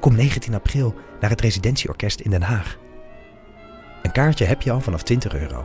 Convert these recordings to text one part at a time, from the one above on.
Kom 19 april naar het Residentieorkest in Den Haag. Een kaartje heb je al vanaf 20 euro.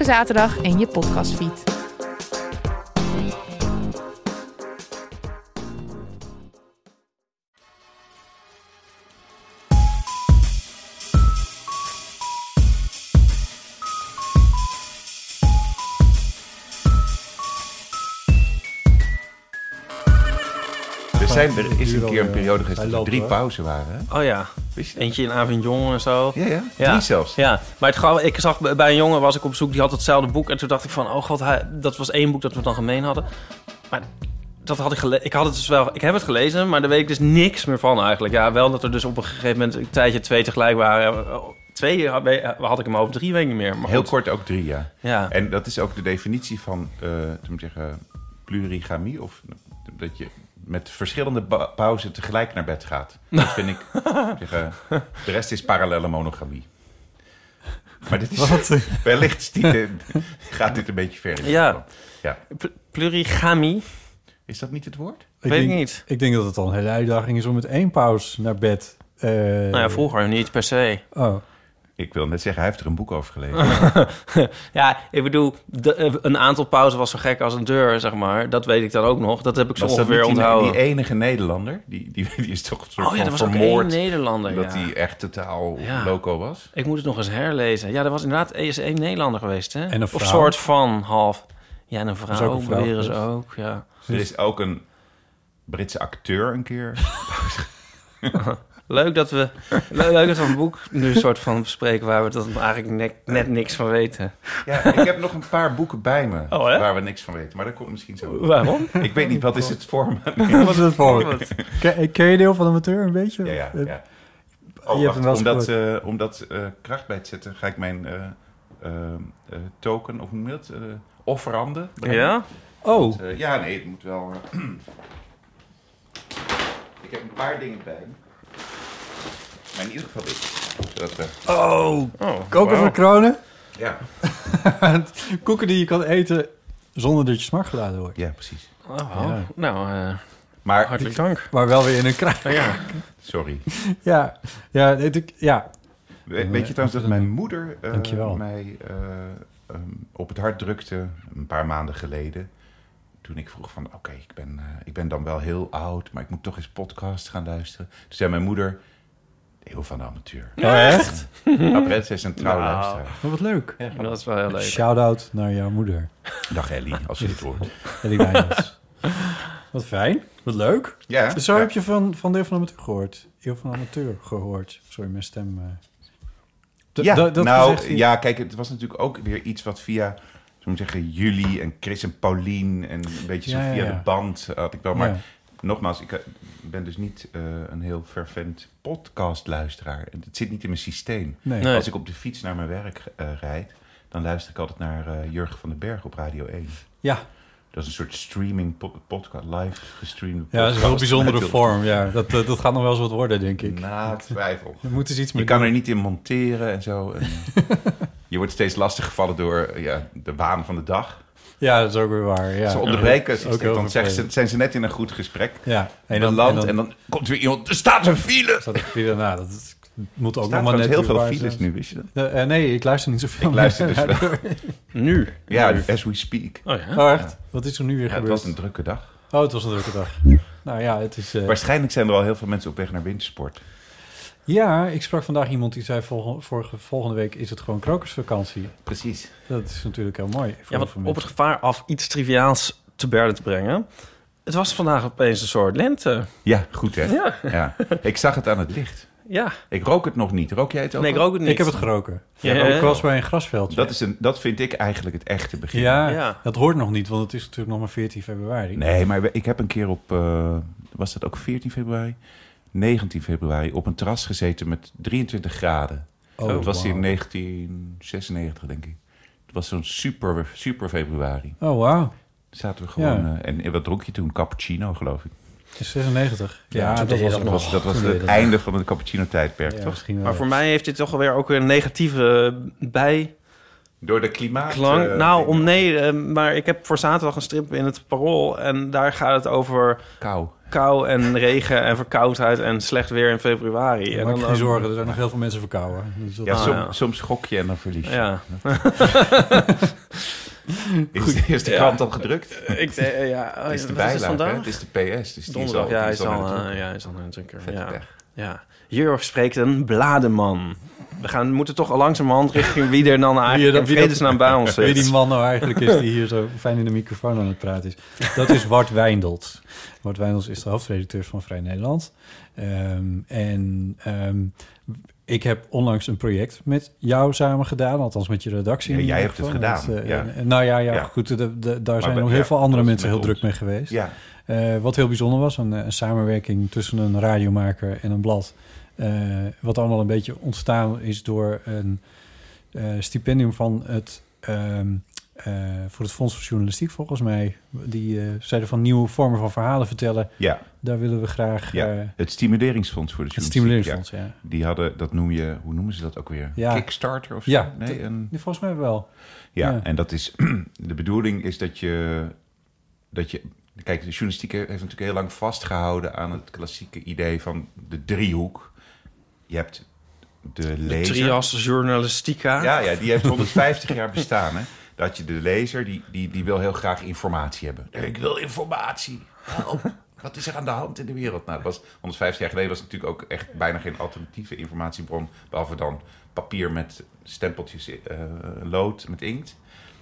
zaterdag in je podcastfeed. Er, zijn, er is een wel, keer een eh, periode geweest dat hij er loopt, drie hoor. pauzen waren. hè? Oh ja, Wist je dat? eentje in Avignon en zo. Ja, ja. Drie zelfs. Ja, maar het grap, ik zag bij bij een jongen was ik op zoek, die had hetzelfde boek. En toen dacht ik van, oh god, hij, dat was één boek dat we dan gemeen hadden. Maar dat had ik gelezen. Ik had het dus wel, ik heb het gelezen, maar daar weet ik dus niks meer van eigenlijk. Ja, wel dat er dus op een gegeven moment een tijdje twee tegelijk waren. Oh, Twee had, had ik hem over drie weken niet meer. Maar Heel goed. kort ook drie, ja. Ja. En dat is ook de definitie van, eh moet ik zeggen, plurigamie. Of dat je met verschillende ba- pauzen tegelijk naar bed gaat. Dat vind ik, moet ik zeggen, de rest is parallele monogamie. Maar dit is wellicht stiekem, gaat dit een beetje verder. Ja. ja. Pl- plurigamie, Is dat niet het woord? weet denk, ik niet. Ik denk dat het al een hele uitdaging is om met één paus naar bed. eh, Nou ja, vroeger niet per se. Oh, Ik wil net zeggen, hij heeft er een boek over gelezen. Ja, ik bedoel, de- eh, een aantal pauzen was zo gek als een deur, zeg maar. Dat weet ik dan ook nog. Dat heb ik zo Was dat ongeveer niet die, onthouden. die enige Nederlander? Die, die, die is toch een soort oh ja, van er was ook vermoord. één Nederlander. dat ja. hij echt totaal Ja. loco was. Ik moet het nog eens herlezen. Ja, er was inderdaad eens één Nederlander geweest, hè? En een Of vrouw. soort van, half. Ja, en een vrouw, ook een vrouw beweren ze geweest. ook, ja. Dus Er is ook een Britse acteur een keer. Leuk dat we, le- leuk dat we een boek nu een soort van bespreken... waar we dat eigenlijk net, net niks van weten. Ja, ik heb nog een paar boeken bij me Oh, hè? waar we niks van weten. Maar dat komt misschien zo. Waarom? Ik weet niet, wat is het format? wat is het voor? Ken, ken je deel van amateur een beetje? Ja, ja, ja. hem Oh, wel wacht, eens omdat eh, omdat eh, kracht bij te zetten, ga ik mijn eh, eh, eh, token, of hoe noem je dat, eh, offeranden. brengen. Ja? Oh, Eh, ja, nee, het moet wel... eh, ik heb een paar dingen bij me. Maar in ieder geval dit. Zodat we... Oh, koken wauw. voor kronen. Ja, Koeken die je kan eten zonder dat je smaakgeluiden hoort. ja precies. Oh, wow. Ja. Nou, eh, Maar, hartelijk dank. Maar wel weer in een kraai. Nou ja. sorry. Ja, ja, weet ik- ja. We- Weet je trouwens dat mijn moeder eh, Dankjewel. mij eh, ehm, op het hart drukte een paar maanden geleden. Toen ik vroeg van, oké, ik, ben, eh, ik ben dan wel heel oud, maar ik moet toch eens podcast gaan luisteren. Toen zei mijn moeder, heel van de amateur. Oh, echt? Apret, zij is een trouw Nou. luisteraar. Oh, wat leuk. Dat is wel heel leuk. Shout-out naar jouw moeder. Dag Ellie, als je dit hoort. Ellie Wijnands. wat fijn. Wat leuk. Ja, Dus Zo ja. heb je van, van de Eeuw van de Amateur gehoord. Eeuw van de Amateur gehoord. Sorry, mijn stem. eh. D- ja, d- dat gezegd nou, hier- ja, kijk, het was natuurlijk ook weer iets wat via, zullen we zeggen, jullie en Chris en Paulien en een beetje Ja, zo ja, via ja. de band had ik wel. Maar Ja. nogmaals, ik eh, ben dus niet eh, een heel fervent podcastluisteraar. En Het zit niet in mijn systeem. Nee. Nee. Als ik op de fiets naar mijn werk eh, rijd, dan luister ik altijd naar eh Jurgen van den Berg op Radio 1. Ja. Dat is een soort streaming po- podcast, live gestreamde ja, podcast. dat is een heel bijzondere Met- vorm. Ja, dat, dat, dat gaat nog wel eens wat worden, denk ik. Na twijfel. Er moet eens iets Nou. Je meer kan doen. er niet in monteren en zo. En je wordt steeds lastiggevallen door eh, ja, de waan van de dag. Ja, dat is ook weer waar. Ja. ze onderbreken, ze- Ook heel dan zeggen ze, vervelend. zijn ze net in een goed gesprek. Ja. En dan, land, en dan, komt weer iemand, er staat een file! Er staat er weer daarna. Dat is- moet ook nog staan maar net trouwens heel weer veel waar files zijn. nu, wist je dat? Eh, eh, nee, ik luister niet zoveel. Ik luister dus meer. wel. Nu? Ja, Nu. as we speak. Oh ja? Oh, echt? Wat is er nu weer Ja, het gebeurd? was een drukke dag. Oh, het was een drukke dag. Nou ja, het is... eh, Waarschijnlijk zijn er al heel veel mensen op weg naar wintersport. Ja, ik sprak vandaag iemand die zei... Volgende, vorige, volgende week is het gewoon krokusvakantie. Precies. Dat is natuurlijk heel mooi. Voor Ja, heel want veel op het mensen. gevaar af iets triviaals te berden te brengen. Het was vandaag opeens een soort lente. Ja, goed hè? Ja. Ja. Ik zag het aan het licht. ja. Ik rook het nog niet. Rook jij het ook? Nee, ik al? rook het niet. Ik heb het geroken. Ja, Ja, ja, ja. Ik was bij een grasveldje. Dat, is een, dat vind ik eigenlijk het echte begin. ja, Ja. dat hoort nog niet, want het is natuurlijk nog maar 14 februari. Nee, maar we- ik heb een keer op, eh, was dat ook 14 februari? 19 februari op een terras gezeten met 23 graden. Oh, dat was wauw. in 1996, denk ik. Het was zo'n super, super februari. Oh, wauw. Zaten we gewoon. Ja. eh, en, en wat dronk je toen? Cappuccino, geloof ik. Het is 96. Ja, toen dat deed je was Dat dat ook nog. was, dat was Toen deed het je dat einde van het cappuccino-tijdperk, nog. Ja, toch? misschien wel. Maar voor mij heeft dit toch alweer ook weer een negatieve eh, bijklank. Door de klimaat. eh, nou, dingen. om nee, eh, maar ik heb voor zaterdag een strip in het Parool. En daar gaat het over Kou. kou en regen en verkoudheid en slecht weer in februari. En Maak je dan eh, geen ook- zorgen, er zijn nog heel veel mensen verkouden. Dus dat Ja, Ah, som- ja. soms schok je en dan verlies je. Ja. Is, de- is de Ja. krant al gedrukt? Ik, eh, ja, oh, het is de wat bijlage, hè? vandaag? het is de PS. Dus die is al, Donderdag, ja, die hij is is al in al, het eh, hoek. ja, hij is al een drinker. Vette Ja. pech. ja. Jurg spreekt een blademan. We gaan, moeten toch al langzamerhand richting wie er dan eigenlijk in dat- wie dat- vredesnaam bij ons Wie die zit. man nou eigenlijk is die hier zo fijn in de microfoon aan het praten is. Dat is Wart Wijndelt. Wart Wijndelt is de hoofdredacteur van Vrij Nederland. Ehm, en ehm, ik heb onlangs een project met jou samen gedaan, althans met je redactie. Ja, in jij ieder hebt het geval. gedaan, Dat, eh, ja. en- nou ja, ja, Ja. goed, de- de- daar zijn we- nog heel ja, veel andere dat is mensen met heel ons. druk mee geweest. Ja, Eh, wat heel bijzonder was, een, eh, een samenwerking tussen een radiomaker en een blad. Eh, wat allemaal een beetje ontstaan is door een eh, stipendium van het, ehm, eh, voor het Fonds voor Journalistiek, volgens mij. Die eh, zeiden van nieuwe vormen van verhalen vertellen. ja, Daar willen we graag Ja, eh, het stimuleringsfonds voor de het journalistiek, stimuleringsfonds. Ja. Ja. ja. Die hadden, dat noem je, hoe noemen ze dat ook weer? Ja. Kickstarter of zo? Ja, dat- nee, een, Volgens mij wel. ja, ja. en dat is, de bedoeling is dat je, dat je, kijk, de journalistiek heeft natuurlijk heel lang vastgehouden aan het klassieke idee van de driehoek. Je hebt de De lezer. Trias Journalistica. Ja, ja, die heeft 150 jaar bestaan. Hè? Dat je de lezer, die, die, die wil heel graag informatie hebben. Ik wil informatie. Help. Wat is er aan de hand in de wereld? Nou, dat was 150 jaar geleden was het natuurlijk ook echt bijna geen alternatieve informatiebron. Behalve dan papier met stempeltjes, eh, lood met inkt.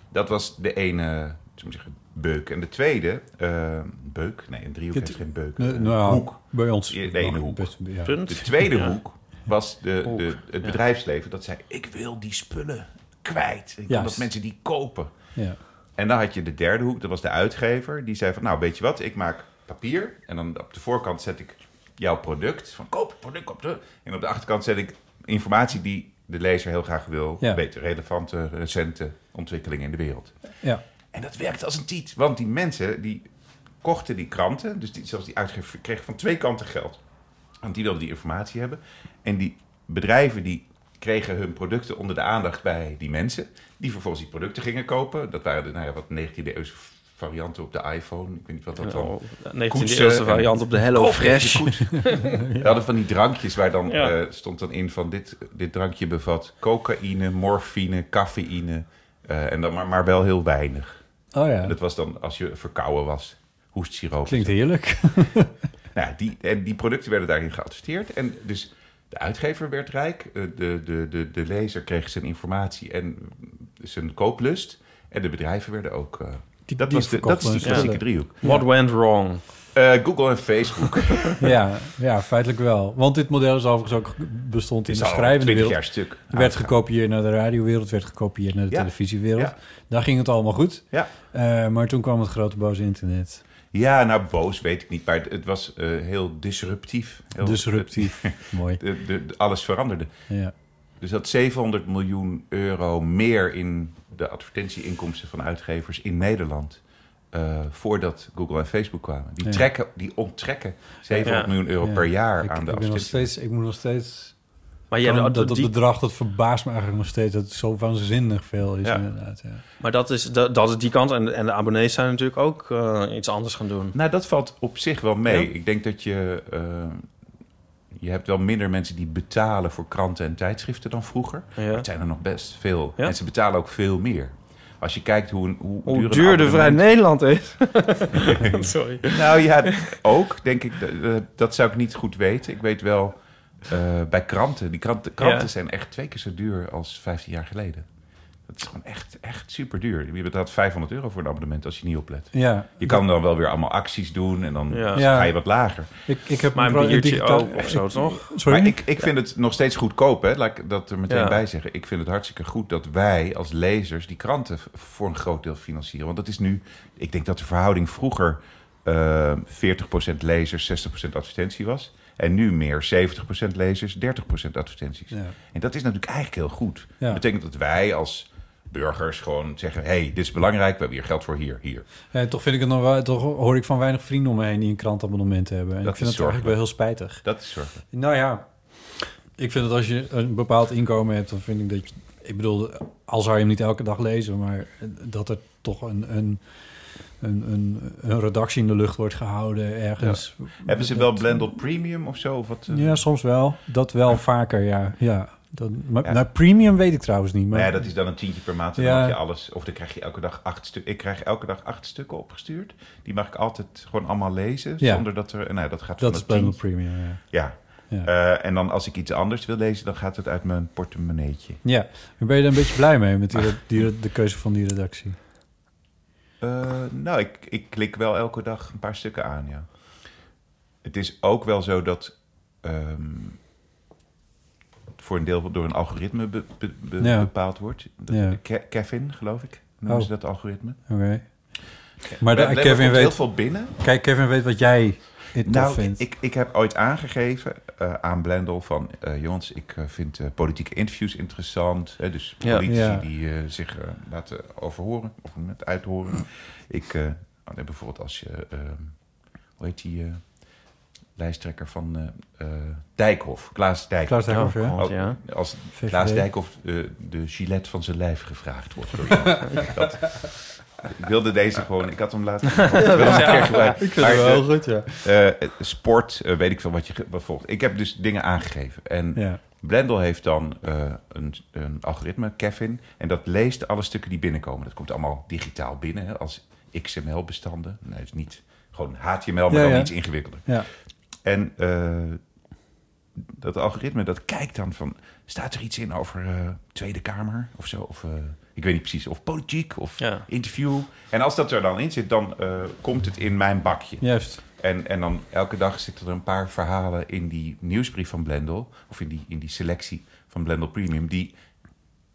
Dat was de ene zullen we zeggen, beuk. En de tweede, eh, beuk? Nee, een driehoek Het- heeft geen beuk. Nee, Een nou, hoek. Bij ons. Ja, nee, de hoek. Best- ja. Punt. De tweede Ja. hoek was de, de, het ja. bedrijfsleven dat zei: Ik wil die spullen kwijt. Ik wil Juist. dat mensen die kopen. Ja. En dan had je de derde hoek, dat was de uitgever. Die zei: van, Nou, weet je wat, ik maak papier. En dan op de voorkant zet ik jouw product. Van koop het product op de. En op de achterkant zet ik informatie die de lezer heel graag wil Ja. weten. Relevante, recente ontwikkelingen in de wereld. Ja. En dat werkte als een tiet. Want die mensen die kochten die kranten. Dus die, zelfs die uitgever kreeg van twee kanten geld. Want die wilden die informatie hebben. En die bedrijven die kregen hun producten onder de aandacht bij die mensen. Die vervolgens die producten gingen kopen. Dat waren de nou ja, wat 19e eeuwse varianten op de iPhone. Ik weet niet wat dat dan... Oh, 19e Koetsen eeuwse en- variant op de Hello Koop Fresh. je goed. We hadden van die drankjes waar dan Ja. eh, stond dan in van dit, dit drankje bevat cocaïne, morfine, cafeïne. eh, en dan maar, maar wel heel weinig. Oh ja, En dat was dan als je verkouden was, hoestsiroop. klinkt heerlijk. Nou, ja, die, en die producten werden daarin geadverteerd. En dus de uitgever werd rijk, eh, de, de, de, de lezer kreeg zijn informatie en zijn kooplust. En de bedrijven werden ook... eh, Die- dat, die was de, dat verkochten is die hun klassieke spullen. driehoek. What went wrong? Eh, Google en Facebook. Het Ja, ja, feitelijk wel. Want dit model is overigens ook bestond in is de al schrijvende 20 wereld. jaar stuk. Er werd gekopieerd naar de radiowereld, werd gekopieerd naar de Ja. televisiewereld. Ja. Daar ging het allemaal goed. Ja. Eh, maar toen kwam het grote boze internet. Ja, nou boos weet ik niet, maar het, het was eh, heel disruptief. Heel, Disruptief. Mooi. de- de- de- alles veranderde. Ja. Dus dat 700 miljoen euro meer in de advertentieinkomsten van uitgevers in Nederland. eh, voordat Google en Facebook kwamen. Die, Ja. trekken, die onttrekken 700 Ja. miljoen euro Ja. per jaar Ik, aan de ik, ben nog advertentie. steeds, ik moet nog steeds... Maar, jij, kan- dat, dat, dat die- bedrag, dat verbaast me eigenlijk nog steeds. Dat het zo waanzinnig veel is Ja. inderdaad. Ja. maar dat, is, dat, dat is die kant. En, en de abonnees zijn natuurlijk ook eh, iets anders gaan doen. Nou, dat valt op zich wel mee. Ja. Ik denk dat je. eh, je hebt wel minder mensen die betalen voor kranten en tijdschriften dan vroeger. Maar Ja. het zijn er nog best veel. Ja. En ze betalen ook veel meer. Als je kijkt hoe, een- hoe, Hoe een duur de Vrij abonnement- Nederland is. Sorry. eh, Nou ja, ook denk ik. dat- Dat zou ik niet goed weten. Ik weet wel eh, bij kranten. Die kranten, kranten Ja. zijn echt twee keer zo duur als 15 jaar geleden. Dat is gewoon echt, echt super duur. Je betaalt 500 euro voor een abonnement als je niet oplet. Ja, Je kan dan wel weer allemaal acties doen en dan Ja. Ja. ga je wat lager. ik, ik heb Maar een bro- biertje digitaal- ook of zo, toch? Sorry? Maar ik, ik vind het nog steeds goedkoop, hè? laat ik dat er meteen Ja. bij zeggen. Ik vind het hartstikke goed dat wij als lezers die kranten v- voor een groot deel financieren. Want dat is nu, ik denk dat de verhouding vroeger eh 40% lezers, 60% advertentie was. En nu meer 70% lezers, 30% advertenties. Ja. En dat is natuurlijk eigenlijk heel goed. Ja. Dat betekent dat wij als burgers gewoon zeggen... hé, hey, dit is belangrijk, we hebben hier geld voor, hier, hier. Ja, toch vind ik het nog wel, toch hoor ik van weinig vrienden om me heen die een krantabonnement hebben. En Dat ik vind is dat eigenlijk wel heel spijtig. Dat is zorgelijk. Nou ja, ik vind dat als je een bepaald inkomen hebt, dan vind ik dat je, ik bedoel, al zou je hem niet elke dag lezen, maar dat er toch een, een, een, een, een redactie in de lucht wordt gehouden ergens. Hebben ze Dat- wel Blended Premium of zo? Of wat, eh? Ja, soms wel. Dat wel vaker, ja. ja. Dat, maar, Ja. Nou, premium weet ik trouwens niet. Maar Nee, dat is dan een tientje per maand. En Ja. dan mag je alles. Of dan krijg je elke dag acht stukken. Ik krijg elke dag acht stukken opgestuurd. Die mag ik altijd gewoon allemaal lezen. Ja. Zonder dat er. Nou, dat gaat dat van is het Blended tientje- Premium, ja. Ja. Ja. Eh, en dan als ik iets anders wil lezen, dan gaat het uit mijn portemonneetje. Ja, maar ben je er een beetje blij mee met die, die, de keuze van die redactie? Eh, nou, ik, ik klik wel elke dag een paar stukken aan, ja. Het is ook wel zo dat ehm, het voor een deel door een algoritme be- be- be- Ja. bepaald wordt. Dat, Ja. Ke- Kevin, geloof ik, noemen Oh. ze dat algoritme. Oké. Maar de- Er- er Kevin komt heel weet veel binnen. Kijk, Kevin weet wat jij het tof Nou, vindt. ik, ik heb ooit aangegeven eh, aan Blendel van... eh, jongens, ik eh, vind eh, politieke interviews interessant. Hè, dus Ja. politici Ja. die eh, zich eh, laten overhoren of met uithoren. Ik, eh, oh, nee, bijvoorbeeld als je... eh, hoe heet die eh, lijsttrekker van eh, eh, Dijkhoff? Klaas Dijkhoff. Klaas Dijkhoff, ja. Ook- Ja. Als VVD. Klaas Dijkhoff eh, de gilet van zijn lijf gevraagd wordt door iemand. Dat, ik wilde deze gewoon... Ik had hem laatst... Ik wilde hem een keer gebruiken. Maar, eh, goed, ja. eh, sport, eh, weet ik veel wat je ge- wat volgt. Ik heb dus dingen aangegeven. En Ja, Blendel heeft dan eh, een, een algoritme, Kevin. En dat leest alle stukken die binnenkomen. Dat komt allemaal digitaal binnen, hè, als XML-bestanden. Nee, het is niet gewoon HTML, maar Ja, dan ja. iets ingewikkelder. ja. En eh, dat algoritme, dat kijkt dan van... staat er iets in over eh, Tweede Kamer of zo? Of, eh, ik weet niet precies, of politiek, of Ja. interview. En als dat er dan in zit, dan eh, komt het in mijn bakje. juist. En, en dan elke dag zitten er een paar verhalen in die nieuwsbrief van Blendel. Of in die, in die selectie van Blendel Premium. Die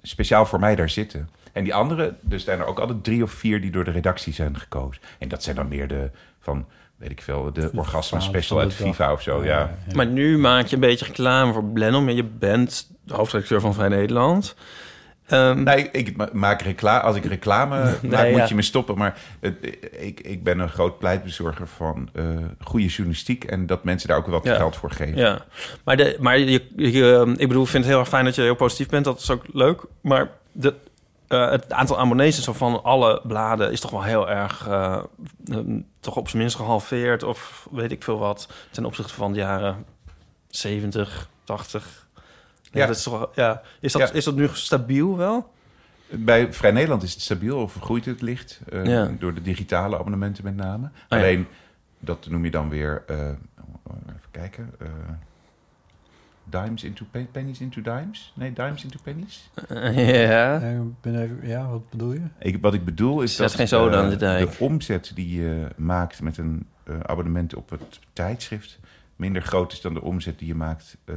speciaal voor mij daar zitten. En die andere, er zijn er ook altijd drie of vier die door de redactie zijn gekozen. En dat zijn dan meer de van, weet ik veel, de orgasma special van uit de dag. FIFA of zo. Ja. Maar nu maak je een beetje reclame voor Blendel. Maar je bent de hoofdredacteur van Vrij Nederland. Ehm, Nee, ik ma- maak reclame. Als ik reclame maak, ja. moet je me stoppen. Maar het, ik, ik ben een groot pleitbezorger van eh, goede journalistiek. En dat mensen daar ook wat Ja. geld voor geven. Ja, maar, de, maar je, je- ehm, ik bedoel, ik vind het heel erg fijn dat je heel positief bent. Dat is ook leuk. Maar de, eh, het aantal abonnees en zo van alle bladen is toch wel heel erg... eh, ehm, toch op zijn minst gehalveerd of weet ik veel wat... ten opzichte van de jaren 70, 80. Ja. Ja. dat is, toch, wel- ja. is, dat, Ja. is dat nu stabiel wel? Bij Vrij Nederland is het stabiel of groeit het licht. eh, Ja. Ah, Door de digitale abonnementen met name. ja. Alleen, dat noem je dan weer... eh, even kijken. eh, dimes into pe- pennies into dimes? Nee, dimes into pennies? ja. Eh, ik ben even, ja, wat bedoel je? Ik, wat ik bedoel is Zet dat geen zoden eh, aan de dijk. omzet die je maakt met een eh, abonnement op het tijdschrift... minder groot is dan de omzet die je maakt eh,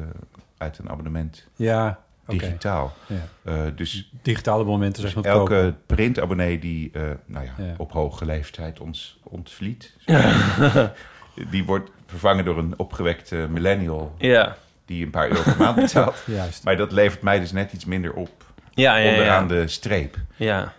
uit een abonnement Ja, oké. digitaal. Ja. Eh, dus Digitale momenten zeg maar. Elke printabonnee die eh, nou ja, Ja. op hoge leeftijd ons ontvliet, die wordt vervangen door een opgewekte millennial Ja, die een paar euro per maand betaalt. Juist. Maar dat levert mij dus net iets minder op, ja, ja, ja. onderaan de streep. ja.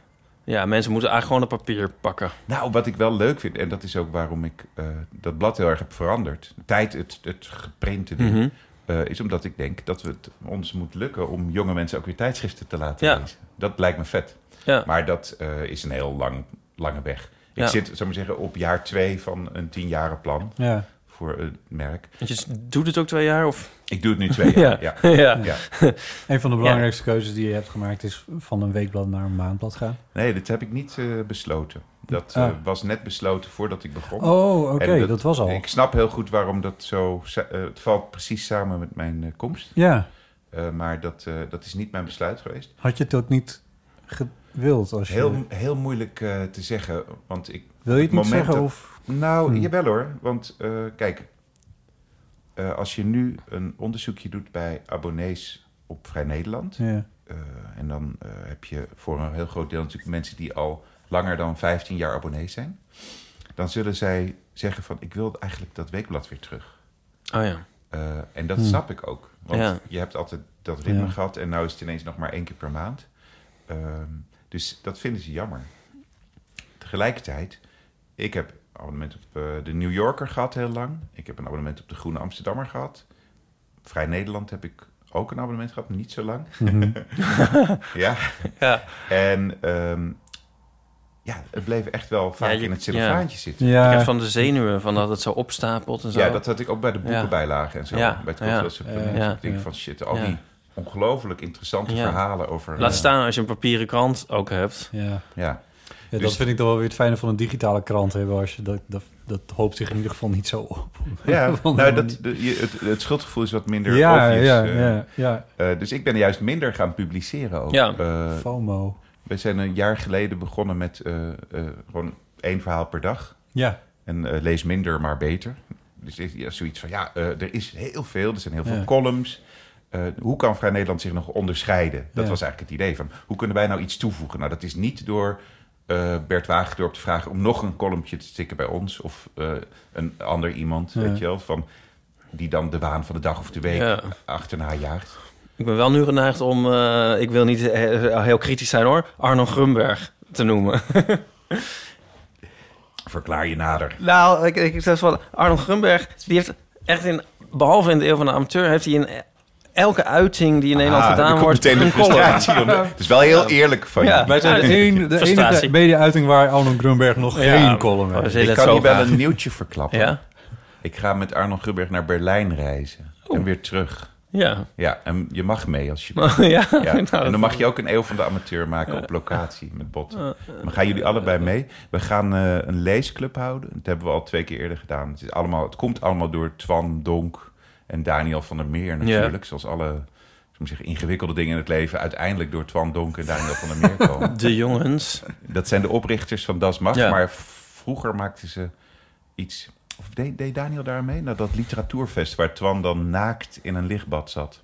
Ja, mensen moeten eigenlijk gewoon het papier pakken. Nou, wat ik wel leuk vind, en dat is ook waarom ik eh, dat blad heel erg heb veranderd. Tijd, het, het geprinte ding, Mhm. eh, is omdat ik denk dat we het ons moet lukken om jonge mensen ook weer tijdschriften te laten Ja. lezen. Dat lijkt me vet. Ja. Maar dat eh, is een heel lang, lange weg. Ik Ja. zit, zou ik maar zeggen, op jaar twee van een tienjarenplan. Ja, voor het merk. Want je doet het ook twee jaar? Of? Ik doe het nu twee jaar. ja. ja. ja. Ja. Een van de belangrijkste keuzes die je hebt gemaakt is van een weekblad naar een maandblad gaan. Nee, dat heb ik niet eh, besloten. Dat Ah. eh, was net besloten voordat ik begon. Oh, oké, En dat, was al. Ik snap heel goed waarom dat zo... sa- eh, het valt precies samen met mijn eh, komst. Ja, Eh, maar dat, eh, dat is niet mijn besluit geweest. had je het ook niet gewild? Als je, Heel, heel moeilijk eh, te zeggen, want ik... wil je het niet moment zeggen? dat- Of, Nou, Hmm. jawel hoor. Want eh, kijk, eh, als je nu een onderzoekje doet bij abonnees op Vrij Nederland... ja. eh, en dan eh, heb je voor een heel groot deel natuurlijk mensen die al langer dan 15 jaar abonnees zijn. Dan zullen zij zeggen van, ik wil eigenlijk dat weekblad weer terug. Oh ja. Eh, en dat Hmm. snap ik ook. Want Ja. je hebt altijd dat ritme Ja. gehad en nu is het ineens nog maar één keer per maand. Ehm, dus dat vinden ze jammer. Tegelijkertijd, ik heb een abonnement op eh, de New Yorker gehad heel lang. Ik heb een abonnement op de Groene Amsterdammer gehad. Vrij Nederland heb ik ook een abonnement gehad, maar niet zo lang. Mhm. Ja. Ja. En ehm, ja, het bleef echt wel vaak je- in het cellofaantje zitten. Ik ja. heb van de zenuwen, van dat het zo opstapelt en zo. Eh, Ja, dat had ik ook bij de boekenbijlagen en zo. Ja, Bij het ja, Cultureel Supplement. ja. Ik denk Ja. van shit, al Ja. die ongelooflijk interessante Ja. verhalen over... Laat eh, staan als je een papieren krant ook hebt. ja. Ja, Ja, Dus- dat vind ik dan wel weer het fijne van een digitale krant hebben. Als je dat, dat, dat hoopt zich in ieder geval niet zo op. ja Van- nou, dat, de- je- het, het schuldgevoel is wat minder ja, obvious. ja, eh. ja, ja. Eh, dus ik ben juist minder gaan publiceren ook. Ja. Eh, FOMO. we zijn een jaar geleden begonnen met eh, eh, gewoon één verhaal per dag. Ja, En eh, lees minder, maar beter. Dus is- ja, zoiets van, ja, eh, er is heel veel. Er zijn heel veel Ja. columns. Eh, hoe kan Vrij Nederland zich nog onderscheiden? Dat Ja. was eigenlijk het idee van, hoe kunnen wij nou iets toevoegen? Nou, dat is niet door eh, Bert Wagendorp te vragen... om nog een columnje te stikken bij ons. Of eh, een ander iemand, Ja. weet je wel. Van, die dan de waan van de dag of de week Ja. achterna jaagt. Ik ben wel nu geneigd om, eh, ik wil niet eh, heel kritisch zijn hoor, Arno Grunberg te noemen. Verklaar je nader. Nou, ik, ik zeg van Arno Grunberg, die heeft echt in, behalve in de eeuw van de amateur, heeft hij in elke uiting die in Nederland Ah, er gedaan komt wordt meteen de een column. frustratie. om- Het is wel heel eerlijk van je. Ja. wij zijn de, een, de enige Frustratie. media-uiting waar Arnold Grunberg nog Ja. geen column Oh, heeft. zit Ik het kan zo je wel graag. een nieuwtje verklappen. Ja, Ik ga met Arnold Grunberg naar Berlijn reizen. En weer terug. ja. Ja, en je mag mee als je Oh, ja. Ja. Nou, En dan dat- mag je ook een eeuw van de amateur maken op locatie met botten. Dan gaan jullie allebei mee. We gaan eh, een leesclub houden. Dat hebben we al twee keer eerder gedaan. Het, is allemaal, het komt allemaal door Twan Donk en Daniel van der Meer natuurlijk. Zoals alle ik moet zeggen, ingewikkelde dingen in het leven uiteindelijk door Twan Donk en Daniel van der Meer komen. De jongens. Dat zijn de oprichters van Das Mag. Ja. Maar vroeger maakten ze iets... Of deed, deed Daniel daarmee? Nou, dat literatuurfest waar Twan dan naakt in een lichtbad zat.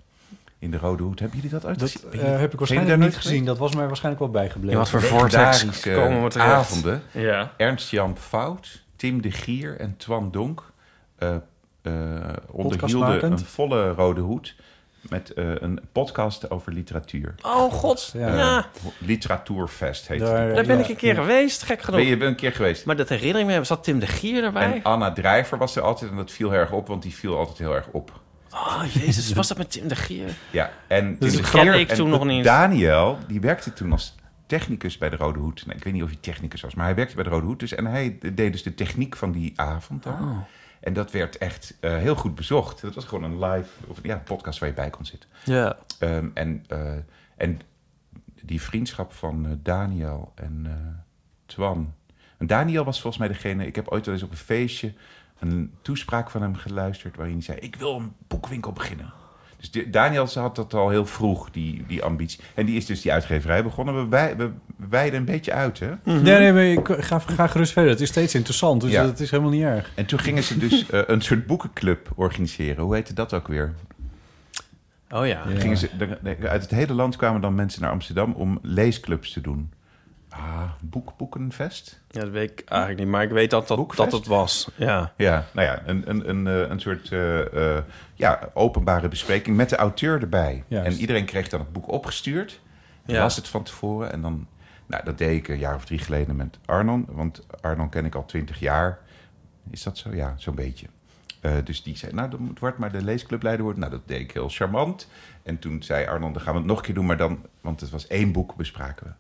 In de Rode Hoed. Hebben jullie dat uit? Dat eh, heb ik daar waarschijnlijk nooit niet gezien. Dat was mij waarschijnlijk wel In bijgebleven. wat voor vortex komen we terecht. avonden. Ja. Ernst-Jan Fout, Tim de Gier en Twan Donk... eh, eh, onderhielden Podcastmakend. een volle Rode Hoed... met eh, een podcast over literatuur. Oh god, ja. Ah. Ja. Eh, literatuurfest heet Daar, het. Daar ben ja. ik een keer geweest, gek genoeg. Ben je ben een keer geweest? Maar dat herinner ik me, zat Tim de Gier erbij? En Anna Drijver was er altijd en dat viel heel erg op, want die viel altijd heel erg op. Oh jezus, was dat met Tim de Gier? Ja, en Dus Tim dat de Geer kende ik en toen nog niet. Daniel, die werkte toen als technicus bij de Rode Hoed. Nou, ik weet niet of hij technicus was, maar hij werkte bij de Rode Hoed. Dus, en hij deed dus de techniek van die avond dan. Oh. En dat werd echt eh, heel goed bezocht. Dat was gewoon een live, of ja, een podcast waar je bij kon zitten. Ja. Ehm, en, eh, en die vriendschap van eh, Daniel en eh, Twan. En Daniel was volgens mij degene, ik heb ooit wel eens op een feestje een toespraak van hem geluisterd waarin hij zei: Ik wil een boekwinkel beginnen. Dus de- Daniel had dat al heel vroeg, die, die ambitie. En die is dus die uitgeverij begonnen. We, wij, we wijden een beetje uit, hè? Nee, nee, maar ik ga, ga gerust verder. Het is steeds interessant, dus Mhm. Ja. dat is helemaal niet erg. En toen gingen ze dus eh, een soort boekenclub organiseren. Hoe heette dat ook weer? Oh ja. Ja. Gingen ze, de- de- uit het hele land kwamen dan mensen naar Amsterdam om leesclubs te doen. Ah, boek, boekenfest? Ja, dat weet ik eigenlijk niet, maar ik weet dat dat, Boekfest? dat het was. Ja. Ja, nou ja, een, een, een, eh, een soort eh, eh, ja, openbare bespreking met de auteur erbij. Juist. En iedereen kreeg dan het boek opgestuurd. Ja. Ja. Las het van tevoren. En dan, nou, dat deed ik een jaar of drie geleden met Arnon. Want Arnon ken ik al twintig jaar. Is dat zo? Ja, zo'n beetje. Eh, dus die zei, nou, dan wordt maar de leesclubleider worden. Nou, dat deed ik heel charmant. En toen zei Arnon, dan gaan we het nog een keer doen. Maar dan, want het was één boek, bespraken we.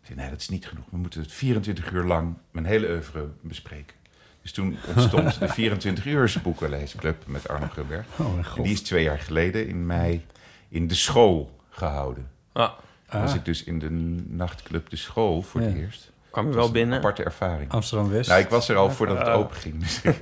Ik zei, nee, dat is niet genoeg. We moeten het 24 uur lang, mijn hele oeuvre, bespreken. Dus toen ontstond de 24 uurs boekenleesclub met Arno Grunberg. Oh, mijn En god. die is twee jaar geleden in mei in de school gehouden. Ah, Dan was Ah. ik dus in de nachtclub de school voor Ja. het eerst. kwam je Dat was wel een binnen. aparte ervaring. Amsterdam West. Nou, ik was er al voordat Oh. het open ging. Dus ik-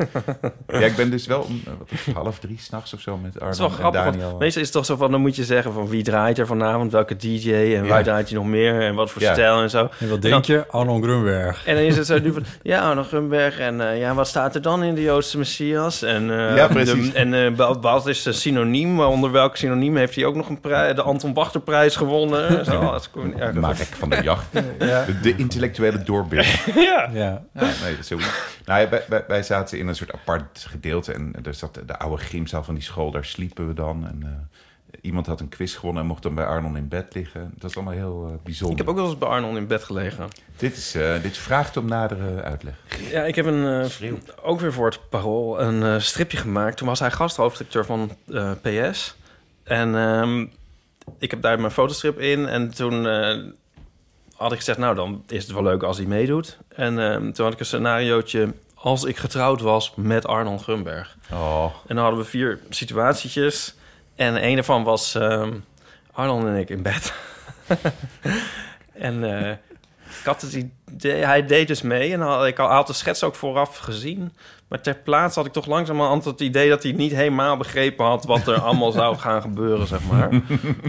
ja, ik ben dus wel om eh, wat is het, half drie s'nachts of zo met Dat is Arno wel en grappig. Daniel. want meestal is het toch zo van, dan moet je zeggen van wie draait er vanavond, welke DJ en waar Ja. draait hij nog meer en wat voor Ja. stijl en zo. En wat denk je? Arnon Grunberg. En dan is het zo nu van, ja, Arno Grunberg en eh, ja, wat staat er dan in de Joodse Messias? En, eh, Ja, precies. de- en eh, wa- wat is de synoniem? Onder welk synoniem heeft hij ook nog een prij- de Anton Wachterprijs gewonnen? Zo, dat is gewoon erg. Mark van eh, de Jacht. Ja. De, de intellectuele doorbeeld. Ja. Ja, nee, dat is heel goed. nou, ja, wij, wij, wij zaten in een soort apart gedeelte. En er zat de oude gymzaal van die school. Daar sliepen we dan. En eh, iemand had een quiz gewonnen en mocht dan bij Arnon in bed liggen. Dat is allemaal heel eh, bijzonder. Ik heb ook wel eens bij Arnon in bed gelegen. dit, is, eh, dit vraagt om nadere uitleg. Ja, ik heb een, eh, ook weer voor het parool een eh, stripje gemaakt. Toen was hij gasthoofdredacteur van eh, PS. En ehm, ik heb daar mijn fotostrip in. En toen eh, had ik gezegd, nou dan is het wel leuk als hij meedoet. En ehm, toen had ik een scenariootje als ik getrouwd was met Arnold Grunberg. Oh, En dan hadden we vier situatietjes. En een ervan was ehm Arnold en ik in bed. en eh, ik had het idee, hij deed dus mee. En had, ik had de schets ook vooraf gezien. Maar ter plaatse had ik toch langzamerhand het idee dat hij niet helemaal begrepen had wat er allemaal zou gaan gebeuren, zeg maar.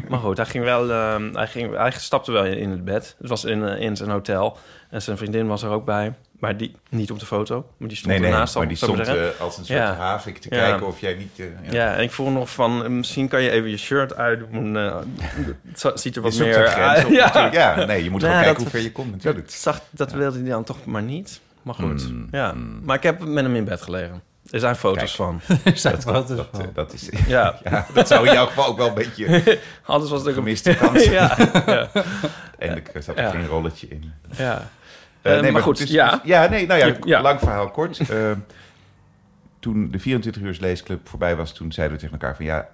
maar goed, hij ging wel, ehm, hij, ging, hij stapte wel in het bed. Het was in, eh, in zijn hotel. En zijn vriendin was er ook bij. Maar die, niet op de foto, maar die stond nee, nee. ernaast al, Maar die zou ik stond maar zeggen. eh, als een soort Ja. havik te Ja. kijken of jij niet... eh, ja. Ja, en ik voel nog van, eh, misschien kan je even je shirt uitdoen. eh, het zo- ziet er wat je zoekt meer een grens uit. op ja. natuurlijk. Ja, nee, je moet Nou, gewoon kijken dat- hoe ver je komt natuurlijk. Dat, zag, dat wilde hij dan toch maar niet. Maar goed, Mm, ja. mm. Maar ik heb met hem in bed gelegen. Er zijn foto's van. Dat, dat is Dat, eh, wel- dat is, Ja, ja, dat zou in jouw geval ook wel een beetje alles was natuurlijk een... gemiste kans. Ja, ja, En er zat Ja. geen rolletje in. ja. Eh, Eh, maar goed, dus- ja. dus- ja, nee, nou ja, Je- ja. lang verhaal kort. Eh, toen de 24 uur leesclub voorbij was, toen zeiden we tegen elkaar van ja,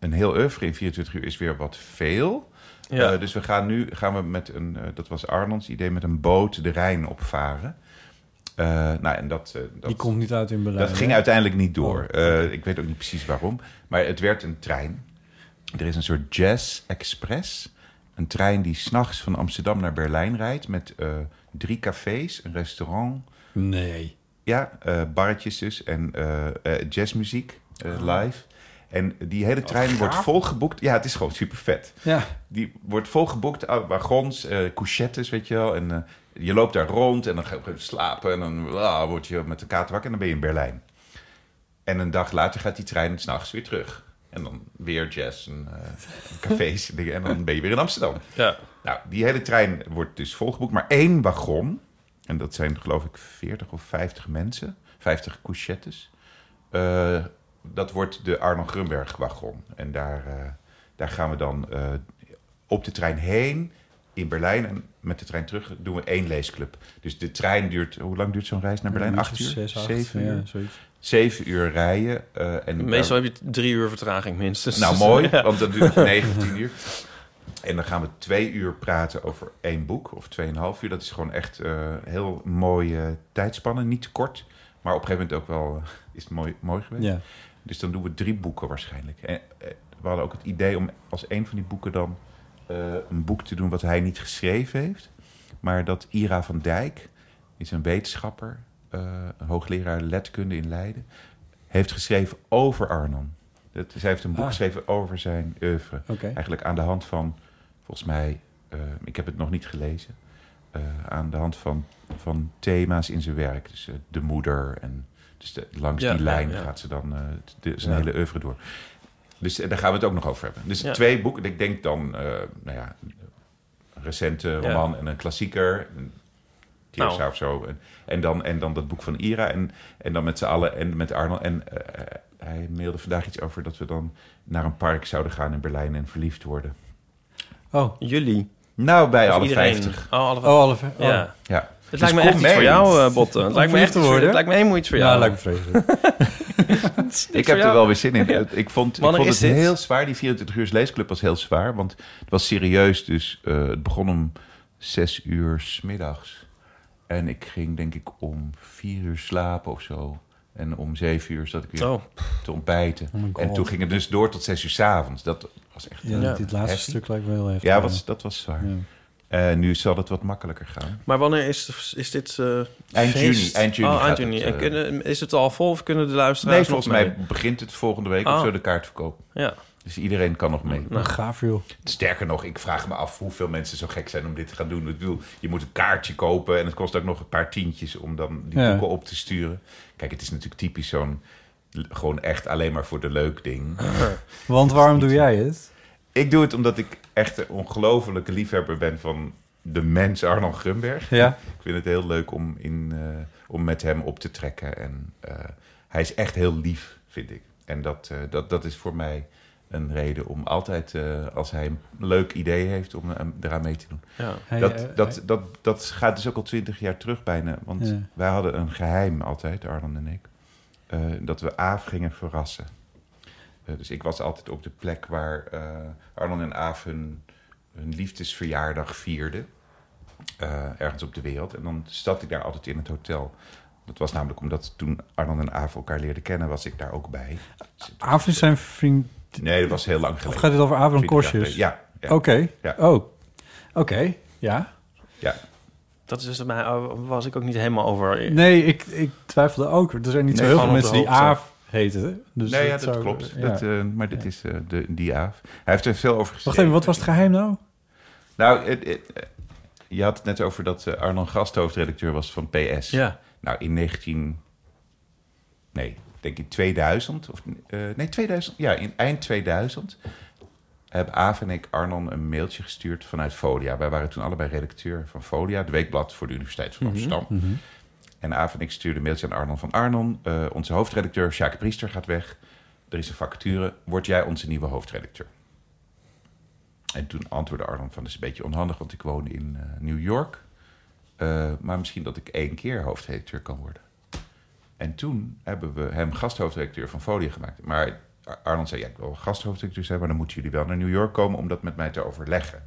een heel oeuvre in 24 uur is weer wat veel. Ja. Eh, dus we gaan nu, gaan we met een, eh, dat was Arnolds idee, met een boot de Rijn opvaren. Eh, nou, en dat, eh, dat, Die komt niet uit in Berlijn. dat ging uiteindelijk niet door. Eh, ik weet ook niet precies waarom, maar het werd een trein. Er is een soort Jazz Express. Een trein die s'nachts van Amsterdam naar Berlijn rijdt met eh, drie cafés, een restaurant, Nee. ja, eh, barretjes dus en eh, eh, jazzmuziek eh, live. En die hele trein wordt volgeboekt. Ja, het is gewoon super vet. Ja. Die wordt volgeboekt aan wagons, eh couchettes, weet je wel. En eh, je loopt daar rond en dan ga je op een gegeven moment slapen. En dan ah, word je met de kater wakker en dan ben je in Berlijn. En een dag later gaat die trein s'nachts weer terug. En dan weer jazz en eh, cafés en dingen. En dan ben je weer in Amsterdam. ja. Nou, die hele trein wordt dus volgeboekt, maar één wagon. En dat zijn geloof ik 40 of 50 mensen, 50 couchettes. Eh, dat wordt de Arnold Grunberg wagon. En daar, eh, daar gaan we dan eh, op de trein heen in Berlijn. En met de trein terug doen we één leesclub. Dus de trein duurt, hoe lang duurt zo'n reis naar Berlijn? Acht uur? Zes, acht, zeven ja, uur? zoiets. Zeven uur rijden. eh, en Meestal heb je drie uur vertraging minstens. nou, Dus, mooi, ja. want dat duurt 9, 10 uur. En dan gaan we twee uur praten over één boek, of tweeënhalf uur. Dat is gewoon echt eh, heel mooie tijdspannen. Niet te kort, maar op een gegeven moment ook wel eh, is het mooi, mooi geweest. Ja. Dus dan doen we drie boeken waarschijnlijk. En, eh, we hadden ook het idee om als een van die boeken dan eh, een boek te doen wat hij niet geschreven heeft. Maar dat Ira van Dijk is een wetenschapper, eh, een hoogleraar letkunde in Leiden, heeft geschreven over Arnon. Dat, dus hij heeft een boek Ah. geschreven over zijn oeuvre. Oké. Eigenlijk aan de hand van, volgens mij, eh, ik heb het nog niet gelezen, eh, aan de hand van, van thema's in zijn werk. Dus eh, de moeder en dus de- langs Ja, die ja, lijn ja. gaat ze dan eh, de- zijn Ja. hele oeuvre door. Dus eh, daar gaan we het ook nog over hebben. Dus Ja. twee boeken. Ik denk dan, eh, nou ja, een recente roman en een klassieker. Een Keersa Nou. of zo. En, en, dan, en dan dat boek van Ira. En, en dan met z'n allen en met Arnold. En eh, eh, hij mailde vandaag iets over dat we dan naar een park zouden gaan in Berlijn en verliefd worden. Oh. Jullie. Nou, bij Of alle Dus iedereen. 50. Oh, alle Oh, alle ver- oh. Ja. Ja. Het lijkt me echt iets voor jou, eh Botte. Het lijkt me verliefd echt iets te voor- worden. Het lijkt me helemaal iets voor Nou, jou. Ja, Nou, lijkt me vreselijk. Ik heb er jou. wel weer zin in. Ik vond, ik Wanneer vond het is dit? heel zwaar. Die 24 uur leesclub was heel zwaar. Want het was serieus. Dus eh, het begon om 6 uur 's middags. En ik ging denk ik om vier uur slapen of zo. En om zeven uur zat ik weer Oh, te ontbijten. Oh my God. en toen ging het dus door tot zes uur s'avonds. Dat was echt... Ja, Ja. Dit laatste Heftig. stuk lijkt me heel heftig. Ja, was, dat was zwaar. Ja. Eh, nu zal het wat makkelijker gaan. maar wanneer is, is dit eh, Eind feest? juni, eind juni Oh, eind gaat juni. het, En eh, kunnen, is het al vol of kunnen de luisteraars Nee, nog volgens mij mee? begint het volgende week Ah. of zo de kaartverkoop. Ja. Dus iedereen kan nog mee. Nou, gaaf joh. Sterker nog, ik vraag me af hoeveel mensen zo gek zijn om dit te gaan doen. Ik bedoel, je moet een kaartje kopen en het kost ook nog een paar tientjes om dan die Ja. boeken op te sturen. Kijk, het is natuurlijk typisch zo'n l- gewoon echt alleen maar voor de leuk ding. Want waarom doe jij het? Ik doe het omdat ik echt een ongelofelijke liefhebber ben van de mens Arnold Grunberg. Ja. Ik vind het heel leuk om, in, eh, om met hem op te trekken. En eh, hij is echt heel lief, vind ik. En dat, eh, dat, dat is voor mij een reden om altijd, eh, als hij een leuk idee heeft, om eh, eraan mee te doen. ja. Hij, dat, eh, dat, dat, dat gaat dus ook al twintig jaar terug bijna. Want Ja. wij hadden een geheim altijd, Arlan en ik. eh, dat we Aaf gingen verrassen. Eh, dus ik was altijd op de plek waar eh Arlan en Aaf hun, hun liefdesverjaardag vierden. eh, ergens op de wereld. En dan zat ik daar altijd in het hotel. Dat was namelijk omdat toen Arlan en Aaf elkaar leerden kennen, was ik daar ook bij. Dus het was- Aaf is zijn vriend... Nee, dat was heel lang Of geleden. gaat het over Aaf en 20 jaar Korsjes? geleden. Ja, ja. Oké. Ja. Oh. Oké. Ja. Dat is dus mij, was ik ook niet helemaal over. Nee, ik, ik twijfelde ook. Er zijn niet zo Nee, heel veel gewoon op mensen de die hoogte. Aaf heten. Dus nee, ja, dat zou- klopt. ja. Dat, eh, maar dit is eh, de, die Aaf. Hij heeft er veel over Wacht geschreven. even, wat was het geheim nou? Nou, het- het- eh, je had het net over dat eh, Arnon Gast hoofdredacteur was van PS. Ja. Nou, in 19... Nee, ik denk in 2000. Of, eh, nee, 2000. Ja, in eind 2000 hebben Aaf en ik Arnon een mailtje gestuurd vanuit Folia. Wij waren toen allebei redacteur van Folia, het weekblad voor de Universiteit van Amsterdam. En Aaf en ik stuurden een mailtje aan Arnon van Arnon. eh, onze hoofdredacteur, Sjaak Priester, gaat weg. Er is een vacature. Word jij onze nieuwe hoofdredacteur? En toen antwoordde Arnon van, dat is een beetje onhandig, want ik woon in eh, New York. Eh, maar misschien dat ik één keer hoofdredacteur kan worden. En toen hebben we hem gasthoofdredacteur van Folia gemaakt. Maar Ar- Arnold zei, ja, ik wil gasthoofdredacteur zijn... maar dan moeten jullie wel naar New York komen om dat met mij te overleggen.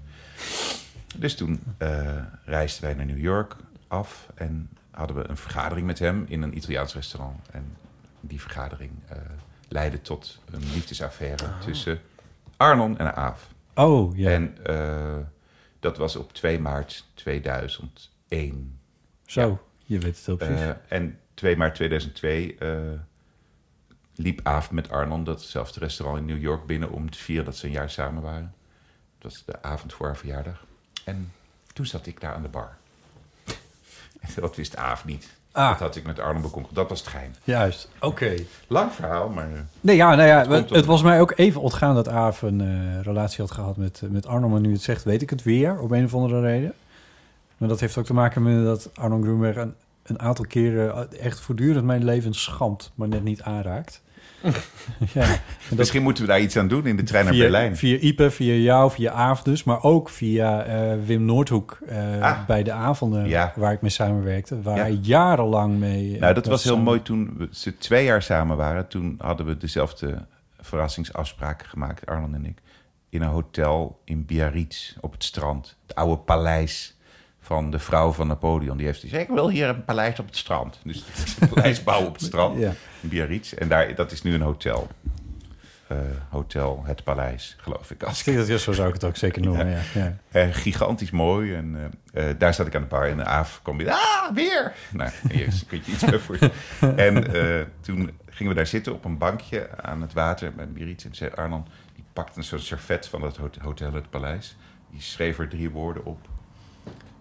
Dus toen eh, reisden wij naar New York af... en hadden we een vergadering met hem in een Italiaans restaurant. En die vergadering eh, leidde tot een liefdesaffaire tussen Arnon en Aaf. Oh, ja. En eh, dat was op 2 maart 2001. Zo, je weet het heel precies. Eh, en 2 maart 2002 eh, liep Aaf met Arnon datzelfde restaurant in New York binnen om te vieren dat ze een jaar samen waren. Dat was de avond voor haar verjaardag. En toen zat ik daar aan de bar. dat wist Aaf niet. ah, Dat had ik met Arnon bekonkeld. Dat was het geheim. juist. Oké. Lang verhaal, maar eh, Nee, ja, nou ja, komt het, op- het was mij ook even ontgaan dat Aaf een eh, relatie had gehad met, eh, met Arno. Maar nu je het zegt, weet ik het weer, op een of andere reden. Maar dat heeft ook te maken met dat Arno Groenberg een, een aantal keren eh, echt voortdurend mijn leven schampt, maar net niet aanraakt. ja, misschien moeten we daar iets aan doen in de trein naar via, Berlijn. Via Ipe, via jou, via Aaf dus, maar ook via eh, Wim Noordhoek eh, Ah. bij de avonden Ja. waar ik mee samenwerkte. Waar Ja. hij jarenlang mee... eh, Nou, dat was heel samen- mooi toen we, ze twee jaar samen waren. Toen hadden we dezelfde verrassingsafspraken gemaakt, Arnold en ik. In een hotel in Biarritz op het strand. Het oude paleis van de vrouw van Napoleon. Die heeft gezegd, ik wil hier een paleis op het strand. Dus een paleis bouwen op het strand Ja. in Biarritz. En daar, dat is nu een hotel. Eh, hotel Het Paleis, geloof ik. Als Als ik dat zo zou ik het ook zeker noemen, ja. ja. eh, gigantisch mooi. En eh, eh, daar zat ik aan de bar. En de avond kwam weer. Ah, weer! Nou, hier is- kun je iets bij voor En eh, toen gingen we daar zitten op een bankje aan het water. Met Birit en zei Arnon. Die pakte een soort servet van dat hot- hotel, het paleis. Die schreef er drie woorden op.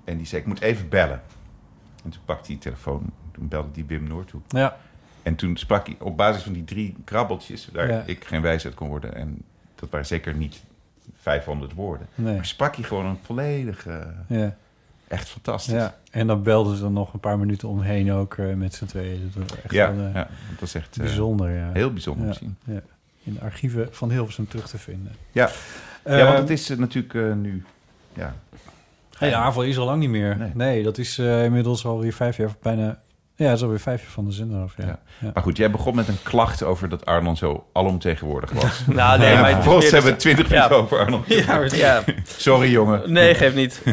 En die zei, ik moet even bellen. En toen pakte hij die telefoon. Toen belde die Wim Noordhoek. Ja, En toen sprak hij op basis van die drie krabbeltjes... waar Ja. ik geen wijs uit kon worden. En dat waren zeker niet 500 woorden. nee. Maar sprak hij gewoon een volledige... Ja, Echt fantastisch. Ja, ja, en dan belden ze dan nog een paar minuten omheen ook eh, met z'n tweeën. Dat was echt ja, wel, eh, dat was echt eh, bijzonder, ja. heel bijzonder Ja. om te zien. In de archieven van Hilversum terug te vinden. Ja. Eh, Ehm, ja, want het is eh, natuurlijk eh, nu... Ja, hey, de AVO Ehm, is al lang niet meer. Nee, Nee. dat is eh, inmiddels alweer vijf jaar, of bijna Ja, dat is alweer vijf jaar van de zin eraf. Ja. Ja. Ja. Maar goed, jij begon met een klacht over dat Arnon zo alomtegenwoordig was. Nou, En nee, maar het is vervolgens meer dat- hebben we twintig minuten Ja. over Arnon. Ja, ja. Sorry jongen. Nee, geeft niet. Eh,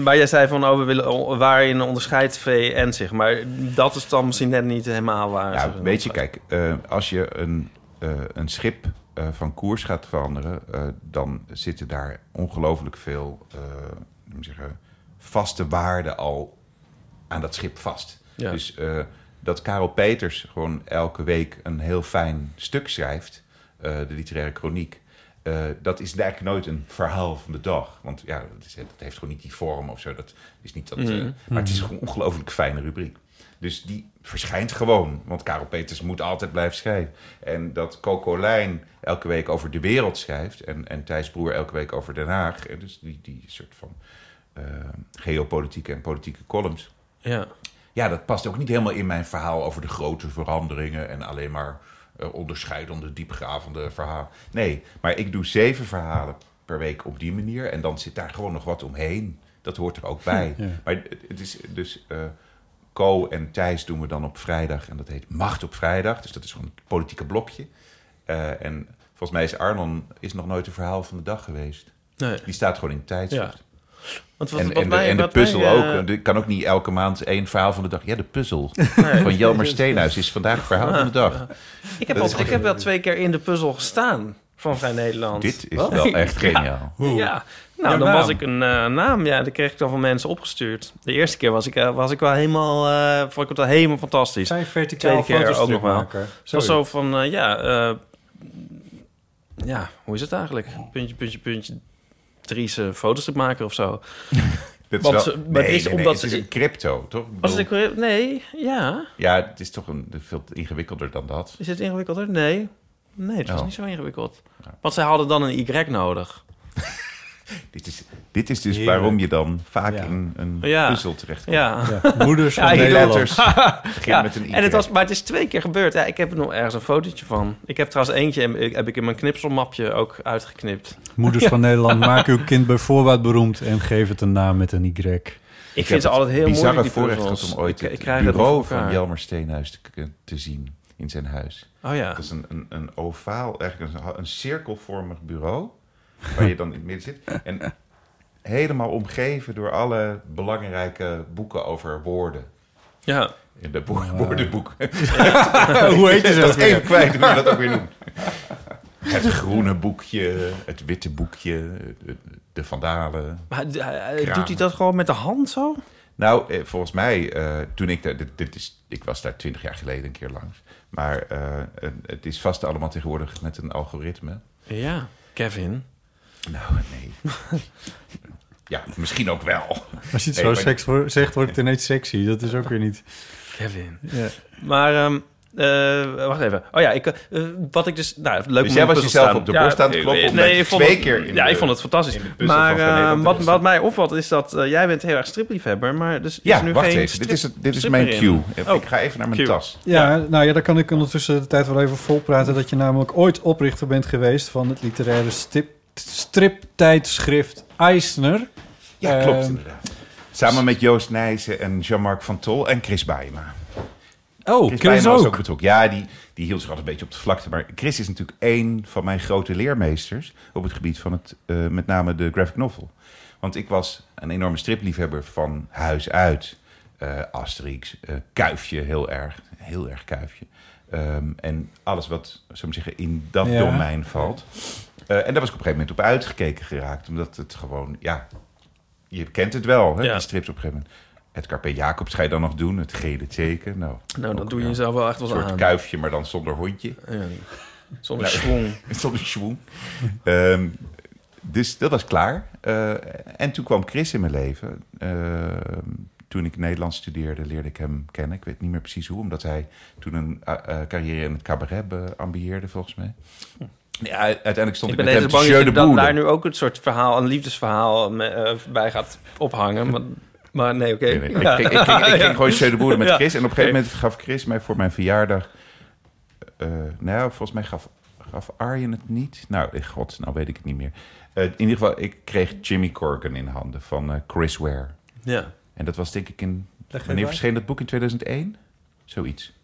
maar jij zei van, oh, we willen o- waarin onderscheidt VN zich. Maar dat is dan misschien net niet helemaal waar. Ja, Zeg maar. weet je, kijk, eh, als je een, eh, een schip eh, van koers gaat veranderen, eh, dan zitten daar ongelooflijk veel eh, hoe moet ik zeggen, vaste waarden al aan dat schip vast. Ja. Dus eh, dat Karel Peters gewoon elke week een heel fijn stuk schrijft, eh, de literaire kroniek. eh, dat is eigenlijk nooit een verhaal van de dag. Want ja, dat, is, dat heeft gewoon niet die vorm of zo. Dat is niet dat, eh, Mhm. maar het is gewoon een ongelooflijk fijne rubriek. Dus die verschijnt gewoon. Want Karel Peters moet altijd blijven schrijven. En dat Coco Lijn elke week over de wereld schrijft. En, en Thijs Broer elke week over Den Haag. En dus die, die soort van eh, geopolitieke en politieke columns. Ja. Ja, dat past ook niet helemaal in mijn verhaal over de grote veranderingen. En alleen maar eh, onderscheidende, diepgravende verhalen. Nee, maar ik doe zeven verhalen per week op die manier. En dan zit daar gewoon nog wat omheen. Dat hoort er ook bij. Ja. Maar het- het is dus. eh, Co en Thijs doen we dan op vrijdag. En dat heet Macht op Vrijdag. Dus dat is gewoon het politieke blokje. Eh, en volgens mij is Arnon is nog nooit een verhaal van de dag geweest. Nee. Die staat gewoon in het tijdschrift. Want wat, En, wat en, de, mij- en de wat mij, puzzel eh, ook. Er kan ook niet elke maand één verhaal van de dag. Ja, de puzzel nee. van Jelmer Steenhuis is vandaag verhaal van de dag. Ik heb, Dat is al, ik heb wel twee keer in de puzzel gestaan van Vrij Nederland. Dit is wel echt geniaal. Ja, nou, Jouw dan naam. was ik een eh, naam. Ja, die kreeg ik dan van mensen opgestuurd. De eerste keer was ik, eh, was ik wel helemaal... eh, vond ik het wel helemaal fantastisch. Zijn verticaal Tweede keer foto's ook nog wel. Het was Zo. zo van, eh, ja... eh, ja, hoe is het eigenlijk? Puntje, puntje, puntje. Driese foto's te maken of zo. Dit is Want wel- ze- maar nee, het is nee, nee, omdat het is ze- een crypto, toch? Ik Was bedoel, het een- Nee, ja. Ja, het is toch een, veel ingewikkelder dan dat. Is het ingewikkelder? Nee. Nee, het was Oh. niet zo ingewikkeld. Want zij hadden dan een Y nodig. Dit is, dit is dus Heerlijk. waarom je dan vaak Ja. in een Ja. puzzel terechtkomt. Ja. Ja. Moeders Ja, van ik- Die Nederland. letters beginnen met een Y. En het was, maar het is twee keer gebeurd. Ja, ik heb er nog ergens een fotootje van. Ik heb trouwens eentje in- heb ik in mijn knipselmapje ook uitgeknipt. Moeders van Nederland, maak uw kind bij voorbaat beroemd en geef het een naam met een Y. Ik, heb vind ze altijd heel bizarre moeilijk, die voorrecht puzzels. gehad om ooit Ik- ik het krijg het eh, bureau niet voor van elkaar. Jelmer Steenhuis te, k- te zien in zijn huis. Oh ja. Dat is een, een, een ovaal, eigenlijk een, een cirkelvormig bureau, waar je dan in het midden zit. En helemaal omgeven door alle belangrijke boeken over woorden. Ja. In de boek, woordenboek. Hoe heet Dat is even kwijt hoe je dat ook weer noemt. Het groene boekje, het witte boekje, de- de vandalen. Maar d- eh, Kramen. doet hij dat gewoon met de hand zo? Nou, eh, volgens mij, eh, toen ik daar, dit, dit is, ik was daar twintig jaar geleden een keer langs. Maar eh, eh, het is vast allemaal tegenwoordig met een algoritme. Ja. Kevin. Nou, nee. ja, misschien ook wel. Als je het Nee, zo maar- seks wo- zegt, wordt het ineens sexy. Dat is ook weer niet... Kevin. Ja. Maar, ehm, eh, wacht even. Oh ja, ik, eh, wat ik dus... Nou, leuk Dus om jij in de was puzzel te jezelf staan. op de borst aan het kloppen om ik met vond twee het- keer in Ja, de- ik vond het fantastisch. in de puzzel Maar van Van Nederland eh, te wat, staan. wat mij opvalt is dat eh, jij bent heel erg stripliefhebber, maar dus is Ja, er nu wacht geen even. Dit is, strip- het- dit is stripper mijn in. cue. Oh. Ik ga even naar mijn cue. tas. Ja, nou ja, dan kan ik ondertussen de tijd wel even volpraten... dat je namelijk ooit oprichter bent geweest van het literaire stip, striptijdschrift Eisner. Ja, klopt Ehm, inderdaad. Samen met Joost Nijssen en Jean-Marc van Tol en Chris Baaema. Oh, Chris Chris Baaema was ook. ook betrokken. Ja, die, die hield zich altijd een beetje op de vlakte. Maar Chris is natuurlijk één van mijn grote leermeesters... op het gebied van het, eh, met name de graphic novel. Want ik was een enorme stripliefhebber van huis uit. Eh, Asterix, eh, Kuifje heel erg. Heel erg Kuifje. Ehm, en alles wat, zou ik maar zeggen, in dat Ja. domein valt. Eh, en daar was ik op een gegeven moment op uitgekeken geraakt. Omdat het gewoon, ja... Je kent het wel, hè, Ja. die strips op een gegeven moment. Het Carpe Jacobs ga je dan nog doen. Het gele teken. Nou, Nou, ook dat doe je weer jezelf wel echt Een wel soort aan. kuifje, maar dan zonder hondje. Ja. Zonder Nou. schwung. Zonder schwoen. Ehm, dus dat was klaar. Eh, en toen kwam Chris in mijn leven. Ehm, toen ik Nederlands studeerde, leerde ik hem kennen. Ik weet niet meer precies hoe, omdat hij toen een eh, eh, carrière in het cabaret be- ambieerde, volgens mij. Ja, u- uiteindelijk stond Hm. ik, Ik ben met hem even te bang dat Jeu je de dan Boele. daar nu ook het soort verhaal, een liefdesverhaal me- eh, bij gaat ophangen. Maar, maar nee, oké. Nee, nee, Ik Ja. ging, ik ging, ik ging gewoon Jeu de Boele met Ja. Chris. En op een gegeven moment gaf Chris mij voor mijn verjaardag... eh, nou ja, volgens mij gaf, gaf Arjen het niet. Nou, eh, god, nou weet ik het niet meer. Eh, in ieder geval, ik kreeg Jimmy Corgan in handen van eh, Chris Ware. Ja. En dat was denk ik in... Leg even Wanneer uit. verscheen dat boek? In 2001? Zoiets.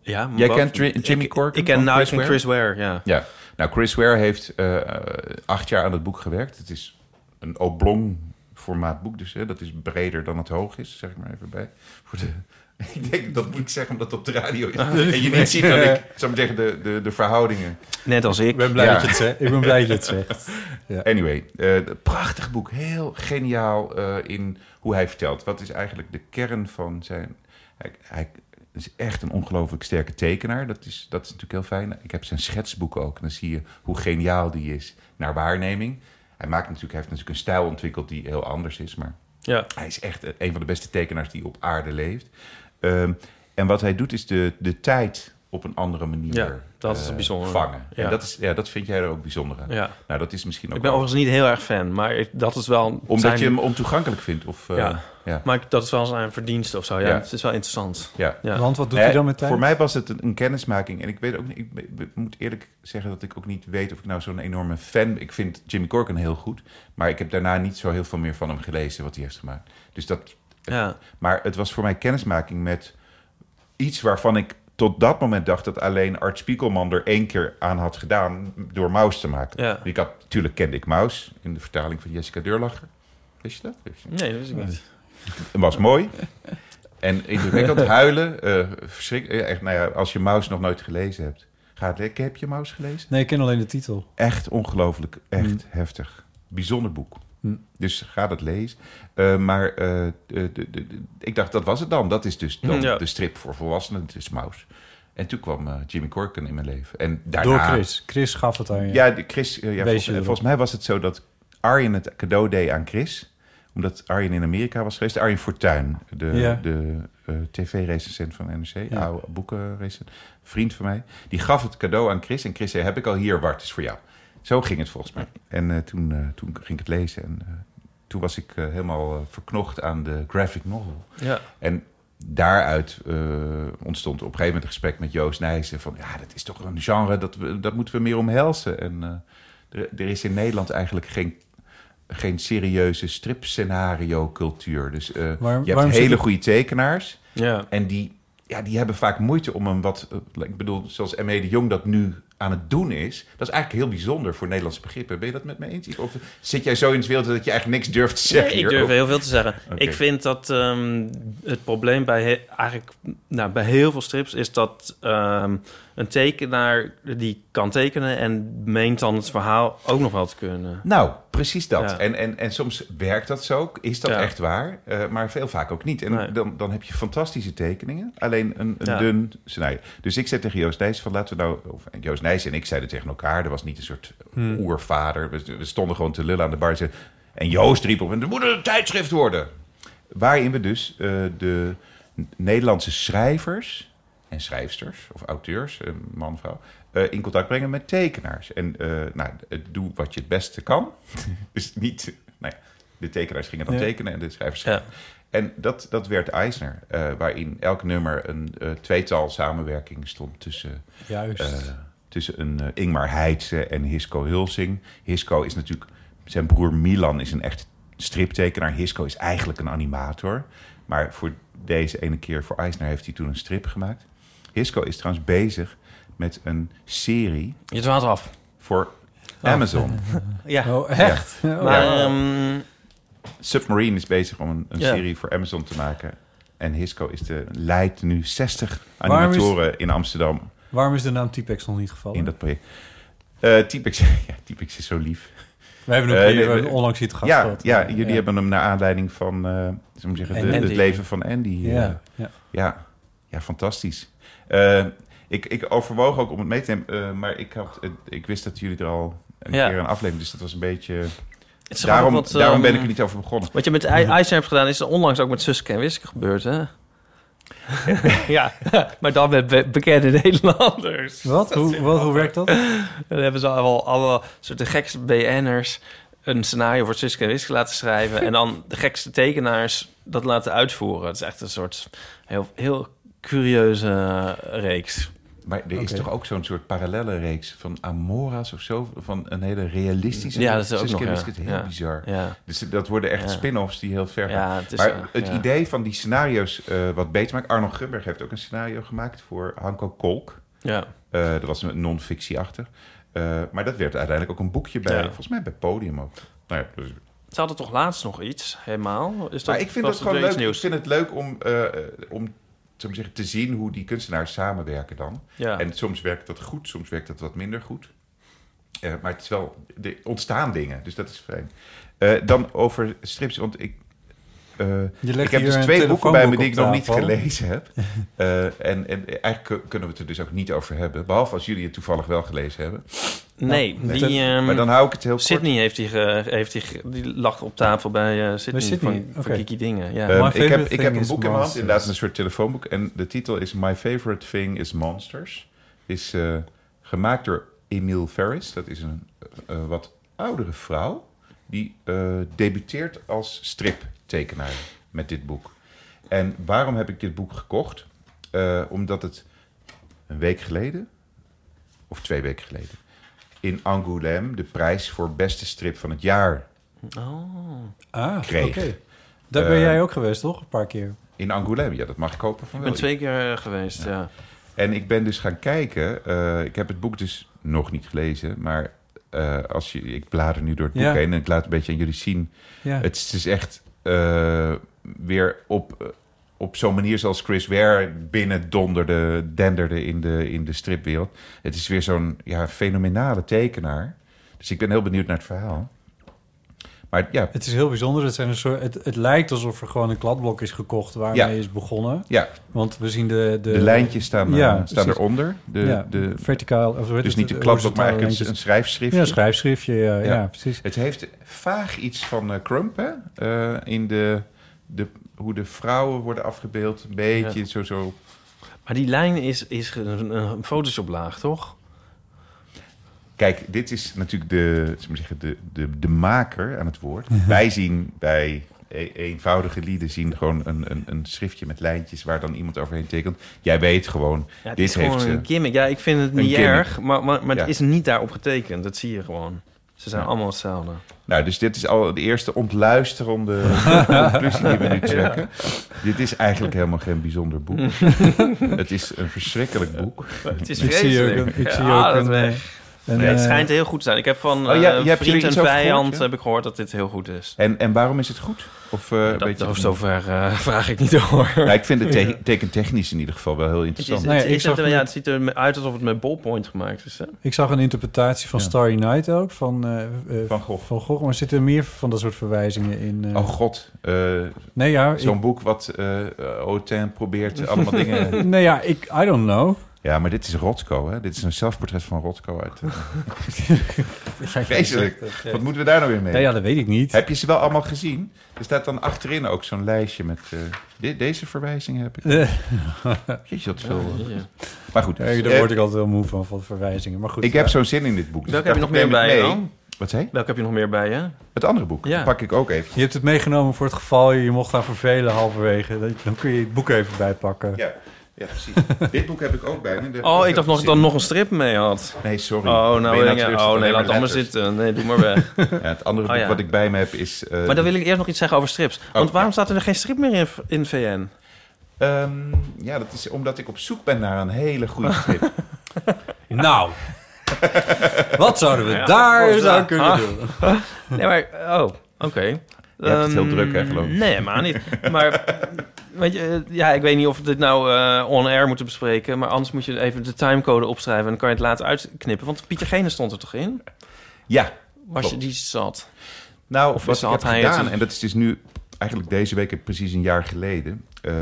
Ja, Jij wat- kent Tri- Jimmy Corgan? Ik ken van Nice en Ware? Chris Ware, ja. Ja, nou Chris Ware heeft eh, acht jaar aan het boek gewerkt. Het is een oblong formaat boek, dus hè, dat is breder dan het hoog is, zeg ik maar even bij. Voor de, ik denk dat moet ik zeggen omdat het op de radio is. en je niet ziet Ah, dat ik, zou maar zeggen, de, de, de verhoudingen. Net als ik. ben blij Ja. dat je het zegt. Ik ben blij dat je het zegt. Anyway, eh, prachtig boek. Heel geniaal eh, in hoe hij vertelt. Wat is eigenlijk de kern van zijn... Hij, hij is echt een ongelooflijk sterke tekenaar. Dat is, dat is natuurlijk heel fijn. Ik heb zijn schetsboek ook. En dan zie je hoe geniaal die is naar waarneming. Hij, maakt natuurlijk, hij heeft natuurlijk een stijl ontwikkeld die heel anders is. Maar Ja. hij is echt een van de beste tekenaars die op aarde leeft. Ehm, en wat hij doet is de, de tijd op een andere manier Ja, dat is eh, bijzonder. vangen. Ja. En dat, is, ja, dat vind jij er ook bijzonder aan. ja. Nou, dat is misschien ook Ik ben wel- overigens niet heel erg fan, maar ik- dat is wel... omdat zijn- je hem ontoegankelijk vindt? Of, eh, Ja. ja. Maar ik- dat is wel zijn verdienste of zo. Ja, Ja. het is wel interessant. ja. Ja. Want wat doet hij Eh, dan met tijd? Voor mij was het een, een kennismaking. En ik weet ook niet, ik, be- be- moet eerlijk zeggen dat ik ook niet weet of ik nou zo'n enorme fan... Ik vind Jimmy Corgan heel goed. Maar ik heb daarna niet zo heel veel meer van hem gelezen wat hij heeft gemaakt. Dus dat, Ja. maar het was voor mij kennismaking met iets waarvan ik tot dat moment dacht... dat alleen Art Spiegelman er één keer aan had gedaan door Maus te maken. ja. Ik had, natuurlijk kende ik Maus in de vertaling van Jessica Deurlacher. Wist je dat? Wist je dat? Nee, dat is ik niet. Het was mooi. En indrukwekkend huilen. eh verschrik- eh, echt, nou ja, als je Maus nog nooit gelezen hebt. Ga het lekker. Heb je Maus gelezen? Nee, ik ken alleen de titel. Echt ongelooflijk. Echt Mm. heftig. Bijzonder boek. Hm. Dus ga dat lezen. Eh, maar eh, de- de- de- de- ik dacht, dat was het dan. Dat is dus Mm, dan Hm, ja. de strip voor volwassenen. Het is Maus. En toen kwam eh, Jimmy Corken in mijn leven. En daarna... Door Chris. Chris gaf het aan je. Ja, de Chris, eh, ja, Wees volgens, je erop. volgens mij was het zo dat Arjen het cadeau deed aan Chris. Omdat Arjen in Amerika was geweest. Arjen Fortuyn, de, Ja. de eh, tv-recensent van NRC. Ja. Oude boekenrecensent. Vriend van mij. Die gaf het cadeau aan Chris. En Chris zei, heb ik al hier, Bart, het is voor jou. Zo ging het volgens mij. En eh, toen, eh, toen ging ik het lezen. En eh, toen was ik eh, helemaal eh, verknocht aan de graphic novel. Ja. En daaruit eh, ontstond op een gegeven moment een gesprek met Joost Nijssen. Van ja, dat is toch een genre, dat, we, dat moeten we meer omhelzen. En eh, er, er is in Nederland eigenlijk geen, geen serieuze stripscenario-cultuur. Dus eh, Waarom- je waarom hebt zit hele het- goede tekenaars. Ja. En die, ja, die hebben vaak moeite om een wat... eh, ik bedoel, zoals M.E. de Jong dat nu aan het doen is... dat is eigenlijk heel bijzonder voor Nederlandse begrippen. Ben je dat met me eens? Of zit jij zo in het wereld dat je eigenlijk niks durft te zeggen Nee, ik durf hierover? heel veel te zeggen. Oké. Ik vind dat ehm, het probleem bij, he- eigenlijk, nou, bij heel veel strips is dat ehm, een tekenaar die kan tekenen en meent dan het verhaal ook nog wel te kunnen. Nou, precies dat. eh, Ja. En, en, en soms werkt dat zo, is dat Ja. echt waar, eh, maar veel vaak ook niet. En Nee. dan, dan heb je fantastische tekeningen, alleen een, een Ja. dun snij. Dus ik zei tegen Joost Nijs van laten we nou... Of, en Joost Nijs en ik zeiden tegen elkaar, er was niet een soort Hmm. oervader. We, we stonden gewoon te lullen aan de bar. en zeiden- En Joost riep op, en er moet een tijdschrift worden. Waarin we dus eh, de N- Nederlandse schrijvers en schrijfsters of auteurs, eh, man, vrouw, eh, in contact brengen met tekenaars. En eh, nou, eh, doe wat je het beste kan. dus niet, nou ja, de tekenaars gingen dan Ja. tekenen en de schrijvers Ja. En dat, dat werd Eisner, eh, waarin elk nummer een eh, tweetal samenwerking stond tussen Juist. eh, tussen een eh, Ingmar Heitse en Hisco Hulsing. Hisco is natuurlijk... Zijn broer Milan is een echt striptekenaar. Hisco is eigenlijk een animator. Maar voor deze ene keer, voor Eisner, heeft hij toen een strip gemaakt. Hisco is trouwens bezig met een serie Je dwaalt af. voor Ah. Amazon. Ja. oh, echt? Oh, Maar, ja. ehm, Submarine is bezig om een, een Ja. serie voor Amazon te maken. En Hisco is de, leidt nu 60 Waarom is- animatoren in Amsterdam Waarom is de naam T-Pex nog niet gevallen? in dat project. Eh Typex, ja, Typex is zo lief. We hebben hem Eh, hier nee, we- onlangs iets gehad. Ja, gehad. ja, jullie hebben hem naar aanleiding van eh, zullen we maar zeggen, de- Andy. het leven van Andy. eh, Ja, ja. ja. ja fantastisch. Eh, ik, ik overwoog ook om het mee te nemen, eh, maar ik, had, het- ik wist dat jullie er al een Ja. keer een aflevering, dus dat was een beetje... het is Daarom, grappig wat, daarom ehm, ben ik er niet over begonnen. Wat je met Ei- Eisner hebt gedaan is onlangs ook met Suske en Wiske gebeurd, hè? ja, maar dan met be- bekende Nederlanders. Wat? Hoe, wat? Hoe werkt dat? Dan hebben ze al alle soorten gekste BN'ers een scenario voor Suske en Wiske laten schrijven... en dan de gekste tekenaars dat laten uitvoeren. Het is echt een soort heel, heel curieuze reeks. Maar er is Oké. toch ook zo'n soort parallelle reeks van Amora's of zo? Van een hele realistische... Ja, dat is ook Suske en nog, ja. Wiske, heel Ja. bizar. Ja, Dus dat worden echt Ja. spin-offs die heel ver gaan. ja het is maar eh, het ja. idee van die scenario's eh, wat beter maken... Arno Grunberg heeft ook een scenario gemaakt voor Hanko Kolk. Ja. Eh, dat was een non-fictie achter. Eh, maar dat werd uiteindelijk ook een boekje bij, Ja. volgens mij bij Podium ook. Nou ja, dus Ze hadden toch laatst nog iets, helemaal? Is dat, maar ik vind was het gewoon weer leuk. iets Ik Nieuws? vind het leuk om, eh, eh, om zullen we zeggen, te zien hoe die kunstenaars samenwerken dan. Ja. En soms werkt dat goed, soms werkt dat wat minder goed. Eh, maar het is wel, er ontstaan dingen, dus dat is fijn. Eh, dan over strips, want ik. eh, Je ik heb dus twee boeken bij me die ik nog niet gelezen heb. Eh, en, en eigenlijk kun- kunnen we het er dus ook niet over hebben. Behalve als jullie het toevallig wel gelezen hebben. Nee, Nou, die, ehm, maar dan hou ik het heel kort. Sydney heeft die, ge- heeft die, ge- die lag op tafel bij eh, Sydney, Bij Sydney, van, van oké. Kiki Dingen. Ja. Eh, Ehm, My ik heb, favorite ik heb thing een is boek in mijn hand, monsters. inderdaad een soort telefoonboek. En de titel is My Favorite Thing is Monsters. Is eh, gemaakt door Emile Ferris. Dat is een eh, eh, wat oudere vrouw. Die eh, debuteert als striptekenaar met dit boek. En waarom heb ik dit boek gekocht? Eh, omdat het een week geleden, of twee weken geleden... in Angoulême de prijs voor beste strip van het jaar oh. Ah, oké. kreeg. Daar ben Eh, jij ook geweest, toch? Een paar keer. In Angoulême, ja, dat mag ik hopen van Ik wel. ben twee keer eh, geweest, ja. En ik ben dus gaan kijken. eh, ik heb het boek dus nog niet gelezen, maar eh, als je, ik blader nu door het boek Ja. heen en ik laat het een beetje aan jullie zien. Ja. Het is dus echt eh, weer op, eh, op zo'n manier zoals Chris Ware binnen donderde, denderde in de, in de stripwereld. Het is weer zo'n ja, fenomenale tekenaar. Dus ik ben heel benieuwd naar het verhaal. Maar ja, Het is heel bijzonder. Het, zijn een soort, het, het lijkt alsof er gewoon een kladblok is gekocht waarmee Ja. is begonnen. ja Want we zien de... De, de, lijntjes staan, eh, ja, staan precies. eronder. De, ja, de, verticaal. Of hoe heet dus het? niet de De klapblok, maar horizontale eigenlijk een, lijntjes. een schrijfschriftje. Ja, een schrijfschriftje. Ja, ja. Ja. precies. Het heeft vaag iets van eh, Crump, hè? Eh, in de, de, hoe de vrouwen worden afgebeeld. Een beetje zo, zo. Maar die lijn is, is ge- een, een Photoshop-laag, toch? Kijk, dit is natuurlijk de, zullen we zeggen, de, de, de maker aan het woord. Wij zien bij e- eenvoudige lieden zien gewoon een, een, een schriftje met lijntjes... waar dan iemand overheen tekent. Jij weet gewoon, Ja, het Dit is gewoon heeft ze. een gimmick. Ja, ik vind het Een niet gimmick. erg, maar, maar, maar het Ja. is niet daarop getekend. Dat zie je gewoon. Ze zijn Ja. allemaal hetzelfde. Nou, dus dit is al de eerste ontluisterende conclusie die we nu trekken. Dit is eigenlijk helemaal geen bijzonder boek. het is een verschrikkelijk boek. Het is Ik zie ook vreselijk. een- ik zie ja, ook dat een- weg. En, Nee, het eh, schijnt heel goed te zijn. Ik heb van Oh, eh ja, je hebt vriend er en iets over gehoord, vijand ja? heb ik gehoord dat dit heel goed is. En, en waarom is het goed? Of, eh, dat weet je of zover eh, vraag ik niet hoor. Nou, ik vind het te- tekentechnisch in ieder geval wel heel Het, is, interessant. Nou ja, het, ik is zag het- ja, net- het ziet eruit alsof het met ballpoint gemaakt is. Hè? Ik zag een interpretatie van Ja. Starry Night ook, van, eh, eh, Van Gogh. van Gogh. Maar zitten er meer van dat soort verwijzingen in? eh? Oh god, eh, nee, ja, ik, zo'n boek wat eh Oten probeert allemaal dingen... nee, ja, ik, I don't know. Ja, maar dit is Rotko, hè? Dit is een zelfportret van Rotko uit. eh, Vreselijk. Wat moeten we daar nou weer mee? Ja, ja, dat weet ik niet. Heb je ze wel allemaal gezien? Er staat dan achterin ook zo'n lijstje met... eh, de- deze verwijzingen heb ik. Eh, Jeetje, wat veel. eh. Ja. Maar goed. daar eh, word ik altijd heel moe van, van verwijzingen. Maar goed, ik heb zo'n zin in dit boek. dus Welke ik heb je nog dacht, meer ik neem het bij je mee. dan? Wat zei je? Welke heb je nog meer bij je? Het andere boek. Ja. Dat pak ik ook even. je hebt het meegenomen voor het geval je je mocht daar vervelen halverwege. Dat- Dan kun je het boek even bijpakken. Ja, ja precies. Dit boek heb ik ook bij me. Oh, ik dacht nog dat ik dan nog een strip mee had. Nee, sorry. Oh, nou, Ben je ik- terug, oh alleen nee, maar laat het allemaal letters. zitten. Nee, doe maar weg. Ja, het andere Oh, boek ja. wat ik bij me heb is... eh, maar dan wil ik eerst nog iets zeggen over strips. Want Oh, waarom ja. staat er geen strip meer in, in VN? ehm, ja, dat is omdat ik op zoek ben naar een hele goede strip. Nou, wat zouden we Ja, daar volgens eens aan mij. kunnen Ah. doen? Nee, maar... Oh, oké. Je hebt het heel Ehm, druk, hè, geloof ik. Nee, helemaal niet. Maar... Weet je, eh, ja, ik weet niet of we dit nou eh, on-air moeten bespreken. Maar anders moet je even de timecode opschrijven. En dan kan je het later uitknippen. Want Pieter Gene stond er toch in? ja, Was je Klopt. die zat? nou, Of wat is- ik had heb hij het- gedaan... En dat is dus nu eigenlijk deze week, precies een jaar geleden... eh,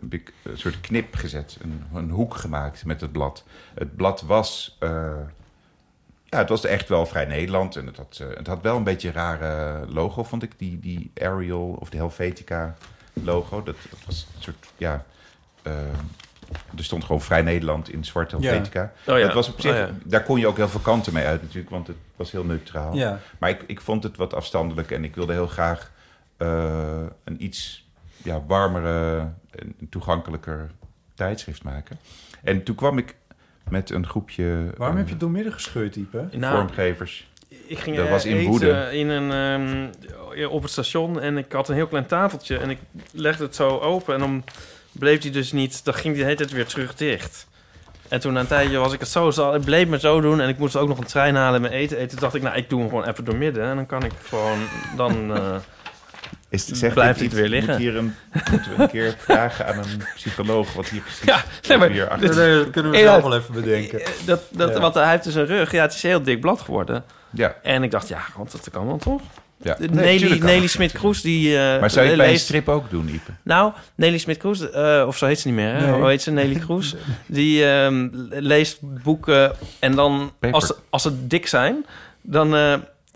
heb ik een soort knip gezet. Een, een hoek gemaakt met het blad. Het blad was... eh, ja, het was echt wel vrij Nederland. En het had, eh, het had wel een beetje een rare logo, vond ik. Die, die Arial of de Helvetica logo. Dat, dat was een soort, ja... eh, er stond gewoon Vrij Nederland in zwart Helvetica. Oh ja. Dat was op zich, Oh ja. daar kon je ook heel veel kanten mee uit natuurlijk, want het was heel neutraal. Ja, Maar ik, ik vond het wat afstandelijk en ik wilde heel graag eh, een iets ja, warmere en toegankelijker tijdschrift maken. En toen kwam ik met een groepje Waarom eh, heb je het doormidden gescheurd, Ipe? Nou, vormgevers. ik ging dat eh, was in eten Woede. in een, ehm, op het station en ik had een heel klein tafeltje en ik legde het zo open en dan bleef die dus niet, dan ging die de hele tijd weer terug dicht. En toen na een tijdje was ik het zo zal, het bleef me zo doen en ik moest ook nog een trein halen en mijn eten eten. Toen dacht ik, nou, ik doe hem gewoon even doormidden en dan kan ik gewoon, dan... eh, Is, zegt Blijft dit het weer iets? liggen? Moet hier een, moeten we een keer vragen aan een psycholoog wat hier precies Ja, nee, maar hier achter- dit- kunnen we Ja. zelf wel even bedenken. Eh, Dat, dat, Ja. Want hij heeft dus een rug. Ja, het is een heel dik blad geworden. Ja, En ik dacht, ja, want dat kan wel toch? ja. Nee, Nelly, tuurlijk kan. Nelly Smit-Kroes, die... eh, Maar zou je het bij een leest- strip ook doen, Ipe? Nou, Nelly Smit-Kroes, eh, of zo heet ze niet meer, hè? Nee. Hoe heet ze? Nelly Kroes. Die ehm, leest boeken en dan, Paper. als, als ze dik zijn, dan eh,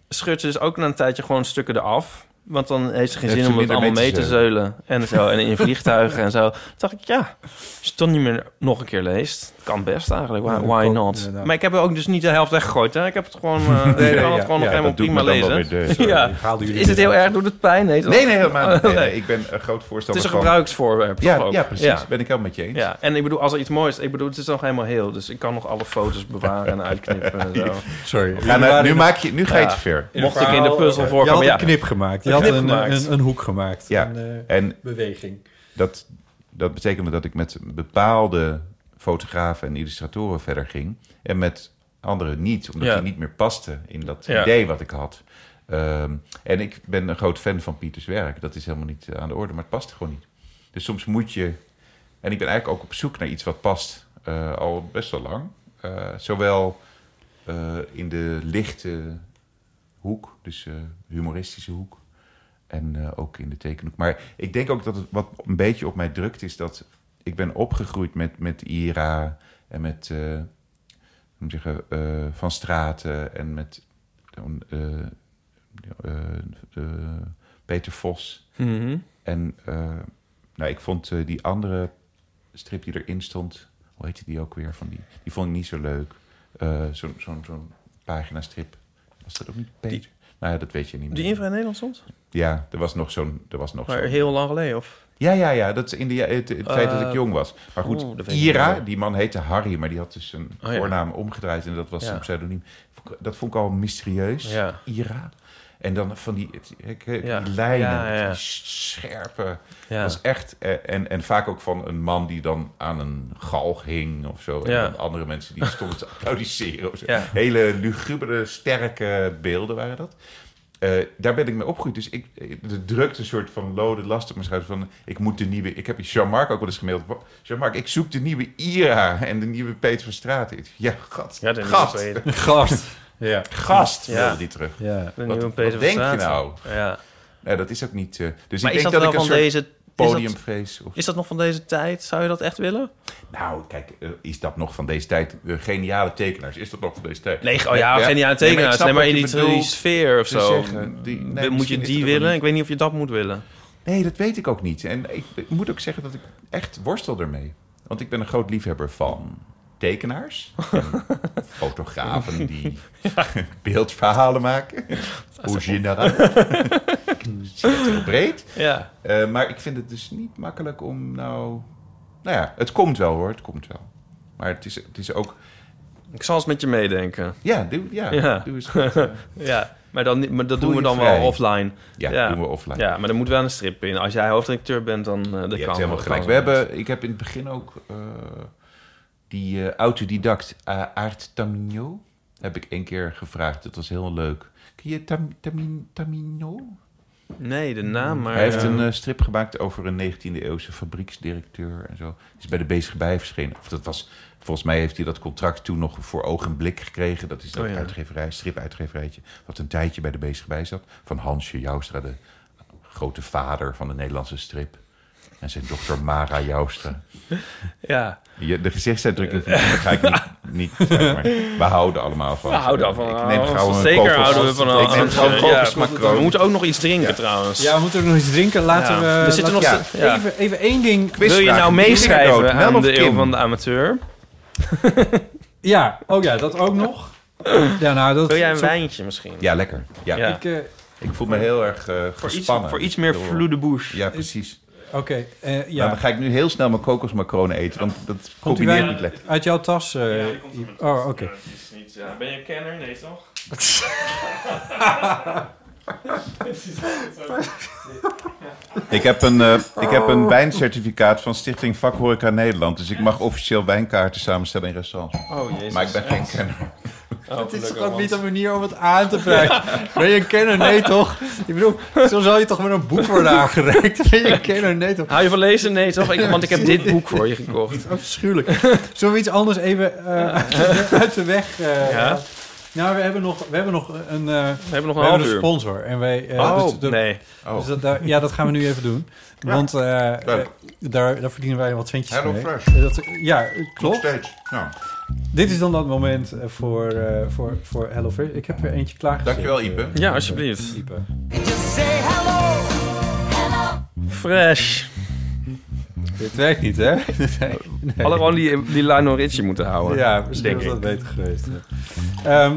scheurt ze dus ook na een tijdje gewoon stukken eraf. Want dan heeft ze geen Heeft ze zin om het minder allemaal mee mee te te zeulen. En zo, en in vliegtuigen en zo. Toen dacht ik, ja, als je het toch niet meer nog een keer leest, kan best eigenlijk. Ja, Why, dat why kan, not? inderdaad. Maar ik heb er ook dus niet de helft weggegooid, hè? Ik heb het gewoon, eh, ik kan ja, het gewoon nog helemaal dat doet me prima dan wel lezen. weer deugd. Ja. Haalden jullie Is het heel erg? Doet het pijn? Nee, toch? Nee, nee, helemaal niet. Nee, Oh, Nee. nee, Ik ben een groot Het is voorstander een van... gebruiksvoorwerp. toch Ja, ook? ja, precies. Ben ik helemaal met je eens. Ja, en ik bedoel, als er iets moois... Ik bedoel, het is nog helemaal heel. Dus ik kan nog alle foto's bewaren en uitknippen en zo. Sorry. Ga nou- nu, maak je, nu ga je Ja. het ver. Mocht ik in de puzzel Je had voorkomen, ja. een knip gemaakt. Je Een had knip een, gemaakt. Een, een hoek gemaakt. Ja. Een eh, En beweging. dat, dat betekende dat ik met bepaalde fotografen en illustratoren verder ging. En met anderen niet, omdat Ja. die niet meer pasten in dat Ja. idee wat ik had. Ehm, en ik ben een groot fan van Pieters werk. Dat is helemaal niet eh, aan de orde, maar het past gewoon niet. Dus soms moet je... En ik ben eigenlijk ook op zoek naar iets wat past. eh, al best wel lang. Eh, zowel eh, in de lichte hoek, dus eh, humoristische hoek. En eh, ook in de tekenhoek. Maar ik denk ook dat het wat een beetje op mij drukt is dat ik ben opgegroeid met, met Ira en met eh, hoe moet ik zeggen, eh, Van Straten en met eh, eh, eh, Peter Vos. Mhm. En eh, nou, ik vond eh, die andere strip die erin stond, hoe heette die ook weer? Van die, die vond ik niet zo leuk. Eh, Zo'n zo'n zo'n pagina strip. Was dat ook niet Peter? nou ja, dat weet je niet meer. Die infra in Nederland soms? Ja, er was nog zo'n... er was nog Maar zo'n- heel lang geleden, of? Ja, ja, ja, dat is in de, ja- het, het Eh, feit dat ik jong was. Maar goed, oeh, dat weet ik niet Ira, meer. die man heette Harry, maar die had dus een Oh, ja. voornaam omgedraaid en dat was Ja. een pseudoniem. Vond ik- Dat vond ik al mysterieus, Ja. Ira. En dan van die, het- ik- ik- Ja. die lijnen, Ja, ja, ja. die scherpe. Ja. Dat was echt, eh, en, en vaak ook van een man die dan aan een galg hing of zo. En Ja. dan andere mensen die stonden te applaudisseren. Of zo. Ja. Hele lugubere, sterke beelden waren dat. Eh, daar ben ik mee opgegroeid. Dus ik, eh, er drukt een soort van lode last op mijn schouder. Van, ik moet de nieuwe... Ik heb Jean-Marc ook wel eens gemaild. "Wa- Jean-Marc, ik zoek de nieuwe Ira en de nieuwe Peter van Straat. Ik- Ja, gast. Ja, de nieuwe gast. Peter. Gast. ja. Gast Ja. wilde die terug. ja. De Wat- nieuwe wat Peter van denk je Straten. nou? Ja. Nou, dat is ook niet... eh, dus Maar ik is denk dat, dat wel ik een van soort deze... is dat- podiumvrees... of Is dat nog van deze tijd? Zou je dat echt willen? Nou, kijk, eh, is dat nog van deze tijd? Eh, geniale tekenaars, is dat nog van deze tijd? Nee, oh ja, geniale Nee, maar ik tekenaars. snap Nee, maar wat in je die, die bedoelt sfeer of te zo. zeggen. Die- nee, moet misschien je is die dat ook willen? niet. Ik weet niet of je dat moet willen. Nee, dat weet ik ook niet. En ik, ik moet ook zeggen dat ik echt worstel ermee. Want ik ben een groot liefhebber van tekenaars. en fotografen die beeldverhalen maken. Origineel. Heel breed. Ja. Eh, maar ik vind het dus niet makkelijk om nou... Nou ja, het komt wel hoor, het komt wel. Maar het is, het is ook... Ik zal eens met je meedenken. Ja, doe, ja, Ja. doe eens goed. Eh, Ja, maar, dan, niet- maar dat Voel doen we je dan vrij. wel offline. Ja, Ja. doen we offline. Ja, maar er moet wel een strip in. Als jij hoofdredacteur bent, dan eh dat Je kan. hebt helemaal dat gelijk. kan We wel. hebben, ik heb in het begin ook eh, die eh, autodidact eh, Aart Tamino. Heb ik één keer gevraagd. Dat was heel leuk. Ken je Tam, Tamin- Tamino? Nee, de naam, maar... Hij heeft eh, een eh, strip gemaakt over een 19e-eeuwse fabrieksdirecteur en zo. Is bij de bezige bij verschenen. Of dat was, volgens mij heeft hij dat contract toen nog voor oog en blik gekregen. Dat is dat Oh ja. uitgeverij, stripuitgeverijtje, wat een tijdje bij de bezige bij zat. Van Hansje Joustra, de grote vader van de Nederlandse strip. En zijn dochter Mara Joustra. Ja, Je, de gezichtsuitdrukking van daar ga ik niet, niet zeg maar. We houden allemaal van. we houden al van Ik neem gauw een Zeker kokos- houden we van Ik neem gauw een ja, kokos We moeten ook nog iets drinken trouwens. we moeten ook nog iets drinken. Laten Ja. we... Er zitten nog laten steeds- we- ja. even, even één ding. Wil je nou meeschrijven aan de Eeuw van van de Amateur? Ja, oh ja, dat ook nog. Ja, nou, dat... Wil jij een zo- wijntje misschien? Ja, lekker. Ja. Ja. Ik, eh, Ik voel me heel erg eh, Voor, iets, gespannen. voor iets meer Door- vloede bouche. Ja, precies. Oké, eh, Ja. ja. dan ga ik nu heel snel mijn kokosmacaroni eten, want dat wijn? combineert niet lekker. Uit jouw tas? eh, oh, oké. Ben je kenner? Nee, toch? Ik heb een, eh, ik heb een wijncertificaat van Stichting Vakhoreca Nederland. Dus ik mag officieel wijnkaarten samenstellen in restaurants. Oh, jezus. Oh, Maar ik ben geen kenner. Het een manier om het aan te prijzen? Ben je een kenner? Nee, toch? Ik bedoel, zo zou je toch met een boek worden aangereikt? Ben je een kenner? Nee, toch? Hou je van lezen? Nee, toch? Ik, want ik heb dit boek voor je gekocht. Afschuwelijk. Zullen we iets anders even eh, uit, de, uit de weg? eh, Ja. Nou, we hebben nog, we hebben nog een, eh, We hebben nog we een hebben half een uur. sponsor. En wij, eh, oh, dus de- nee. Oh, dus dat, daar- ja, dat gaan we nu even doen. Want eh, eh, daar, daar verdienen wij wat centjes Hello mee. Fresh. Eh, Dat, ja, klopt. steeds. Nou, Dit is dan dat moment eh, voor, eh, voor, voor Hello Fresh. Ik heb er eentje klaargezet. Dankjewel, Ipe. Eh, Ja, alsjeblieft. Ipe. Fresh. Dit werkt niet, hè? Nee. Hadden gewoon die, die Lionel Richie moeten houden. Ja, misschien denk was ik. dat beter geweest. hè. Ehm,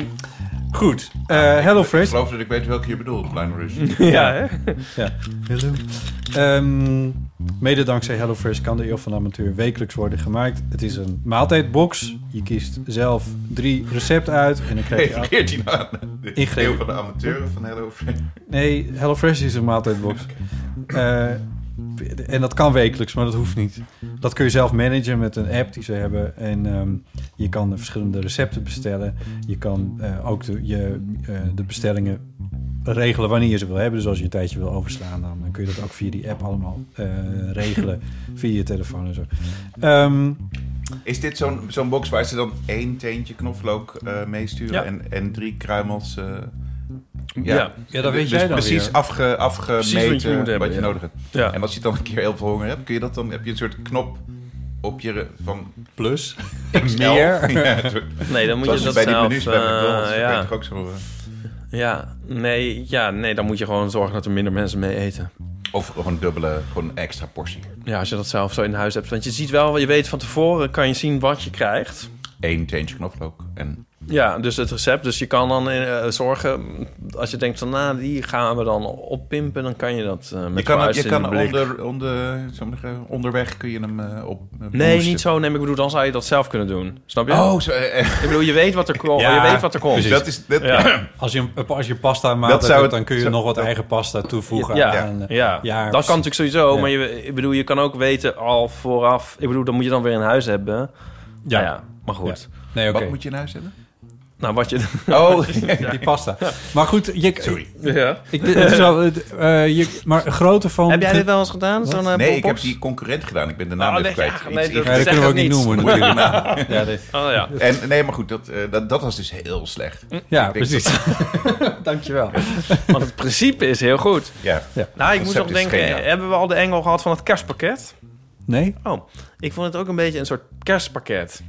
goed, Eh Hello Ik Fresh. geloof dat ik weet welke je bedoelt, Lionel Rich. Ja, hè? Hallo. Ehm, mede dankzij HelloFresh kan de Eeuw van de Amateur wekelijks worden gemaakt. Het is een maaltijdbox. Je kiest zelf drie recepten uit en dan krijg je... Even keert hij nou aan de Ingrepen. eeuw van de amateuren van Hello Fresh. Nee, HelloFresh is een maaltijdbox. Eh, en dat kan wekelijks, maar dat hoeft niet. Dat kun je zelf managen met een app die ze hebben. En ehm, je kan de verschillende recepten bestellen. Je kan eh, ook de, je, eh, de bestellingen regelen wanneer je ze wil hebben. Dus als je een tijdje wil overslaan, dan, dan kun je dat ook via die app allemaal eh, regelen. via je telefoon en zo. Ehm, Is dit zo'n zo'n box waar ze dan één teentje knoflook eh, meesturen Ja. en, en drie kruimels? eh, Ja. ja. ja, dat weet dus jij dan precies weer. Afge, afgemeten Precies wat wat je je, moet hebben, ja. nodig hebt. En als je dan een keer heel veel honger hebt, kun je dat dan, heb je een soort knop op je re- van Plus. XL. Meer. Ja, het wordt- Nee, dan moet zoals je dat bij die zelf... menus bij eh, McDonald's, dat weet ja. ik ook zo. eh. Ja, nee, ja, nee, dan moet je gewoon zorgen dat er minder mensen mee eten. Of gewoon een dubbele, gewoon een extra portie. Ja, als je dat zelf zo in huis hebt. Want je ziet wel, je weet van tevoren, kan je zien wat je krijgt. Eén teentje knoflook en Ja, dus het recept. Dus je kan dan eh, zorgen, als je denkt van, nou, die gaan we dan oppimpen, dan kan je dat eh, met Je kan, vuist je in kan de blik. onder, onder, zullen we zeggen, onderweg kun je hem eh, op. eh, Nee, boosten. niet zo. Nee, maar ik bedoel, dan zou je dat zelf kunnen doen. Snap je? Oh, zo, eh, eh, Ik bedoel, je weet wat er komt. Ja, je weet wat er komt. precies. dat is. Dat, Ja, Als je, als je pasta maalt, Dat zou hebt, het- dan kun je zo- nog wat dat- eigen pasta toevoegen. ja, aan, ja, eh, ja, dat precies. kan natuurlijk sowieso. Ja. Maar je, ik bedoel, je kan ook weten al vooraf. Ik bedoel, dan moet je dan weer in huis hebben. Ja, ja maar goed. Nee, oké. Wat moet je in huis hebben? Nou, wat je. Oh, Die pasta. Maar goed, je, sorry. Ja. Ik, het is wel, het, eh, je, maar een grote van... Heb jij dit wel eens gedaan? Zo'n eh, Nee, ik heb popbox? die concurrent gedaan. Ik ben de naam Oh, even nee, kwijt. ja, Iets nee, dat- Ja, ingewikkeld. dat kunnen we ook niet Zeg het noemen. Moeilijke natuurlijk. naam. Ja, dit- Oh ja. En nee, maar goed, dat, eh, dat, dat was dus heel slecht. ja Ik denk precies. Dankjewel. Want het principe is heel goed. Ja. Nou, ik Concept moest nog is denken. geniaal. Hebben we al de engel gehad van het kerstpakket? Nee? Oh, ik vond het ook een beetje een soort kerstpakket.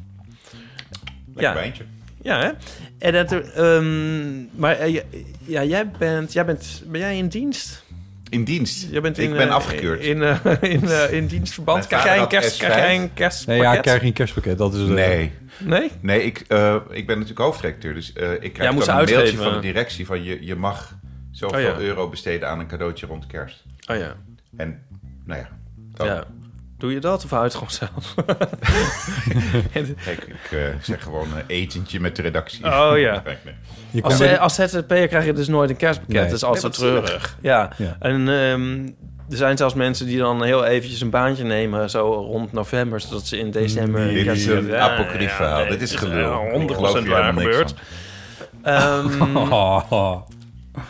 Lekker Ja. wijntje. Ja, hè? En dat er, ehm, maar eh, ja, ja, jij bent, jij bent, ben jij in dienst? In dienst. Jij bent in, ik ben eh, afgekeurd. In, eh, in, eh, in dienstverband. Mijn vader Krijg jij een, had kerst, S5. krijg jij een kerstpakket? Nee, ja, ik krijg geen kerstpakket. Dat is eh, het. nee. Nee? Nee, ik, eh, ik ben natuurlijk hoofdredacteur. Dus eh, ik krijg moet dan ze een uitgeven. eh. mailtje van de directie van je, je mag zoveel Oh, ja. euro besteden aan een cadeautje rond kerst. Oh ja. En nou ja, dan- ja. Doe je dat of hou je het gewoon zelf? Kijk, ik eh, zeg gewoon een etentje met de redactie. Oh, ja. Nee, nee. Je Als, kan- eh, als ZZP'er krijg je dus nooit een kerstpakket. Nee. Dat is altijd treurig. Ja. Ja. En ehm, er zijn zelfs mensen die dan heel eventjes een baantje nemen... zo rond november, zodat ze in december... Dit is kerstpakket- een Ja, apocrief ja, verhaal. nee, Dit is het eh, gelul. 100% waar gebeurd. Ehm, Oh, oh.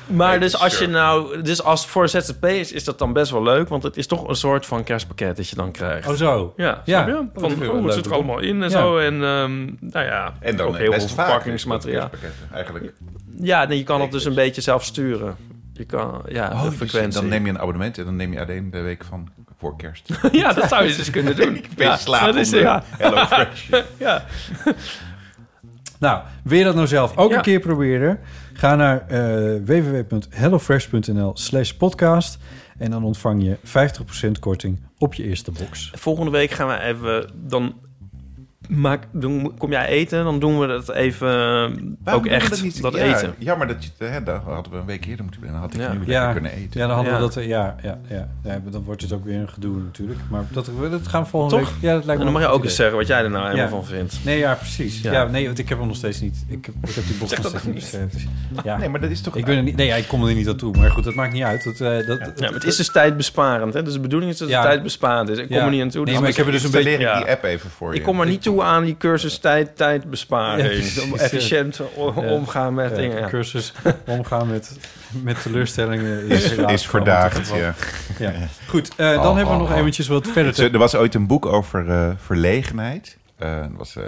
Maar Nee, dus sure. als je nou, dus als voor ZZP is, is dat dan best wel leuk, want het is toch een soort van kerstpakket dat je dan krijgt. Oh, zo. ja, ja. snap je? Oh, dat Van vind ik wel hoe het leuk, zit er hoor. allemaal in en Ja. zo. En ehm, nou ja, En dan ook eh, heel best veel vaak eh, verpakkingsmateriaal. kerstpakketten, Eigenlijk. Ja, nee, je kan het dus een beetje zelf sturen. Je kan, ja, de dus frequentie. dan neem je een abonnement en dan neem je alleen de week van voor kerst. Een ja, dat zou je dus kunnen doen. Ik beetje ja, slaap dat is, onder ja, Hello Fresh. ja. Nou, wil je dat nou zelf ook Ja. een keer proberen? Ga naar eh www.hellofresh.nl slash podcast. En dan ontvang je 50% korting op je eerste box. Volgende week gaan we even dan maak, doen, kom jij eten, dan doen we dat even eh, ook doen we echt, dat, dat, niet? Ja, eten. Jammer dat je, eh, hè, daar hadden we een week eerder moeten zijn. Dan had ik Ja. nu lekker Ja. kunnen eten. Ja, dan hadden we Ja. dat... eh, Ja, ja, ja, ja, maar dan wordt het ook weer een gedoe natuurlijk. Maar dat, dat gaan we volgende Toch? week... Ja, dat lijkt En me dan mag een je goed ook eens idee. zeggen wat jij er nou helemaal Ja. van vindt. Nee, ja, precies. Ja. Ja. nee, want ik heb hem nog steeds niet. Ik heb, ik heb die box Zeg nog dat steeds niet. geschreven. Ja. Nee, maar dat is toch... ik ben er niet, nee, ja, ik kom er niet aan toe. Maar goed, dat maakt niet uit. Dat, eh, dat, Ja, maar het is dus tijdbesparend. Hè? Dus de bedoeling is dat het Ja. tijdbesparend is. Ik kom Ja. er niet aan toe. Nee, dus maar ik heb er dus een beetje... Installeer ik Ja. die app even voor je. Ik kom er niet toe aan die cursus tijd, tijd besparen. Ja, precies, Om ja. efficiënt o- Ja. omgaan met eh, dingen. ja. cursus omgaan met, met Is, teleurstellingen helaas gewoon is verdaagd, toch wel- ja. Ja. Goed, eh, dan Oh, hebben we oh, nog oh. eventjes wat verder Zo, te... Er was ooit een boek over eh, verlegenheid. Eh, dat was eh,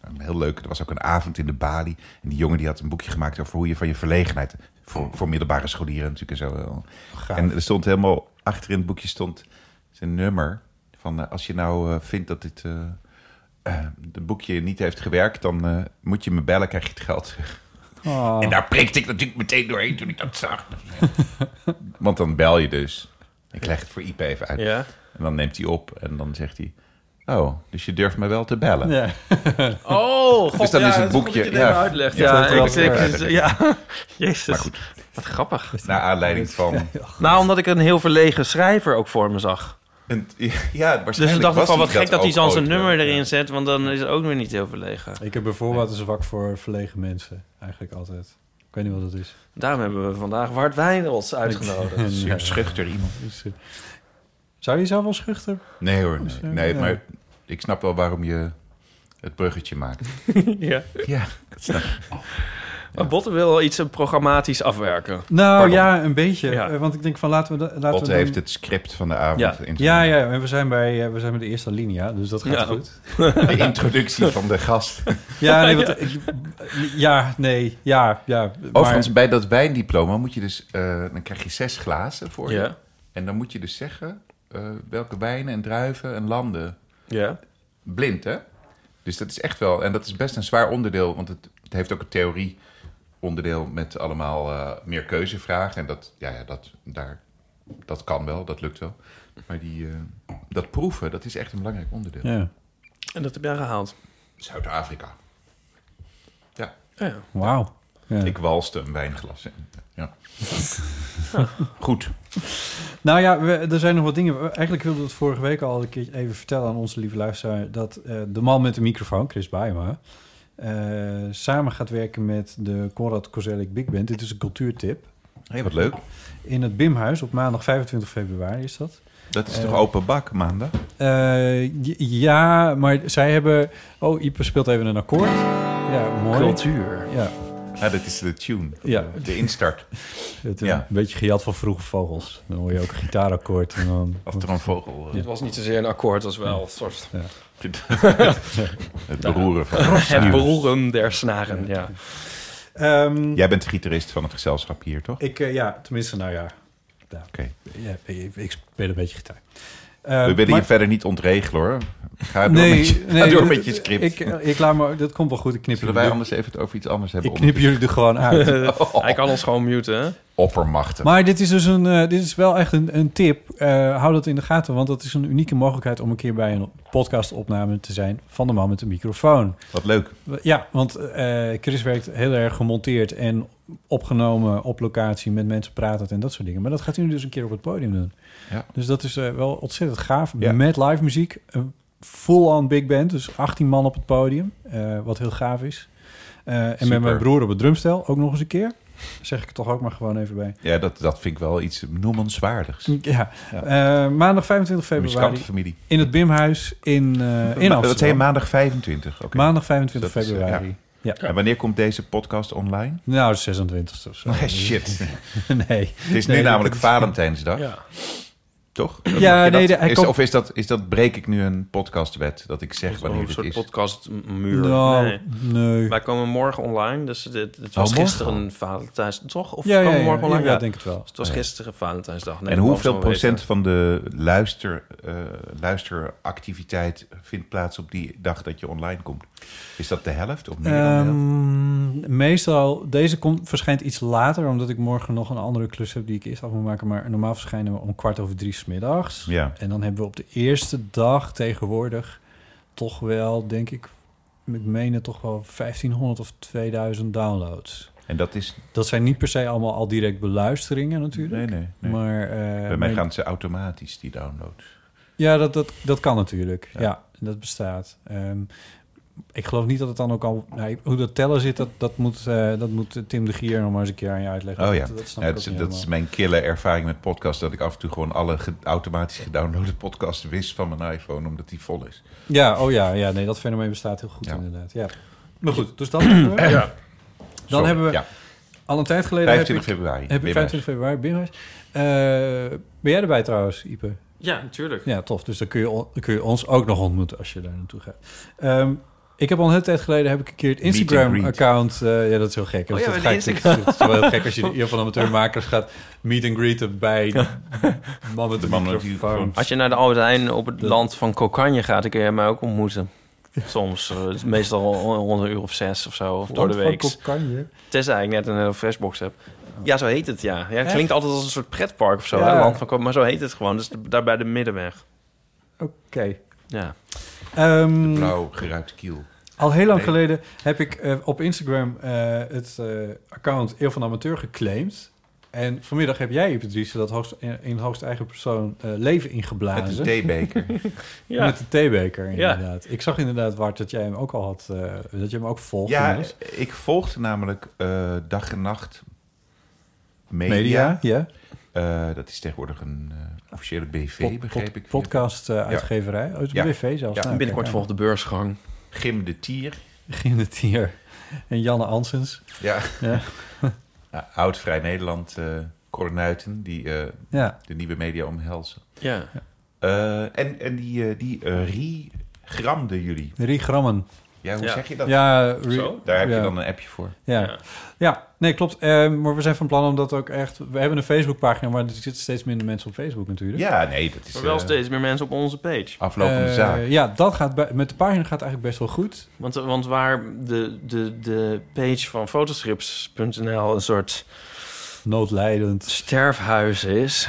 een heel leuk. Er was ook een avond in de Bali. En die jongen die had een boekje gemaakt over hoe je van je verlegenheid... voor, voor middelbare scholieren natuurlijk en zo. wel. En er stond helemaal... achter in het boekje stond zijn nummer. Van eh, als je nou eh, vindt dat dit... eh eh, de boekje niet heeft gewerkt, dan eh, moet je me bellen, krijg je het geld terug. Oh. En daar prikte ik natuurlijk meteen doorheen toen ik dat zag. Want dan bel je dus. Ik leg het voor IP even uit. Ja. En dan neemt hij op en dan zegt hij... Oh, dus je durft mij wel te bellen. Ja. Oh, god, Dus dan ja, is het dat goed boekje- dat je het ja. even uitlegt. Ja, Ja, dat ik, klopt. ik- Ja. ja. Jezus. Maar goed, Wat grappig. naar aanleiding van... Nou, omdat ik een heel verlegen schrijver ook voor me zag. Een, ja, waarschijnlijk Dus ik dacht was van wat gek dat hij ook dan zijn ooit nummer wel. erin zet, want dan is het ook weer niet heel verlegen. Ik heb bijvoorbeeld een zwak voor verlegen mensen. Eigenlijk altijd. Ik weet niet wat dat is. Daarom hebben we vandaag Wart Wijnrots uitgenodigd. Ja. Zeer schuchter iemand. Dus, eh, Zou je jezelf wel schuchter? Nee hoor, nee. zo, Nee, ja. maar ik snap wel waarom je het bruggetje maakt. ja. Ja, dat snap ik. Maar Botte wil wel iets eh, programmatisch afwerken. Nou Pardon. ja, een beetje. Ja. Eh, want ik denk van laten we... dat- Laten Bot we dan- heeft het script van de avond. Ja. in zijn- Ja, ja, en we zijn bij, eh, we zijn bij de eerste linia, dus dat gaat Ja. goed. De introductie van de gast. Ja, nee, want, ik- ja, nee, ja, ja. Overigens, bij dat wijndiploma moet je dus... eh, dan krijg je zes glazen voor je. Ja. En dan moet je dus zeggen eh, welke wijnen en druiven en landen. Ja. Blind, hè? Dus dat is echt wel... En dat is best een zwaar onderdeel, want het, het heeft ook een theorie onderdeel met allemaal eh, meer keuzevragen. En dat, ja, ja, dat, daar, dat kan wel, dat lukt wel. Maar die, eh, dat proeven, dat is echt een belangrijk onderdeel. maar- ja. En dat heb jij gehaald. Zuid-Afrika. Ja, Ja, ja. Wauw. Ja. ik walste een wijnglas in. Ja. Goed. Nou ja, we, er zijn nog wat dingen. We- Eigenlijk wilden we het vorige week al een keer even vertellen aan onze lieve luisteraar... dat eh, de man met de microfoon, Chris Baima... eh, samen gaat werken met de Conrad Kozelik Big Band. Dit is een cultuurtip. Hé, wat leuk. In het Bimhuis op maandag 25 februari is dat. Dat is Eh, toch open bak maandag? Eh, j- ja, maar zij hebben... Oh, Ipe speelt even een akkoord. Ja, mooi. Cultuur. Ja, Ja, dat is de tune. Ja. De instart. het, Ja. een beetje gejat van vroege vogels. Dan hoor je ook een gitaarakkoord. En dan, Als er een vogel... eh, Dit was niet zozeer een akkoord als wel een soort Het beroeren van. het beroeren der snaren. Ja. Ehm, Jij bent de gitarist van het gezelschap hier, toch? Ik, eh, ja, tenminste, nou ja. ja. Oké. Ja, ik, ik speel een beetje gitaar. Ehm, We willen je verder niet ontregelen, hoor. Ga door, Eh, nee, met, je, ga nee, door dat- met je script. Ik, ik laat maar, dat komt wel goed. Ik knip Zullen jullie, wij er- anders even het over iets anders hebben? ik knip jullie er gewoon uit. Hij kan ons gewoon muten. hè? Oppermachten. maar dit is dus een, eh, dit is wel echt een, een tip. Eh, hou dat in de gaten, want dat is een unieke mogelijkheid om een keer bij een podcastopname te zijn van de man met de microfoon. Wat leuk. Ja, want eh, Chris werkt heel erg gemonteerd en opgenomen op locatie met mensen pratend en dat soort dingen. Maar dat gaat hij nu dus een keer op het podium doen. Ja. Dus dat is eh, wel ontzettend gaaf. Ja. Met live muziek, een full-on big band, dus 18 man op het podium, eh, wat heel gaaf is. Eh, en Super. met mijn broer op het drumstel ook nog eens een keer. Zeg ik er toch ook maar gewoon even bij. Ja, dat, dat vind ik wel iets noemenswaardigs. Ja, Eh, maandag 25 februari Muzikantenfamilie. in het Bimhuis in, eh, in Ma- Dat is Amsterdam. maandag 25. Oké. Maandag 25 Dat is, eh, februari. En wanneer komt deze podcast online? Nou, 26 of zo. Oh, shit. nee. Het is nu Nee, dat namelijk is- Valentijnsdag, Ja. toch? Ja, Mag je nee, dat? de- hij is, komt- Of is dat, is dat, breek ik nu een podcastwet? Dat ik zeg Oh, wanneer een dit soort is. podcastmuur. Nou, Nee. nee. Wij komen morgen online, dus dit, het was Oh, morgen gisteren Valentijns... Toch? Of Ja, komen ja, we ja, morgen online? ja, Ja. denk het wel. Het was gisteren Valentijnsdag. Nee, en dat hoeveel mogen we wel procent weten. van de luister, eh, luisteractiviteit vindt plaats op die dag dat je online komt? Is dat de helft of meer dan de helft? Ehm, meestal, deze komt, verschijnt iets later, omdat ik morgen nog een andere klus heb die ik eerst af moet maken. Maar normaal verschijnen we om kwart over drie 's middags. Ja. En dan hebben we op de eerste dag tegenwoordig toch wel, denk ik, ik meen het toch wel 1500 of 2000 downloads. En dat is... Dat zijn niet per se allemaal al direct beluisteringen natuurlijk. Nee, nee, nee. Maar, eh, Bij maar- mij gaan ze automatisch, die downloads. Ja, dat, dat, dat kan natuurlijk. Ja. Ja, dat bestaat. Ehm, ik geloof niet dat het dan ook al... nou, ik- hoe dat tellen zit, dat, dat, moet, eh, dat moet Tim de Gier nog maar eens een keer aan je uitleggen. Oh ja, dat, dat snap Ja, ik dat, is, ook niet dat is helemaal. mijn kille ervaring met podcasts. Dat ik af en toe gewoon alle ge- automatisch gedownloade podcasts wist van mijn iPhone. Omdat die vol is. Ja, oh ja, ja, nee, dat fenomeen bestaat heel goed Ja. inderdaad. Ja. Maar goed, dus dan hebben we, Sorry, hebben we- Ja, al een tijd geleden... heb 25 ik, februari. heb ik Weer 25 februari binnenhuis. Eh, ben jij erbij trouwens, Ipe? Ja, natuurlijk. Ja, tof. Dus dan kun je, on- dan kun je ons ook nog ontmoeten als je daar naartoe gaat. Ehm, ik heb al een hele tijd geleden heb ik een keer het Meet and Instagram-account. eh, ja, dat is heel gek. Oh Want ja, dat, bij de ga ik- dat is wel heel gek als je hier van amateurmakers gaat meet and greeten bij de man met de, De man met die microfoon. microfoon. Als je naar de Albert Heijn op het Dat- land van Kokanje gaat, dan kun je mij ook ontmoeten. Soms, eh, het is meestal rond een uur of zes of zo, of door de week. Kan je? Tenzij ik net een hele freshbox heb. Ja, zo heet het, ja. ja het Echt? klinkt altijd als een soort pretpark of zo, Ja. hè, land van Kokanje. Maar zo heet het gewoon, dus de- daar bij de middenweg. Oké. Ja. Ehm, een Blauw geruit kiel. al heel lang Nee. geleden heb ik eh, op Instagram eh, het eh, account Eeuw van de Amateur geclaimd. En vanmiddag heb jij, Patrice, dat hoogst, in, in hoogst eigen persoon eh, leven ingeblazen. Met een theebeker. Ja. Met de theebeker, inderdaad. Ik zag inderdaad, Wart, dat jij hem ook al had... eh, dat je hem ook volgt. ja, inmiddels. ik volgde namelijk eh, dag en nacht media. media. Ja, Eh, dat is tegenwoordig een eh, officiële BV, Pod- begreep pod- ik. podcast-uitgeverij. Oh, het is een Ja. BV zelfs. Ja. Nou, Binnenkort kijk volgt aan. de beursgang. Gim de Tier. Gim de Tier en Janne Ansens. Ja. Ja. Nou, Oud Vrij Nederland, eh Cornuiten, die eh, Ja, de nieuwe media omhelzen. Ja. Eh, en, en die, eh, die eh, regramden jullie. Rie Grammen. Ja, hoe Ja. zeg je dat? Ja, re- Zo? Daar heb ja. je dan een appje voor. Ja. Ja. Ja. nee, klopt. Eh, maar we zijn van plan om dat ook echt... We hebben een Facebookpagina, maar er zitten steeds minder mensen op Facebook natuurlijk. Ja, nee, dat is Maar Dus, wel eh, steeds meer mensen op onze page. aflopende Eh, zaak. Ja, dat gaat bij- met de pagina gaat het eigenlijk best wel goed. Want, want waar de, de, de page van fotostrips.nl een soort Noodlijdend. sterfhuis is...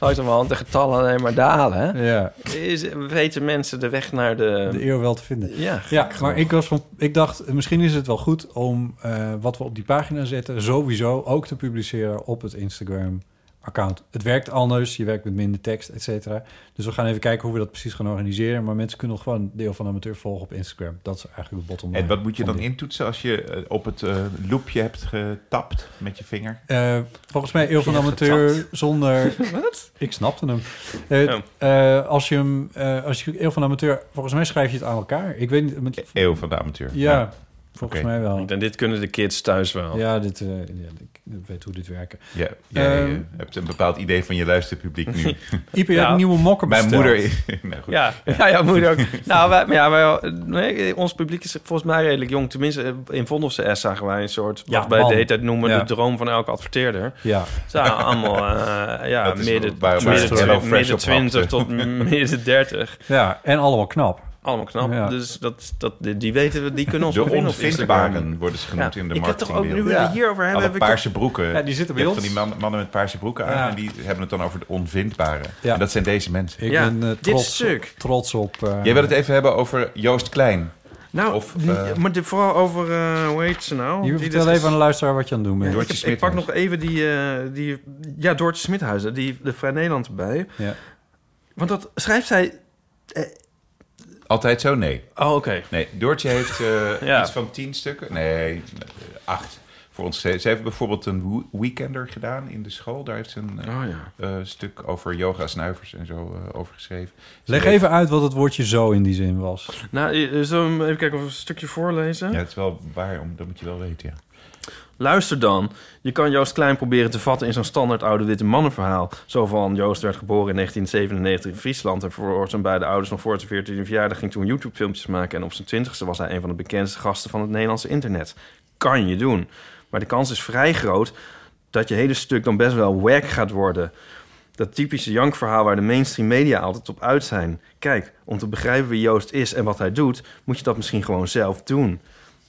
langzamerhand de getallen alleen maar dalen, hè? Ja, Is, weten mensen de weg naar de... de eer wel te vinden. ja, Ja, maar ik, was van, ik dacht, misschien is het wel goed om eh, wat we op die pagina zetten... sowieso ook te publiceren op het Instagram-account. Het werkt anders, je werkt met minder tekst, et cetera. Dus we gaan even kijken hoe we dat precies gaan organiseren. Maar mensen kunnen gewoon deel van amateur volgen op Instagram. Dat is eigenlijk de bottom line. En wat moet je van dan dit. intoetsen als je eh, op het eh, loopje hebt getapt met je vinger? Eh, volgens mij Eeuw van de Amateur zonder... Wat? Ik snapte hem. Eh, Oh. eh, als je hem... eh, als je Eeuw van de Amateur... Volgens mij schrijf je het aan elkaar. Ik weet niet... met- E-, Eeuw van de amateur. ja, volgens Oké. mij wel. En dit kunnen de kids thuis wel. Ja, dit, eh, ja, ik weet hoe dit werkt. Ja, jij Ehm. eh, hebt een bepaald idee van je luisterpubliek nu. Ipe, je Ja. hebt nieuwe mokken Mijn besteld. moeder... nou goed. Ja, ja, ja moeder ook. nou, wij, maar ja, wij, nee, ons publiek is volgens mij redelijk jong. Tenminste, in Vondelfse S zagen wij een soort... Ja, wat wij man. de hele tijd noemen Ja. de droom van elke adverteerder. Ja, Ze waren allemaal eh, ja, Dat is midden, waar- waar midden, Hello Fresh midden op 20 hapte. tot midden 30. ja, en allemaal knap. Allemaal knap. Ja. Dus dat, dat, die, die weten we, die kunnen ons De wel vinden op Instagram. onvindbaren worden ze Ja, genoemd in de ik heb toch ook, nu marketingwereld. we het hierover hebben, Alle heb ik paarse broeken. Ja, die zitten bij Je hebt ons. van die man- mannen met paarse broeken aan Ja. en die hebben het dan over de onvindbare. Ja. En dat zijn deze mensen. Ik Ja, ben eh, dit trots, stuk. trots op... eh, Jij wil het even hebben over Joost Klein. Nou, Of, n- eh, maar dit vooral over, eh, hoe heet ze nou? Hier, Die vertel dit even aan de is- luisteraar wat je aan het doen bent. Doortje ik, heb- ik pak Smithuis. nog even die, eh, die ja, Doortje Smithuizen, die, de Vrij Nederland erbij. Ja. Want dat schrijft zij... Altijd zo? Nee. Oh, oké. Nee, Doortje heeft eh, Ja. iets van tien stukken. Nee, eh, acht. Voor ons. Ze ze heeft bijvoorbeeld een wo- weekender gedaan in de school. Daar heeft ze een eh, Oh ja. eh, stuk over yoga, snuivers en zo eh, over geschreven. Ze Leg weet- even uit wat het woordje zo in die zin was. Nou, eh, zullen we hem even kijken of we een stukje voorlezen? Ja, het is wel waar, om, dat moet je wel weten, ja. Luister dan. Je kan Joost Klein proberen te vatten in zo'n standaard oude witte mannenverhaal. Zo van Joost werd geboren in 1997 in Friesland... en voor zijn beide ouders nog voor zijn 14e verjaardag... ging toen YouTube-filmpjes maken... en op zijn 20ste was hij een van de bekendste gasten van het Nederlandse internet. Kan je doen. Maar de kans is vrij groot dat je hele stuk dan best wel wack gaat worden... Dat typische jankverhaal waar de mainstream media altijd op uit zijn. Kijk, om te begrijpen wie Joost is en wat hij doet, moet je dat misschien gewoon zelf doen.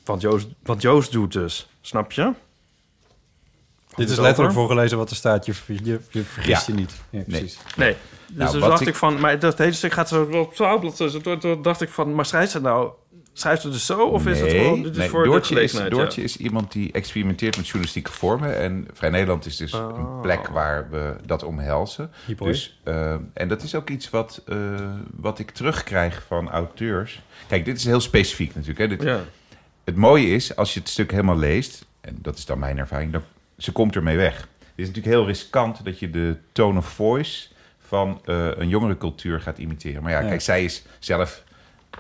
Wat Joost, wat Joost doet dus, snap je? Dit is over. letterlijk voorgelezen wat er staat. Je, je, je vergist Ja. je niet. Ja, precies. Nee. Dus Nou, toen wat dacht ik- ik... van, maar dat hele stuk gaat zo op twaalf Toen toen dacht ik van, maar schrijft ze nou, schrijft ze dus zo? Of is het gewoon, dit is nee, voor Doortje, de is, gelegenheid, Doortje ja. is iemand die experimenteert met journalistieke vormen. En Vrij Nederland is dus Oh. een plek waar we dat omhelzen. Hiphoi. Dus, eh, en dat is ook iets wat, eh, wat ik terugkrijg van auteurs. Kijk, dit is heel specifiek natuurlijk. Hè? Dit, Ja. Het mooie is, als je het stuk helemaal leest... en dat is dan mijn ervaring, dan, ze komt ermee weg. Het is natuurlijk heel riskant dat je de tone of voice... van eh, een jongere cultuur gaat imiteren. Maar ja, Ja. kijk, zij is zelf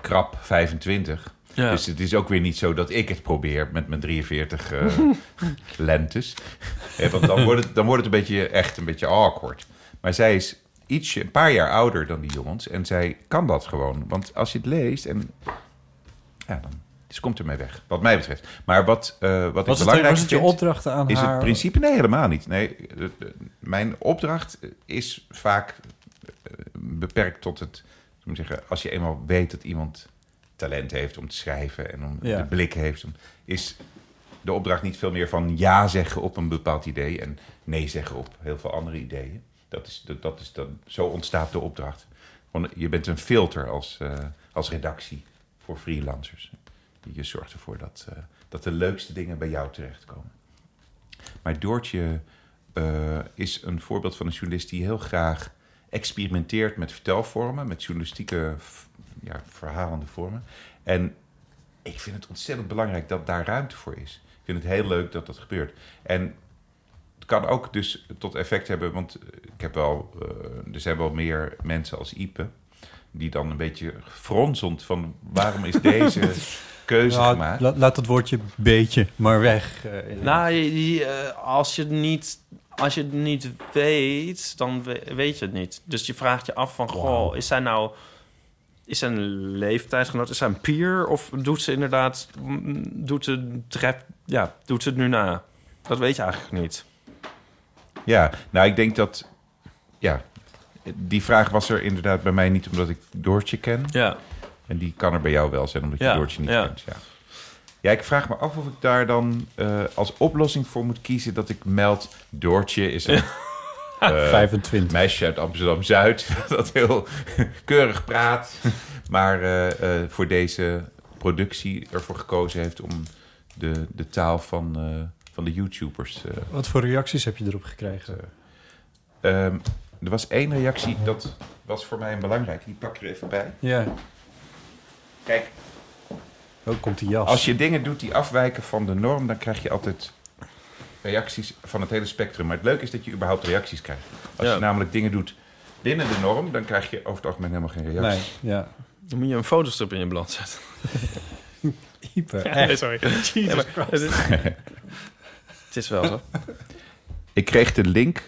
krap 25... Ja. Dus het is ook weer niet zo dat ik het probeer met mijn 43 eh, lentes. Hè, want dan wordt, het, dan wordt het een beetje echt een beetje awkward. Maar zij is ietsje, een paar jaar ouder dan die jongens. En zij kan dat gewoon. Want als je het leest en... Ja, dan dus komt ermee weg. Wat mij betreft. Maar wat, eh, wat ik Was, het, belangrijk was het je vind... opdrachten aan Is haar? het principe? Nee, helemaal niet. Nee, eh, eh, mijn opdracht is vaak eh, beperkt tot het... ik moet zeggen, als je eenmaal weet dat iemand talent heeft om te schrijven... en om Ja. de blik heeft, om- is de opdracht niet veel meer van ja zeggen op een bepaald idee... en nee zeggen op heel veel andere ideeën. Dat is, dat, dat is dan, zo ontstaat de opdracht. Want je bent een filter als, eh, als redactie voor freelancers. Je zorgt ervoor dat, eh, dat de leukste dingen bij jou terechtkomen. Maar Doortje eh, is een voorbeeld van een journalist die heel graag experimenteert met vertelvormen, met journalistieke f- ja, verhalende vormen. En ik vind het ontzettend belangrijk dat daar ruimte voor is. Ik vind het heel leuk dat dat gebeurt. En het kan ook dus tot effect hebben, want ik heb wel, eh, er zijn wel meer mensen als Ipe die dan een beetje fronsend van waarom is deze keuze Nou, gemaakt. la- laat dat woordje beetje maar weg. eh, in- Nou, je- je, eh, als, je het niet, als je het niet weet, dan we- weet je het niet. Dus je vraagt je af van, goh, is zij nou... Is zij een leeftijdsgenoot? Is zij een peer? Of doet ze inderdaad... mm, Doet ze, trap, ja, doet ze het nu na? Dat weet je eigenlijk niet. Ja, nou, ik denk dat. Ja, die vraag was er inderdaad bij mij niet omdat ik Doortje ken. Ja. En die kan er bij jou wel zijn omdat je Ja, Doortje niet ja. kent. Ja. ja, ik vraag me af of ik daar dan eh, als oplossing voor moet kiezen dat ik meld. Doortje is een Eh, eh, 25. meisje uit Amsterdam Zuid dat heel keurig praat. Maar eh, eh, voor deze productie ervoor gekozen heeft om de, de taal van, eh, van de YouTubers eh, Wat voor reacties heb je erop gekregen? Ehm, er was één reactie, dat was voor mij een belangrijke. Die pak ik er even bij. Ja, Kijk, ook Oh, komt die jas. als je dingen doet die afwijken van de norm, dan krijg je altijd reacties van het hele spectrum. Maar het leuke is dat je überhaupt reacties krijgt. Als Ja. je namelijk dingen doet binnen de norm, dan krijg je over het algemeen helemaal geen reacties. Nee, ja. Dan moet je een fotostrip in je blad zetten. Hyper. nee, sorry. het, is, het is wel zo. Ik kreeg de link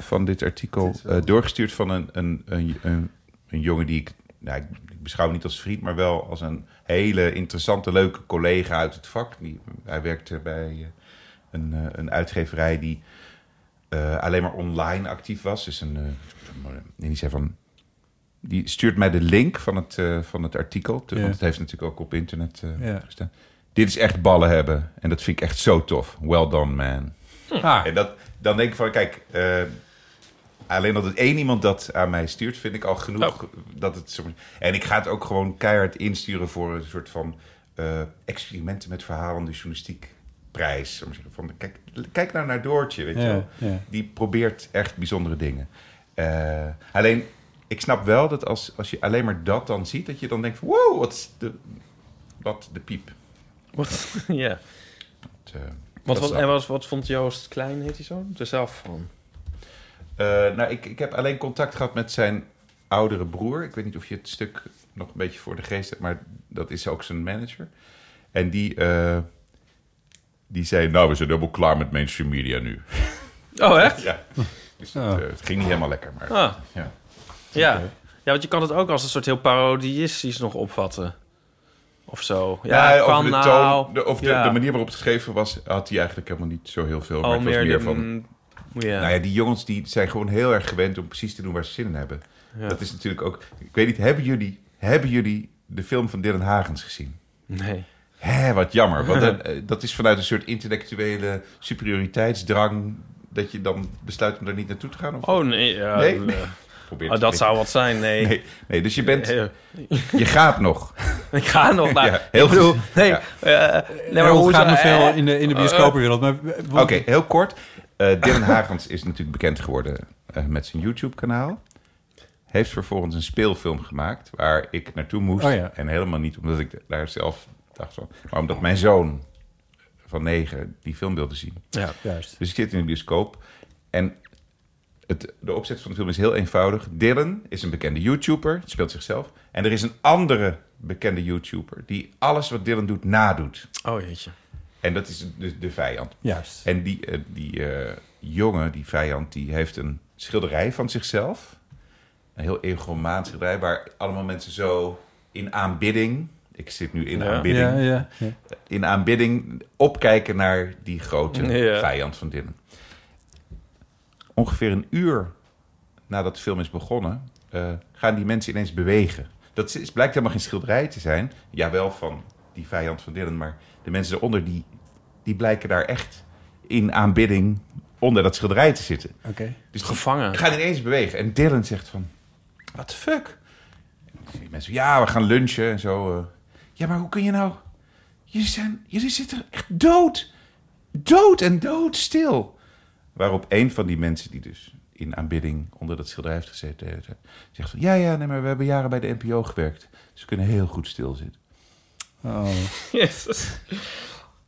van dit artikel eh, doorgestuurd van een, een, een, een, een jongen die ik, nou, ik ik beschouw niet als vriend, maar wel als een hele interessante, leuke collega uit het vak. Die, hij werkte bij eh, een, eh, een uitgeverij die eh, alleen maar online actief was. Dus een, eh, en die zei van. Die stuurt mij de link van het, eh, van het artikel. Ja. Want het heeft natuurlijk ook op internet eh, Ja. gestaan. Dit is echt ballen hebben. En dat vind ik echt zo tof. Well done, man. Ah, En dat, dan denk ik van, kijk, eh, alleen dat het één iemand dat aan mij stuurt, vind ik al Oh. genoeg. Dat het, zo- en ik ga het ook gewoon keihard insturen voor een soort van eh, experimenten met verhalende journalistiek prijs. Om te zeggen Van, kijk, kijk nou naar Doortje, weet je ja, wel. ja. Die probeert echt bijzondere dingen. Eh, alleen, ik snap wel dat als, als je alleen maar dat dan ziet, dat je dan denkt van, wow, wat is de, wat de piep. Wat? Ja. Het, eh, dat Wat, wat, snap en ik. wat, wat vond Joost Klein, heet hij zo? Er zelf van. Eh, nou, ik, ik heb alleen contact gehad met zijn oudere broer. Ik weet niet of je het stuk nog een beetje voor de geest hebt, maar dat is ook zijn manager. En die, eh, die zei: Nou, we zijn helemaal klaar met mainstream media nu. Oh, echt? ja. Dus Oh. het, eh, het ging niet helemaal lekker, maar. Ah. Ja. Ja. ja, want je kan het ook als een soort heel parodistisch nog opvatten. Of zo. Ja, Ja, kan over de nou, toon, de, of de, ja. de manier waarop het geschreven was, had hij eigenlijk helemaal niet zo heel veel. Maar Al het was meer, meer de- van. Ja. Nou ja, die jongens die zijn gewoon heel erg gewend om precies te doen waar ze zin in hebben. Ja. Dat is natuurlijk ook. Ik weet niet, hebben jullie, hebben jullie de film van Dylan Hagens gezien? Nee. eh, Hé, wat jammer. Want dat, eh, dat is vanuit een soort intellectuele superioriteitsdrang dat je dan besluit om daar niet naartoe te gaan? Of Oh nee, ja, Nee, eh, nee. probeer ah, te dat spreken? zou wat zijn. Nee, Nee, nee, dus je, bent, Eh, je gaat nog. ik ga nog naar. Ja, heel bedoel, goed. nee, Ja. eh, nee, Er maar hoe ontgaat zou- me eh, veel in de, in de bioscopenwereld. Maar Oké, heel kort. Eh Dylan Hagens is natuurlijk bekend geworden eh, met zijn YouTube-kanaal. Heeft vervolgens een speelfilm gemaakt waar ik naartoe moest. Oh ja. En helemaal niet omdat ik daar zelf dacht van. Maar omdat mijn zoon van negen die film wilde zien. Ja. Juist. Dus ik zit in de bioscoop. En het, de opzet van de film is heel eenvoudig. Dylan is een bekende YouTuber, speelt zichzelf. En er is een andere bekende YouTuber die alles wat Dylan doet nadoet. Oh jeetje. En dat is de, de vijand. Juist. En die, eh, die eh, jongen, die vijand, die heeft een schilderij van zichzelf. Een heel egomaan schilderij waar allemaal mensen zo in aanbidding... Ik zit nu in Ja. aanbidding Ja, ja, ja. in aanbidding opkijken naar die grote Ja. vijand van Dylan. Ongeveer een uur nadat de film is begonnen, eh, gaan die mensen ineens bewegen. Dat is, blijkt helemaal geen schilderij te zijn. Jawel, van die vijand van Dylan, maar de mensen eronder, die, die blijken daar echt in aanbidding onder dat schilderij te zitten. Oké. Dus die Gevangen. gaan ineens bewegen. En Dylan zegt van, what the fuck? En die mensen, ja, we gaan lunchen en zo. eh. Ja, maar hoe kun je nou... Jullie, zijn, jullie zitten echt dood. Dood en doodstil. Waarop een van die mensen die dus in aanbidding onder dat schilderij heeft gezeten... eh, zegt van, ja, ja, nee, maar we hebben jaren bij de NPO gewerkt. Dus we kunnen heel goed stilzitten. Oh. Jezus. Is Ik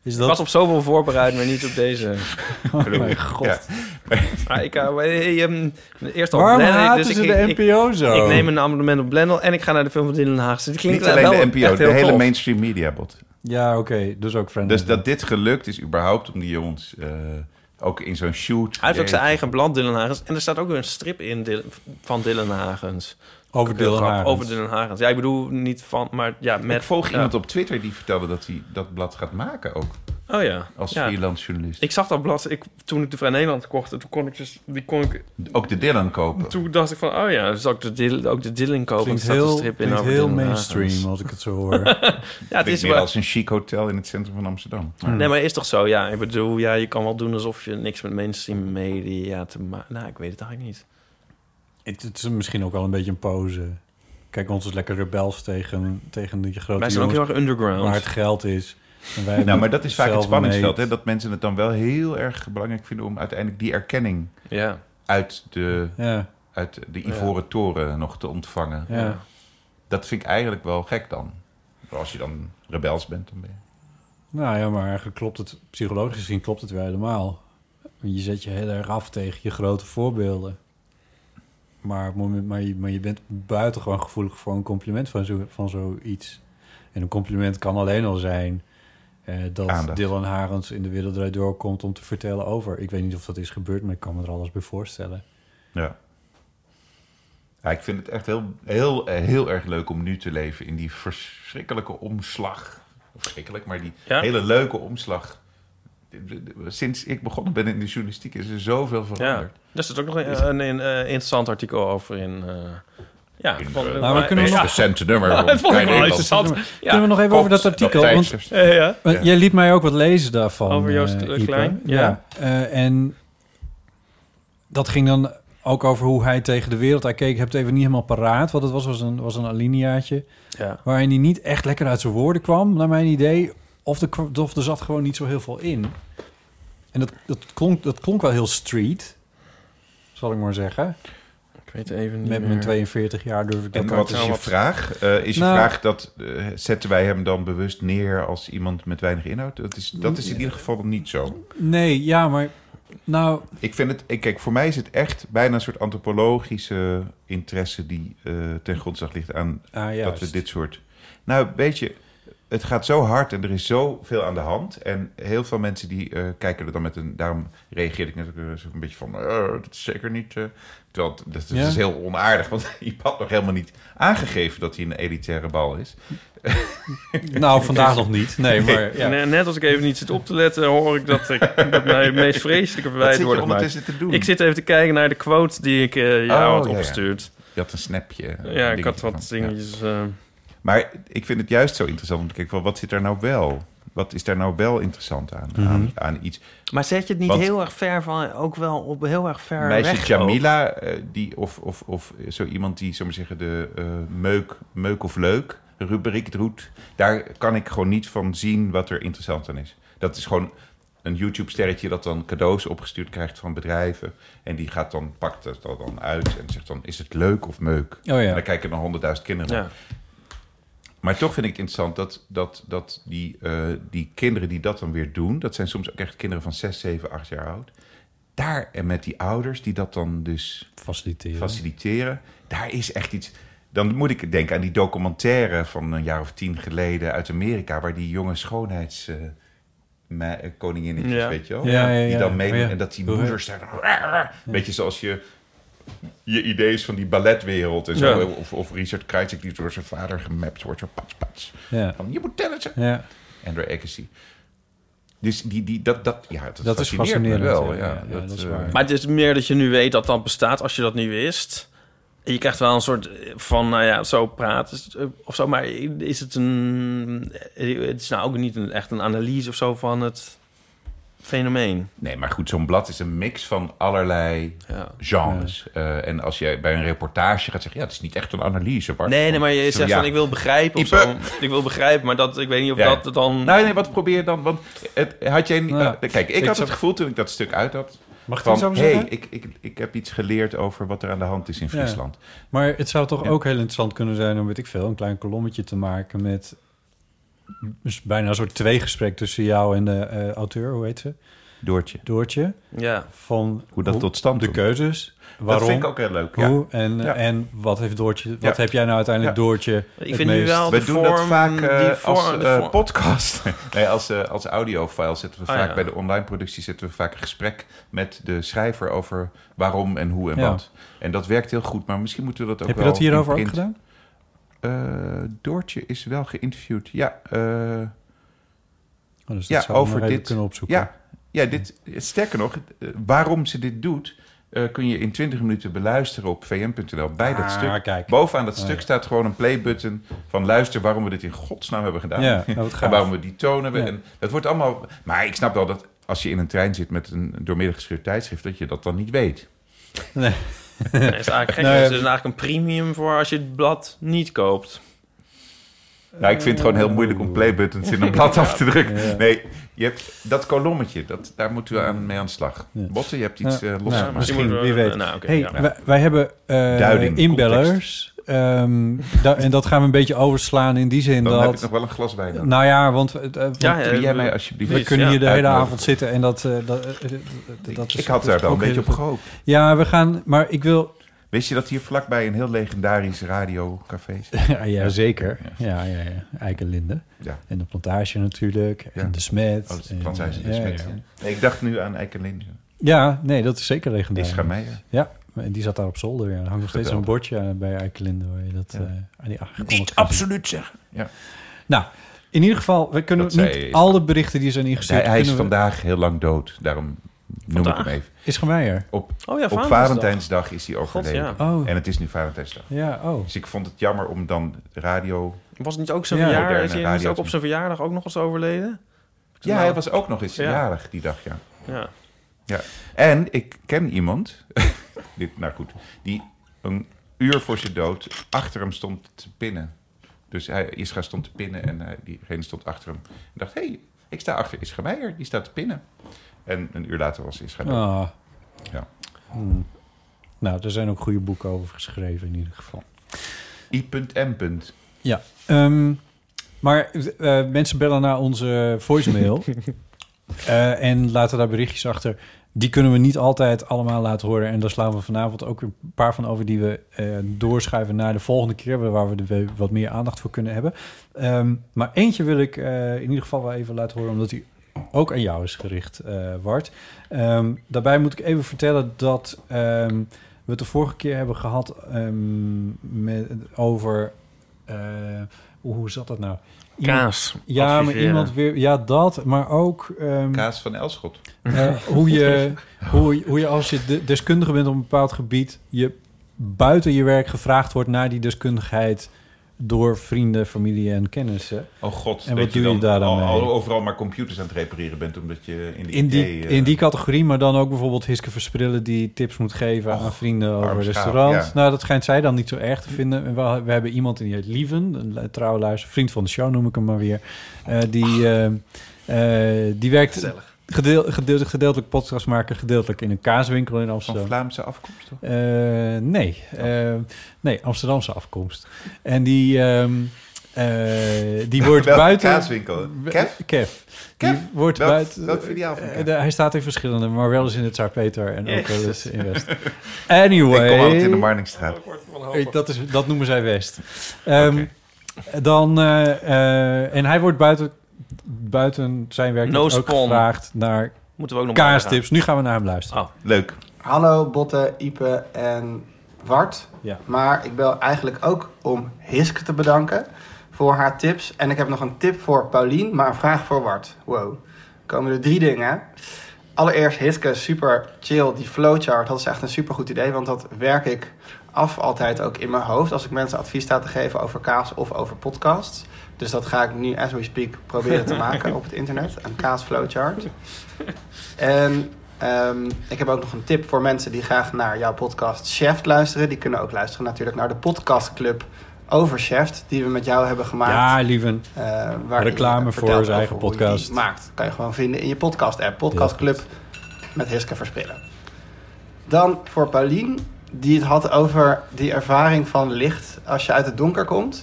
was dat... Oh op zoveel voorbereid, maar niet op deze. God. Maar ik, eh, eh, ehm, eerst al Waarom Blendel, haten dus ze ik- de ik- NPO zo? Ik neem een abonnement op Blendel en ik ga naar de film van Dylan Haagse. Het klinkt Niet alleen wel de NPO, echt de heel hele tof. Mhm. mainstream media bot. Ja, oké. Dus ook Friends. Dus dat dit gelukt is überhaupt om die jongens eh, ook in zo'n shoot... Hij heeft ook zijn eigen blad, Dylan Hagens. En er staat ook weer een strip in Dylan- van Dylan Hagens. Over Dylan Grap, Hagens. Over Dylan Hagens. Ja, ik bedoel niet van, maar ja, met... Ik volg ja. iemand op Twitter die vertelde dat hij dat blad gaat maken ook. Oh ja. Als ja. freelance journalist. Ik zag dat blad ik, toen ik de Vrij Nederland kocht. en Toen kon ik dus... Die kon ik, Ook de Dylan kopen. toen dacht ik van, oh ja, dus ook de Dylan, ook de Dylan kopen. Klinkt Er staat een heel, strip in klinkt over heel Dylan mainstream Hagens. als ik het zo hoor. Ja, het Het is is wel... meer als een chic hotel in het centrum van Amsterdam. Maar Nee, maar is toch zo? Ja, ik bedoel, ja, je kan wel doen alsof je niks met mainstream media te maken... Nou, ik weet het eigenlijk niet. het, het is misschien ook wel een beetje een pose. Kijk, ons is lekker rebels tegen, tegen die grote Wij zijn ook heel jongens erg underground. waar het geld is. En wij Nou, maar dat is vaak het zelf spanningsveld. mee- Hè? Dat mensen het dan wel heel erg belangrijk vinden om uiteindelijk die erkenning Ja. uit de, Ja, uit de Ivoren Toren nog te ontvangen. ja. Dat vind ik eigenlijk wel gek dan. Als je dan rebels bent, dan ben je. Nou ja, maar eigenlijk klopt het, psychologisch gezien klopt het wel helemaal. Je zet je heel erg af tegen je grote voorbeelden. Maar, op het moment, maar, je, maar je bent buitengewoon gevoelig voor een compliment van, zo, van zoiets. En een compliment kan alleen al zijn eh, dat Aandacht. Dylan Harens in de wereld draait door komt om te vertellen over. Ik weet niet of dat is gebeurd, maar ik kan me er alles bij voorstellen. Ja. ja ik vind het echt heel, heel, eh, heel erg leuk om nu te leven in die verschrikkelijke omslag. Verschrikkelijk, maar die Ja? hele leuke omslag. Sinds ik begonnen ben in de journalistiek is er zoveel Ja, veranderd. daar zit ook nog een, een, een, eh, interessant artikel over in. eh, ja, In, van- eh, Nou, we kunnen Meest nog- recente nummer. Ja, dat vond ik wel interessant. Kunnen Ja. we nog even over dat artikel? want- Ja, ja. Want Jij liet mij ook wat lezen daarvan. Over Joost eh, Le- Ipe. Klein, ja. eh, en dat ging dan ook over hoe hij tegen de wereld aankeek. Ik heb het even niet helemaal paraat. Wat het was, was een, was een alineaatje. Ja. Waarin hij niet echt lekker uit zijn woorden kwam, naar mijn idee. Of er, kwa- of er zat gewoon niet zo heel veel in. En dat, dat, klonk, dat klonk wel heel street. Zal ik maar zeggen. Ik weet even niet. Met mijn meer. 42 jaar durf ik dat En uit wat te is nou je wat- vraag? Eh, is je Nou- vraag dat eh, zetten wij hem dan bewust neer als iemand met weinig inhoud? Dat is, dat is in ieder geval niet zo. Nee, ja, maar... Nou, Ik vind het, ik, kijk, voor mij is het echt bijna een soort antropologische interesse die eh, ten grondslag ligt aan ah, dat we juist. dit soort. Nou, weet je, het gaat zo hard en er is zoveel aan de hand. En heel veel mensen die eh, kijken er dan met een. Daarom reageerde ik net ook eh, zo een beetje van. eh, dat is zeker niet. eh, terwijl het- dat, dat Ja. is heel onaardig, want je had nog helemaal niet aangegeven dat hij een elitaire bal is. Nou, vandaag nog niet. Nee, maar... Ja. Ne- Net als ik even niet zit op te letten, hoor ik dat, ik, dat mij het meest vreselijke Wat verwijt zit je wordt gemaakt. ondertussen te doen? Ik zit even te kijken naar de quote die ik eh jou Oh, had ja, ja. opgestuurd. Je had een snapje. eh, Ja, ik dingetje had wat van. Ja. dingetjes. eh, Maar ik vind het juist zo interessant om te kijken van wat zit daar nou wel? Wat is daar nou wel interessant aan? Mhm. aan, aan iets. Maar zet je het niet Want- heel erg ver van, ook wel op heel erg ver Meisje weg? Jamila, eh, die, of, of, of zo iemand die, zullen we zeggen, de eh, meuk, meuk of leuk rubriek doet. Daar kan ik gewoon niet van zien wat er interessant aan is. Dat is gewoon een YouTube-sterretje dat dan cadeaus opgestuurd krijgt van bedrijven. En die gaat dan, pakt dat er dan uit en zegt dan, is het leuk of meuk? ja. En dan kijken er honderdduizend kinderen naar. Ja. Maar toch vind ik het interessant dat, dat, dat die, eh, die kinderen die dat dan weer doen... dat zijn soms ook echt kinderen van 6, 7, 8 jaar oud. Daar en met die ouders die dat dan dus Faciliteren. faciliteren... daar is echt iets... Dan moet ik denken aan die documentaire van een jaar of tien geleden uit Amerika... waar die jonge schoonheids... eh, me- eh, koninginnetjes, Ja. weet je wel? Ja, ja, Die ja. dan meedoen Oh, ja. en dat die Hoe heet- moeders daar... dan- Weet je, zoals je je idee is van die balletwereld en zo. Ja. Of, of Richard Krajcik die door zijn vader gemapt wordt. Zo pats, pats. Ja. Van, je moet tennissen. ja. Andrew Agassi. Dus die, die, dat, dat, ja, dat, Dat is fascineert me fascinerend, wel. ja. Ja, Ja, ja, dat is eh, waar. Maar het is meer dat je nu weet dat dat bestaat als je dat niet wist. En Je krijgt wel een soort van, nou ja, zo praat is het, eh, of zo. Maar is het een. eh, Het is nou ook niet een, echt een analyse of zo van het fenomeen. nee, maar goed, zo'n blad is een mix van allerlei Ja. genres. Eh, en als je bij een reportage gaat zeggen... ja, het is niet echt een analyse. Bart. Nee, nee, maar je Zo, zegt ja. van ik wil begrijpen of Ipe. zo. Ik wil begrijpen, maar dat, ik weet niet of Ja. dat dan... Nou, Nee, nee, wat probeer je dan? Want het, had jij... niet- Ja. eh, kijk, ik Ik had zou- het gevoel toen ik dat stuk uit had... Mag ik van, iets over hey, zeggen? ik, ik, ik heb iets geleerd over wat er aan de hand is in Ja. Friesland. Maar het zou toch Ja. ook heel interessant kunnen zijn om, weet ik veel, een klein kolommetje te maken met dus bijna een soort tweegesprek tussen jou en de eh, auteur, hoe heet ze? Doortje. Doortje. Ja. Van Hoe dat tot stand De komt. keuzes. Waarom? Dat vind ik ook heel leuk. ja. Hoe en, Ja. en wat, heeft Doortje, wat Ja. heb jij nou uiteindelijk Ja. Doortje Ik het vind nu meest- wel We de doen vorm, dat vaak eh, die vorm, als de eh, vorm- podcast. nee, als, eh als audiofile zetten we Ah, vaak ja. bij de online productie zetten we vaak een gesprek met de schrijver over waarom en hoe en Ja. wat. En dat werkt heel goed, maar misschien moeten we dat ook Heb je wel dat hierover in ook print- gedaan? Eh, Doortje is wel geïnterviewd. Ja, eh, Oh, dus dat Ja, zou ik over nog even dit- kunnen opzoeken. ja, ja dit, sterker nog, eh, waarom ze dit doet, eh, kun je in 20 minuten beluisteren op vm.nl bij dat Ah, stuk. kijk. Bovenaan dat Ah, stuk ja. staat gewoon een playbutton van luister waarom we dit in godsnaam hebben gedaan. Ja, nou, wat En gaaf. waarom we die toon hebben. Ja. En dat wordt allemaal. Maar ik snap wel dat als je in een trein zit met een doormidden gescheurd tijdschrift, dat je dat dan niet weet. Nee, is eigenlijk gek. Nou ja. Dus er is eigenlijk een premium voor als je het blad niet koopt. Nou, ik vind het gewoon heel moeilijk om playbuttons in een blad af te drukken. Ja. Nee, je hebt dat kolommetje, dat, daar moeten we aan, mee aan de slag. Ja. Botten, je hebt iets Ja. eh, Nou, losgemaakt. misschien- moeten we- wie weet. Nou, oké, hey, ja. wij, wij hebben eh, Duiding, inbellers. Ehm, da- en dat gaan we een beetje overslaan in die zin dan dat... heb ik nog wel een glas wijn. nodig. Nou ja, want, eh, eh, want Ja, ja, Wil jij eh, mij alsjeblieft. we precies, kunnen ja. hier de hele Uitnodigen. avond zitten en dat... eh, dat, eh, eh, dat- dat is- nou. ik had daar dat is wel een ook beetje heel op goed. gehoopt. Ja, we gaan... Maar ik wil... Wist je dat hier vlakbij een heel legendarisch radiocafé zit? ja, ja, zeker. Ja, ja, ja. Eikenlinde. Ja. En de plantage natuurlijk. Ja. En de smet. Oh, dat is en- eh, Fransijs ja, Smit. ja. Nee, ik dacht nu aan Eikenlinde. Ja, nee, dat is zeker legendarisch. Isra Meijer. Ja, en die zat daar op zolder. Ja. Er hangt nog steeds zo'n Geweldig. bordje aan bij Eikelinde waar je dat Ja. eh, aan die aangekondigd Niet kan absoluut zeggen. Ja. zien. Nou, in ieder geval, we kunnen Dat niet zei Isra. al de berichten die zijn ingestuurd. Hij, hij is kunnen we- vandaag heel lang dood, daarom noem ik Vandaag? hem even. Isra Meijer. Op, Oh ja, op Valentijnsdag is hij overleden. God, Oh, En het is nu Valentijnsdag. ja, oh. Dus ik vond het jammer om dan radio... Was het niet ook zijn Ja. verjaardag? Moderne Is hij niet radio- ook op zijn verjaardag ook nog eens overleden? Ja, hij was ook nog eens Ja. jarig die dag, ja. Ja. En ik ken iemand, dit, nou goed, die een uur voor zijn dood achter hem stond te pinnen. Dus hij, Isra stond te pinnen en eh, diegene stond achter hem. En dacht, hé, hey, ik sta achter Isra Meijer, die staat te pinnen. En een uur later was Isra dood. Ah. Ja. Hmm. Nou, er zijn ook goede boeken over geschreven in ieder geval. I.M. Ja, ehm, maar eh, mensen bellen naar onze voicemail. Eh, en laten daar berichtjes achter. Die kunnen we niet altijd allemaal laten horen. En daar slaan we vanavond ook een paar van over die we eh, doorschuiven naar de volgende keer. Waar we er weer wat meer aandacht voor kunnen hebben. Ehm, maar eentje wil ik eh, in ieder geval wel even laten horen, omdat die ook aan jou is gericht, eh Wart. Ehm, daarbij moet ik even vertellen dat ehm, we het de vorige keer hebben gehad ehm, met, over. eh, hoe hoe zat dat nou? Iemand- Kaas. Ja, maar adviseren. iemand weer. Ja, dat, maar ook. ehm, Kaas van Elschot. eh, hoe, je, hoe, hoe je als je de- deskundige bent op een bepaald gebied, je buiten je werk gevraagd wordt naar die deskundigheid door vrienden, familie en kennissen. Oh god, En dat wat doe je daar dan al- mee? al overal maar computers aan het repareren bent, omdat je in die, In die, idee, eh, in die categorie, maar dan ook bijvoorbeeld Hiske Versprillen... die tips moet geven Och, aan vrienden over arme schaap, restaurants. ja. Nou, dat schijnt zij dan niet zo erg te vinden. En We, we hebben iemand in die heet Lieven, een lu- trouwe luister, vriend van de show noem ik hem maar weer. Eh, die, eh, eh, die werkt Gezellig. gedeel, gedeeltelijk, gedeeltelijk podcast maken, gedeeltelijk in een kaaswinkel in van Amsterdam. Vlaamse afkomst, toch? Eh, nee, Oh. Eh, nee, Amsterdamse afkomst. En die, ehm, eh, die wordt Welke buiten... kaaswinkel? Kev? Kev. Die Kev? wordt Welk- buiten... welk filiaal van Kev? Eh, de- hij staat in verschillende, maar wel eens in het Zuid-Peter en ook Jezus. wel eens in West. Anyway. Ik kom altijd in de Marnixstraat. Eh, Dat, is, dat noemen zij West. Ehm, Dan, eh, eh, en hij wordt buiten, buiten zijn werk No ook spawn. gevraagd naar Moeten we ook nog kaastips. Nu gaan we naar hem luisteren. Oh. Leuk. Hallo Botte, Ipe en Wart. Ja. Maar ik bel eigenlijk ook om Hiske te bedanken voor haar tips. En ik heb nog een tip voor Paulien, maar een vraag voor Wart. Wow. Komen er drie dingen. Allereerst Hiske, super chill. Die flowchart, dat is echt een super goed idee. Want dat werk ik af altijd ook in mijn hoofd. Als ik mensen advies sta te geven over kaas of over podcasts. Dus dat ga ik nu, as we speak, proberen te maken op het internet. Een kaas flowchart. En ehm, ik heb ook nog een tip voor mensen die graag naar jouw podcast Chef luisteren. Die kunnen ook luisteren natuurlijk naar de podcastclub over Chef, die we met jou hebben gemaakt. Ja, lieven. Eh, waarin Reclame voor je vertelt zijn over eigen hoe je podcast. die maakt. Kan je gewoon vinden in je podcast-app. Podcastclub met Hiske Verspillen. Dan voor Paulien, die het had over die ervaring van licht als je uit het donker komt.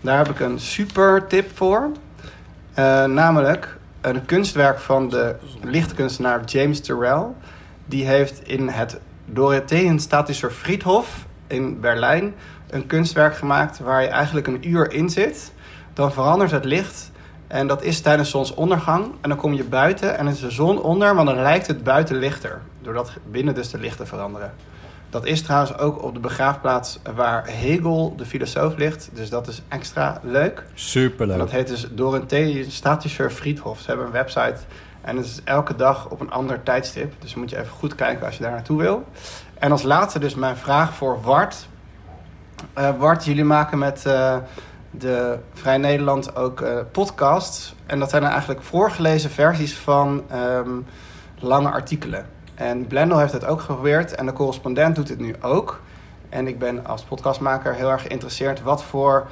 Daar heb ik een super tip voor. Eh, namelijk een kunstwerk van de lichtkunstenaar James Terrell. Die heeft in het Dorotheenstatischer Friedhof in Berlijn een kunstwerk gemaakt waar je eigenlijk een uur in zit. Dan verandert het licht en dat is tijdens zonsondergang. En dan kom je buiten en is de zon onder, maar dan lijkt het buiten lichter. Doordat binnen dus de lichten veranderen. Dat is trouwens ook op de begraafplaats waar Hegel, de filosoof, ligt. Dus dat is extra leuk. En Superleuk. dat heet dus Dorothee Statischer Friedhof. Ze hebben een website en het is elke dag op een ander tijdstip. Dus moet je even goed kijken als je daar naartoe wil. En als laatste dus mijn vraag voor Wart. Eh, Wart, jullie maken met eh, de Vrij Nederland ook eh, podcasts. En dat zijn dan eigenlijk voorgelezen versies van ehm, lange artikelen. En Blendel heeft het ook geprobeerd en de correspondent doet het nu ook. En ik ben als podcastmaker heel erg geïnteresseerd wat voor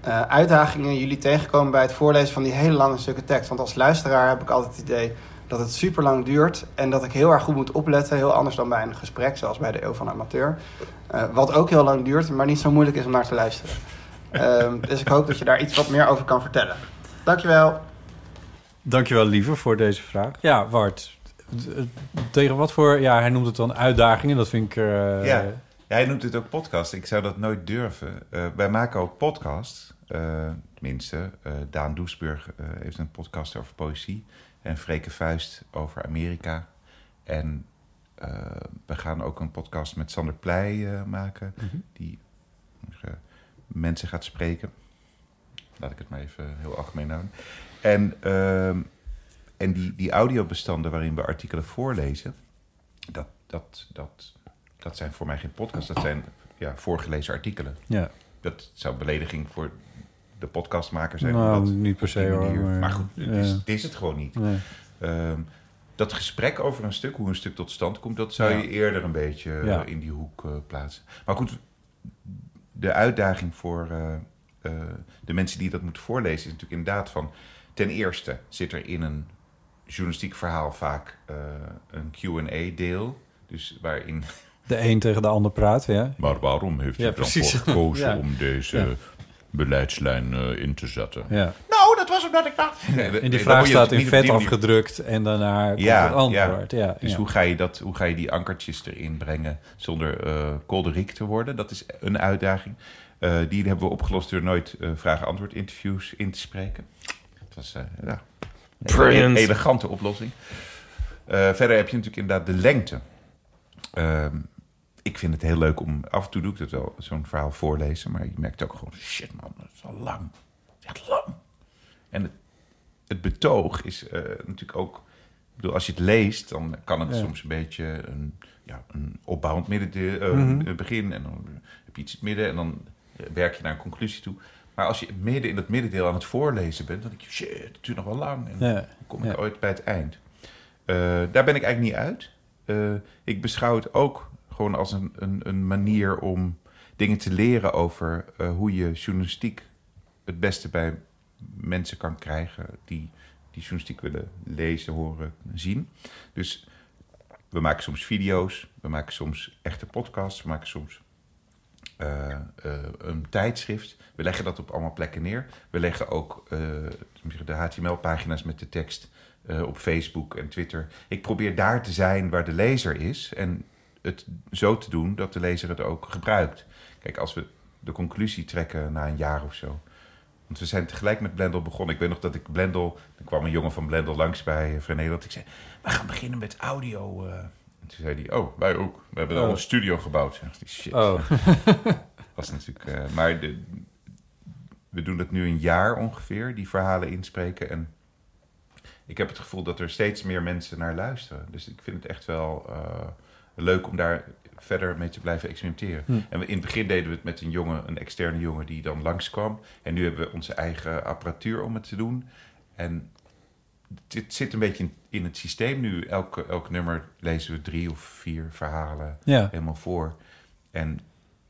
eh, uitdagingen jullie tegenkomen bij het voorlezen van die hele lange stukken tekst. Want als luisteraar heb ik altijd het idee dat het super lang duurt en dat ik heel erg goed moet opletten. Heel anders dan bij een gesprek, zoals bij de Eeuw van Amateur. Eh, wat ook heel lang duurt, maar niet zo moeilijk is om naar te luisteren. Ehm, dus ik hoop dat je daar iets wat meer over kan vertellen. Dankjewel. Dankjewel, liever, voor deze vraag. Ja, Wart. d- d- Tegen wat voor... Ja, hij noemt het dan uitdagingen. Dat vind ik... eh, Ja. Ja, hij noemt dit ook podcast. Ik zou dat nooit durven. Eh, wij maken ook podcasts. Eh, tenminste, eh, Daan Doesburg eh, heeft een podcast over poëzie. En Freke Vuist over Amerika. En eh, we gaan ook een podcast met Sander Pleij eh, maken. Die eh, mensen gaat spreken. Laat ik het maar even heel algemeen houden. En, ehm, en die, die audiobestanden waarin we artikelen voorlezen... Dat, dat, dat, dat zijn voor mij geen podcasts, dat zijn ja, voorgelezen artikelen. ja. Dat zou belediging voor de podcastmaker zijn. Nou, omdat- niet per op se die hoor. manier- Maar, Maar goed, het ja. is, het is het gewoon niet. Nee. Ehm, dat gesprek over een stuk, hoe een stuk tot stand komt, dat zou Ja. je eerder een beetje eh, Ja. in die hoek eh, plaatsen. Maar goed, de uitdaging voor eh, eh, de mensen die dat moeten voorlezen is natuurlijk inderdaad van... Ten eerste zit er in een journalistiek verhaal vaak eh, een Q&A-deel. Dus waarin... De een tegen de ander praat, ja. Maar waarom heeft Ja, u dan precies. voor gekozen Ja. om deze Ja. beleidslijn eh, in te zetten? ja. Nou, dat was omdat ik dacht... En die vraag staat in vet afgedrukt en daarna komt Ja, het antwoord. Ja, ja, Dus Hoe, ga je dat, hoe ga je die ankertjes erin brengen zonder eh kolderiek te worden? Dat is een uitdaging. Eh, die hebben we opgelost door nooit eh, vraag-antwoord interviews in te spreken. Dat was eh, ja, een Brilliant. ele- elegante oplossing. Eh, verder heb je natuurlijk inderdaad de lengte. Ehm, ik vind het heel leuk om, af en toe doe ik dat wel, zo'n verhaal voorlezen. Maar je merkt ook gewoon, shit man, dat is al lang. Het is echt lang. En het, het betoog is eh, natuurlijk ook... Ik bedoel, als je het leest, dan kan het Ja. soms een beetje een, ja, een opbouwend midden, eh, Mhm. begin. En dan heb je iets in het midden en dan eh, werk je naar een conclusie toe. Maar als je midden in het middendeel aan het voorlezen bent, dan denk je, shit, het duurt nog wel lang. En Ja. dan kom ik Ja. ooit bij het eind. Eh, daar ben ik eigenlijk niet uit. Eh, ik beschouw het ook gewoon als een, een, een manier om dingen te leren over eh, hoe je journalistiek het beste bij mensen kan krijgen die, die journalistiek willen lezen, horen, zien. Dus we maken soms video's, we maken soms echte podcasts, we maken soms eh, eh, een tijdschrift. We leggen dat op allemaal plekken neer. We leggen ook eh, de HTML-pagina's met de tekst eh, op Facebook en Twitter. Ik probeer daar te zijn waar de lezer is en het zo te doen dat de lezer het ook gebruikt. Kijk, als we de conclusie trekken na een jaar of zo. Want we zijn tegelijk met Blendel begonnen. Ik weet nog dat ik Blendel... Er kwam een jongen van Blendel langs bij eh, Vrij Nederland. Ik zei, we gaan beginnen met audio. eh." En toen zei hij, oh, wij ook. We hebben al Oh. een studio gebouwd. Ik dacht, Shit. Oh. Was natuurlijk, eh, maar de, we doen dat nu een jaar ongeveer, die verhalen inspreken. En ik heb het gevoel dat er steeds meer mensen naar luisteren. Dus ik vind het echt wel eh, leuk om daar verder mee te blijven experimenteren. Hm. En we, in het begin deden we het met een jongen, een externe jongen die dan langskwam. En nu hebben we onze eigen apparatuur om het te doen. En dit zit een beetje in, in het systeem nu. Elke, elk nummer lezen we drie of vier verhalen Ja. helemaal voor. En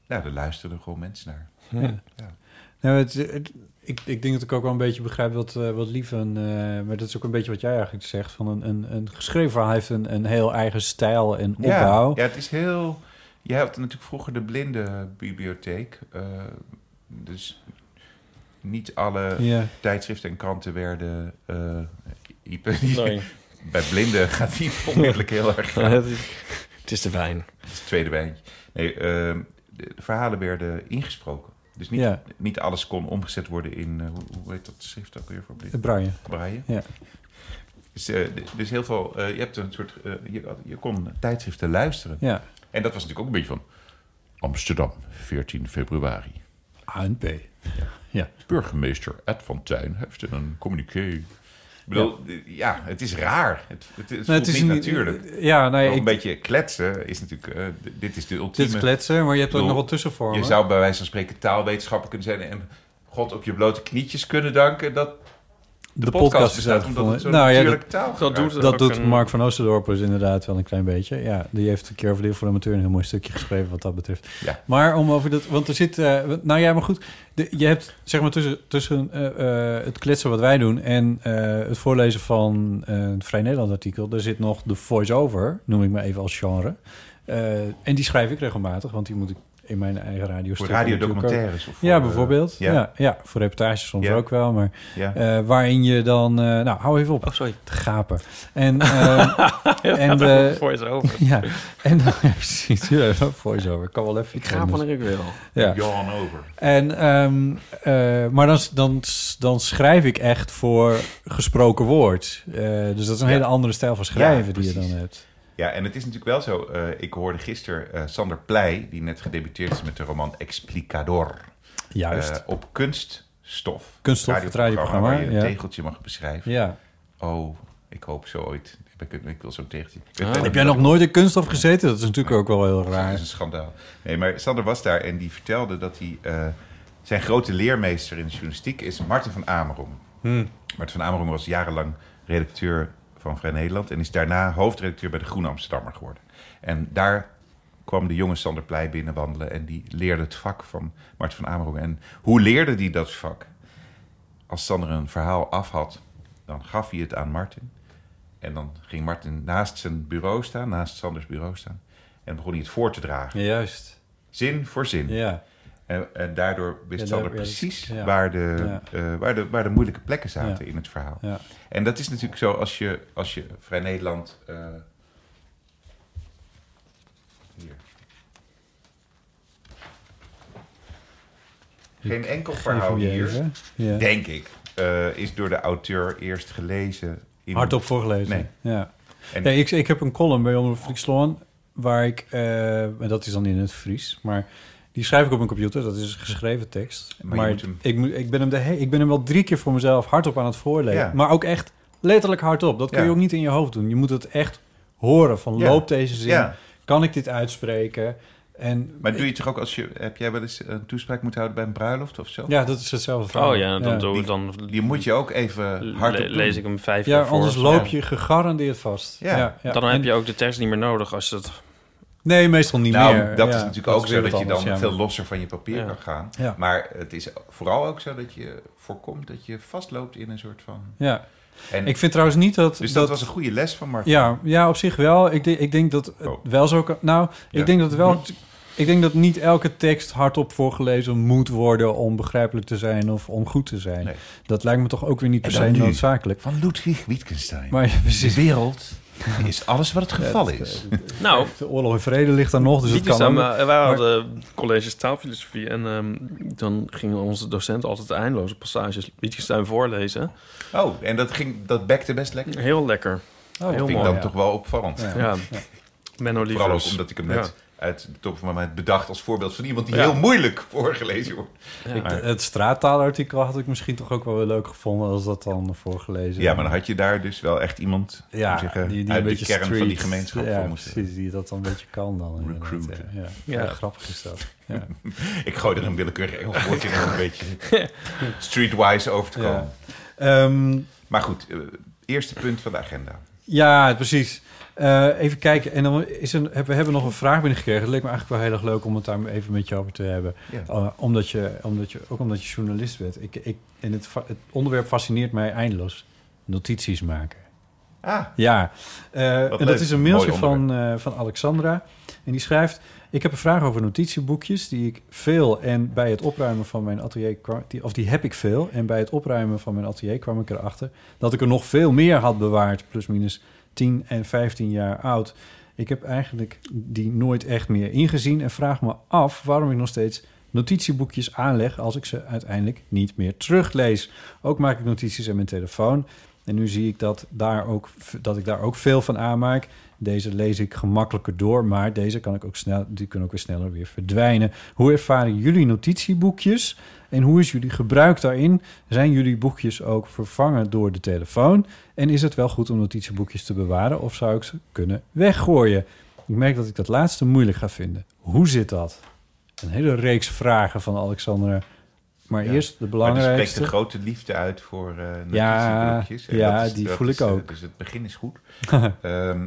ja, er luisterden gewoon mensen naar. Ja. Ja. Nou, het, het- ik, ik denk dat ik ook wel een beetje begrijp wat, eh, wat Lief en... eh, maar dat is ook een beetje wat jij eigenlijk zegt. Van een, een, een geschreven verhaal heeft een, een heel eigen stijl en opbouw. Ja, ja, het is heel... Jij had natuurlijk vroeger de blinde bibliotheek. eh, dus niet alle Ja. tijdschriften en kranten werden... eh, hyper- Nee. Bij blinden gaat die onmiddellijk heel erg... het is de wijn. Het tweede wijntje. Nee, ehm, de de verhalen werden ingesproken. Dus niet, Ja. niet alles kon omgezet worden in... eh, hoe, hoe heet dat schrift ook weer voor blinden? Eh, Brian. Braille. Ja. Dus, eh, d- dus heel veel, eh, je hebt een soort, eh, je, had- je kon tijdschriften luisteren. Ja. En dat was natuurlijk ook een beetje van Amsterdam, 14 februari. ANP. Burgemeester Ed van Tuin heeft in een communiqué. Ik bedoel, eh, ja, het is raar. Het, het, het voelt niet natuurlijk. Ja, nou ja, Ook een ik, beetje kletsen is natuurlijk, eh, d- dit is de dit is ultieme. kletsen, maar je hebt ook Bedoel, nog wel tussenvormen. je zou bij wijze van spreken taalwetenschapper kunnen zijn en God op je blote knietjes kunnen danken dat de, de, podcast, podcast is bestaat omdat het uitgevonden. zo Nou ja, dat, natuurlijk taal dat gebruikt. doet het. dat ook doet een- Mark van Oosterdorp dus inderdaad wel een klein beetje. Ja, die heeft een keer over de voor de amateur een heel mooi stukje geschreven wat dat betreft. Ja. Maar om over dat, want er zit, eh, nou ja, maar goed, de- je hebt zeg maar tussen, tussen eh, eh, het kletsen wat wij doen en eh, het voorlezen van eh, het Vrij Nederland artikel, daar zit nog de voice-over, noem ik maar even als genre. Eh, en die schrijf ik regelmatig, want die moet ik in mijn eigen radio Voor radiodocumentaires. of voor, Ja, eh, bijvoorbeeld. ja. Ja. Ja, voor reportages soms Ja. ook wel, maar ja. eh, waarin je dan, eh, nou hou even op Oh, sorry. te gapen. En, ehm, en, de... eh, Voor is over. ja, en dan, ja, precies, ja, voice-over. Ik kan wel even. Ik ga van ik wil. Ja. Johan over. En, ehm, eh, maar dan, dan, dan schrijf ik echt voor gesproken woord. Eh, dus dat is een Ja. hele andere stijl van schrijven Ja, die je dan precies. hebt. Ja, en het is natuurlijk wel zo. eh, ik hoorde gisteren eh, Sander Pleij, die net gedebuteerd is met de roman Explicador. Juist. Eh, op kunststof. Kunststof, het radioprogramma, Waar je een ja. tegeltje mag beschrijven. ja. Oh, ik hoop zo ooit. Ik, ben- ik wil zo'n tegeltje. Ik Ah. weet- Heb jij nog nooit in kunststof gezeten? Dat is natuurlijk ook wel heel Dat is raar. een schandaal. Nee, maar Sander was daar en die vertelde dat hij... eh, zijn grote leermeester in de journalistiek is Martin van Amerom. Martin van Amerom was jarenlang redacteur van Vrij Nederland... en is daarna hoofdredacteur bij de Groene Amsterdammer geworden. En daar kwam de jonge Sander Pleij binnenwandelen... en die leerde het vak van Martin van Amerom. En hoe leerde die dat vak? Als Sander een verhaal af had, dan gaf hij het aan Martin... En dan ging Martin naast zijn bureau staan, naast Sanders bureau staan. En begon hij het voor te dragen. Juist. Zin voor zin. Ja. En, en daardoor wist Ja, Sander daar- ja, dat- precies ja. waar, de, Ja. eh, waar, de, waar de moeilijke plekken zaten Ja. in het verhaal. Ja. En dat is natuurlijk zo als je, als je Vrij Nederland... eh, hier. Geen enkel verhaal Even je hier, even. Ja. denk ik, eh, is door de auteur eerst gelezen. In, Hardop voorgelezen. Nee. Ja. En- Nee, ik, ik heb een column bij Omroep Friesland waar ik, eh, en dat is dan in het Fries, maar die schrijf ik op mijn computer. Dat is geschreven tekst. Maar je Maar, moet hem- ik, moet- ik, ben hem de, he- ik ben hem wel drie keer voor mezelf hardop aan het voorlezen. Ja. Maar ook echt letterlijk hardop. Dat kun je Ja. ook niet in je hoofd doen. Je moet het echt horen van Ja. loopt deze zin? Ja. Kan ik dit uitspreken? En Maar doe je het toch ook als je... Heb jij wel eens een toespraak moeten houden bij een bruiloft of zo? ja, dat is hetzelfde verhaal. Oh ja, dan, doe ik- dan Die moet je ook even hard le- op lees ik hem vijf Ja, keer voor. anders of zo. loop je gegarandeerd vast. Ja. Dan heb En- je ook de tekst niet meer nodig als je dat... Nee, meestal niet Nou, meer. dat Ja, is natuurlijk ook zo weer dat wat je dan anders, ja. veel losser van je papier Ja. kan gaan. Ja. Maar het is vooral ook zo dat je voorkomt dat je vastloopt in een soort van... Ja, En ik vind trouwens niet dat... dus dat, was een goede les van Mark. Ja, ja, op zich wel. Ik, denk- ik denk dat het Oh. wel zo kan... Nou, Ja. ik denk dat het wel... Ik denk dat niet elke tekst hardop voorgelezen moet worden om begrijpelijk te zijn of om goed te zijn. Nee. Dat lijkt me toch ook weer niet per En dan se nu. noodzakelijk. Van Ludwig Wittgenstein. Maar ja, de precies. eh, wereld is alles wat het geval is. Nou, De oorlog en vrede ligt daar nog, dus het kan... Liedjes aan, ook- maar, eh, wij hadden colleges taalfilosofie en ehm, dan gingen onze docenten altijd eindeloze passages Wittgenstein voorlezen. Oh, en dat, ging, dat bekte best lekker. Dat Heel lekker. Oh, heel vind ik mooi, dan ja. toch wel opvallend. Ja. Ja. Menno Vooral ook Lievers. omdat ik hem net uit de top van mijn mind bedacht als voorbeeld van iemand die Ja. heel moeilijk voorgelezen wordt. Ja. Maar- Het straattaalartikel had ik misschien toch ook wel weer leuk gevonden als dat dan voorgelezen Ja, maar dan had je daar dus wel echt iemand Ja, moet ik zeggen, die, die eh, uit een de beetje kern van die street. gemeenschap ja, voor moest. precies, die dat dan een beetje kan dan. inderdaad, Recruiten. Ja, ja. Ja. Ja, grappig is dat. Ja. Ik gooi er een willekeurig Engels woordje in om een beetje streetwise over te komen. Ja. Ehm, Maar goed, eh, eerste punt van de agenda. ja, precies. Eh, even kijken. En dan is een, hebben, we hebben nog een vraag binnengekregen. Het leek me eigenlijk wel heel erg leuk om het daar even met je over te hebben. Ja. Eh, omdat je, omdat je, ook omdat je journalist bent. Ik, ik, en het, fa- het onderwerp fascineert mij eindeloos. Notities maken. Ah, Ja, eh, Wat leuk. en dat is een mailtje Mooi van, eh, van Alexandra. En die schrijft... Ik heb een vraag over notitieboekjes die ik veel... en bij het opruimen van mijn atelier... kwam- die, of die heb ik veel. En bij het opruimen van mijn atelier kwam ik erachter... dat ik er nog veel meer had bewaard. Plus minus 10 en 15 jaar oud. Ik heb eigenlijk die nooit echt meer ingezien... en vraag me af waarom ik nog steeds notitieboekjes aanleg... als ik ze uiteindelijk niet meer teruglees. Ook maak ik notities aan mijn telefoon... En nu zie ik dat, daar ook, dat ik daar ook veel van aanmaak. Deze lees ik gemakkelijker door, maar deze kan ik ook snel, die kunnen ook weer sneller weer verdwijnen. Hoe ervaren jullie notitieboekjes en hoe is jullie gebruik daarin? Zijn jullie boekjes ook vervangen door de telefoon? En is het wel goed om notitieboekjes te bewaren of zou ik ze kunnen weggooien? Ik merk dat ik dat laatste moeilijk ga vinden. Hoe zit dat? Een hele reeks vragen van Alexandra. Maar Ja, eerst de maar die belangrijkste. spreekt de grote liefde uit voor eh Ja, notitieboekjes. En ja, dat is- die dat voel is, ik eh, ook. Dus het begin is goed. Ehm,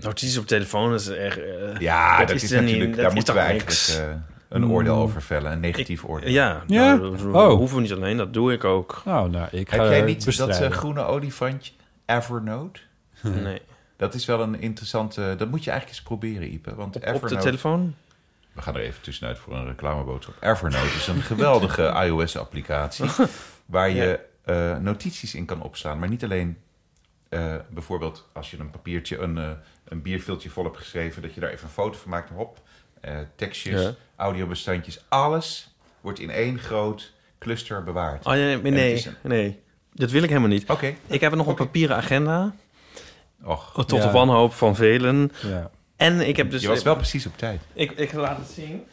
Notities op telefoon is echt... eh, ja, dat, is is er niet- natuurlijk, dat daar is moeten we toch eigenlijk niks. eh, een Mm. oordeel over vellen, een negatief oordeel. ja, Ja? nou, dat Oh. hoeven we niet alleen, dat doe ik ook. Nou, nou, ik ga Heb jij niet bestrijden. dat eh, groene olifantje, Evernote? Nee. Dat is wel een interessante... Dat moet je eigenlijk eens proberen, Ipe. Want Op, op de Evernote telefoon? We gaan er even tussenuit voor een reclameboodschap. Evernote is een geweldige iOS-applicatie waar je eh, notities in kan opslaan. Maar niet alleen eh, bijvoorbeeld als je een papiertje, een, eh, een bierviltje vol hebt geschreven, dat je daar even een foto van maakt. Hop, eh, tekstjes, Ja. audiobestandjes, alles wordt in één groot cluster bewaard. Oh, nee, nee, het is nee, een- nee. Dat wil ik helemaal niet. Oké, Ik heb nog een papieren agenda. Oh, och. Tot Ja. de wanhoop van velen. Ja. En ik heb dus... je was wel precies op tijd. Ik, ik laat het zien.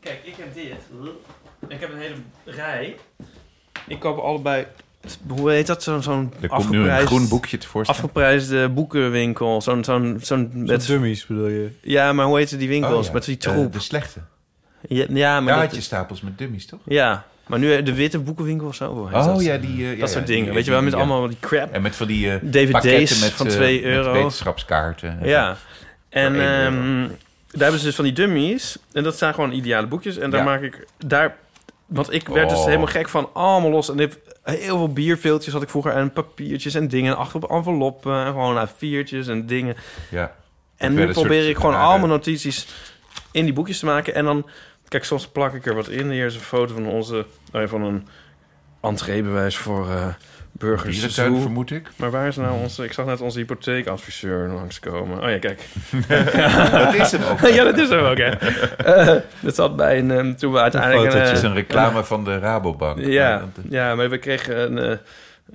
Kijk, ik heb dit. Ik heb een hele rij. Ik koop allebei... Hoe heet dat? Zo'n zo'n Er komt nu een afgeprijsd- groen boekje tevoorschijn. afgeprijsde boekenwinkel. Zo'n... zo'n zo'n Met met, dummies bedoel je? ja, maar hoe heette die winkels? Oh, ja. Met die Eh, troep. de slechte. ja, ja, maar Daar dat- had je stapels met dummies, toch? ja, maar nu eh, de witte boekenwinkel of zo. hoe heet Oh dat? ja, die... eh, ja, Dat soort ja, dingen. die- Weet je wel, die- met ja. allemaal die crap. En met van die eh, DVD's pakketten met, van eh, 2 met euro. wetenschapskaarten. Ja. En Voor één ehm, daar hebben ze dus van die dummies. En dat zijn gewoon ideale boekjes. En daar Ja. maak ik daar. Want ik werd dus Oh. helemaal gek van allemaal los. En ik heb heel veel bierveeltjes had ik vroeger. En papiertjes en dingen. En achter op enveloppen. En gewoon A4'tjes en dingen. Ja. En werd nu een soort probeer ik gewoon rare- al mijn notities in die boekjes te maken. En dan, kijk, soms plak ik er wat in. Hier is een foto van onze. nou ja, van een entreebewijs voor eh burgers. Dierentuin, vermoed ik. Maar waar is nou onze... Ik zag net onze hypotheekadviseur langskomen. Oh ja, kijk. Dat is hem ook. ja, dat is hem ook, hè. Eh, dat zat bij een... ehm, toen we uiteindelijk... Dat is eh, een reclame van de Rabobank. ja, Maar dat- ja, maar we kregen een... eh,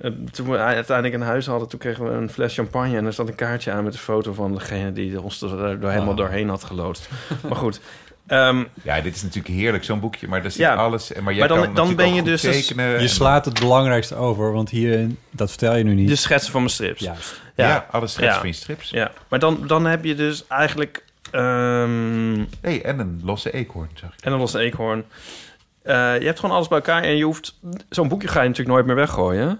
eh, toen we uiteindelijk een huis hadden, toen kregen we een fles champagne... en er zat een kaartje aan met een foto van degene die ons er er helemaal Ah. Oh. doorheen had geloodst. maar goed, ehm, Ja, dit is natuurlijk heerlijk, zo'n boekje. Maar daar zit Ja. alles... en- Maar, jij Maar dan- kan dan ben natuurlijk je ook dus goed als- tekenen. Je en- slaat het belangrijkste over, want hierin, dat vertel je nu niet. de schetsen van mijn strips. Juist. Ja, Ja. alles schets Ja. van je strips. Ja, maar dan, dan heb je dus eigenlijk Ehm, hey, en een losse eekhoorn, zag ik. en dan was een eekhoorn. Eh, je hebt gewoon alles bij elkaar en je hoeft... Zo'n boekje ga je natuurlijk nooit meer weggooien.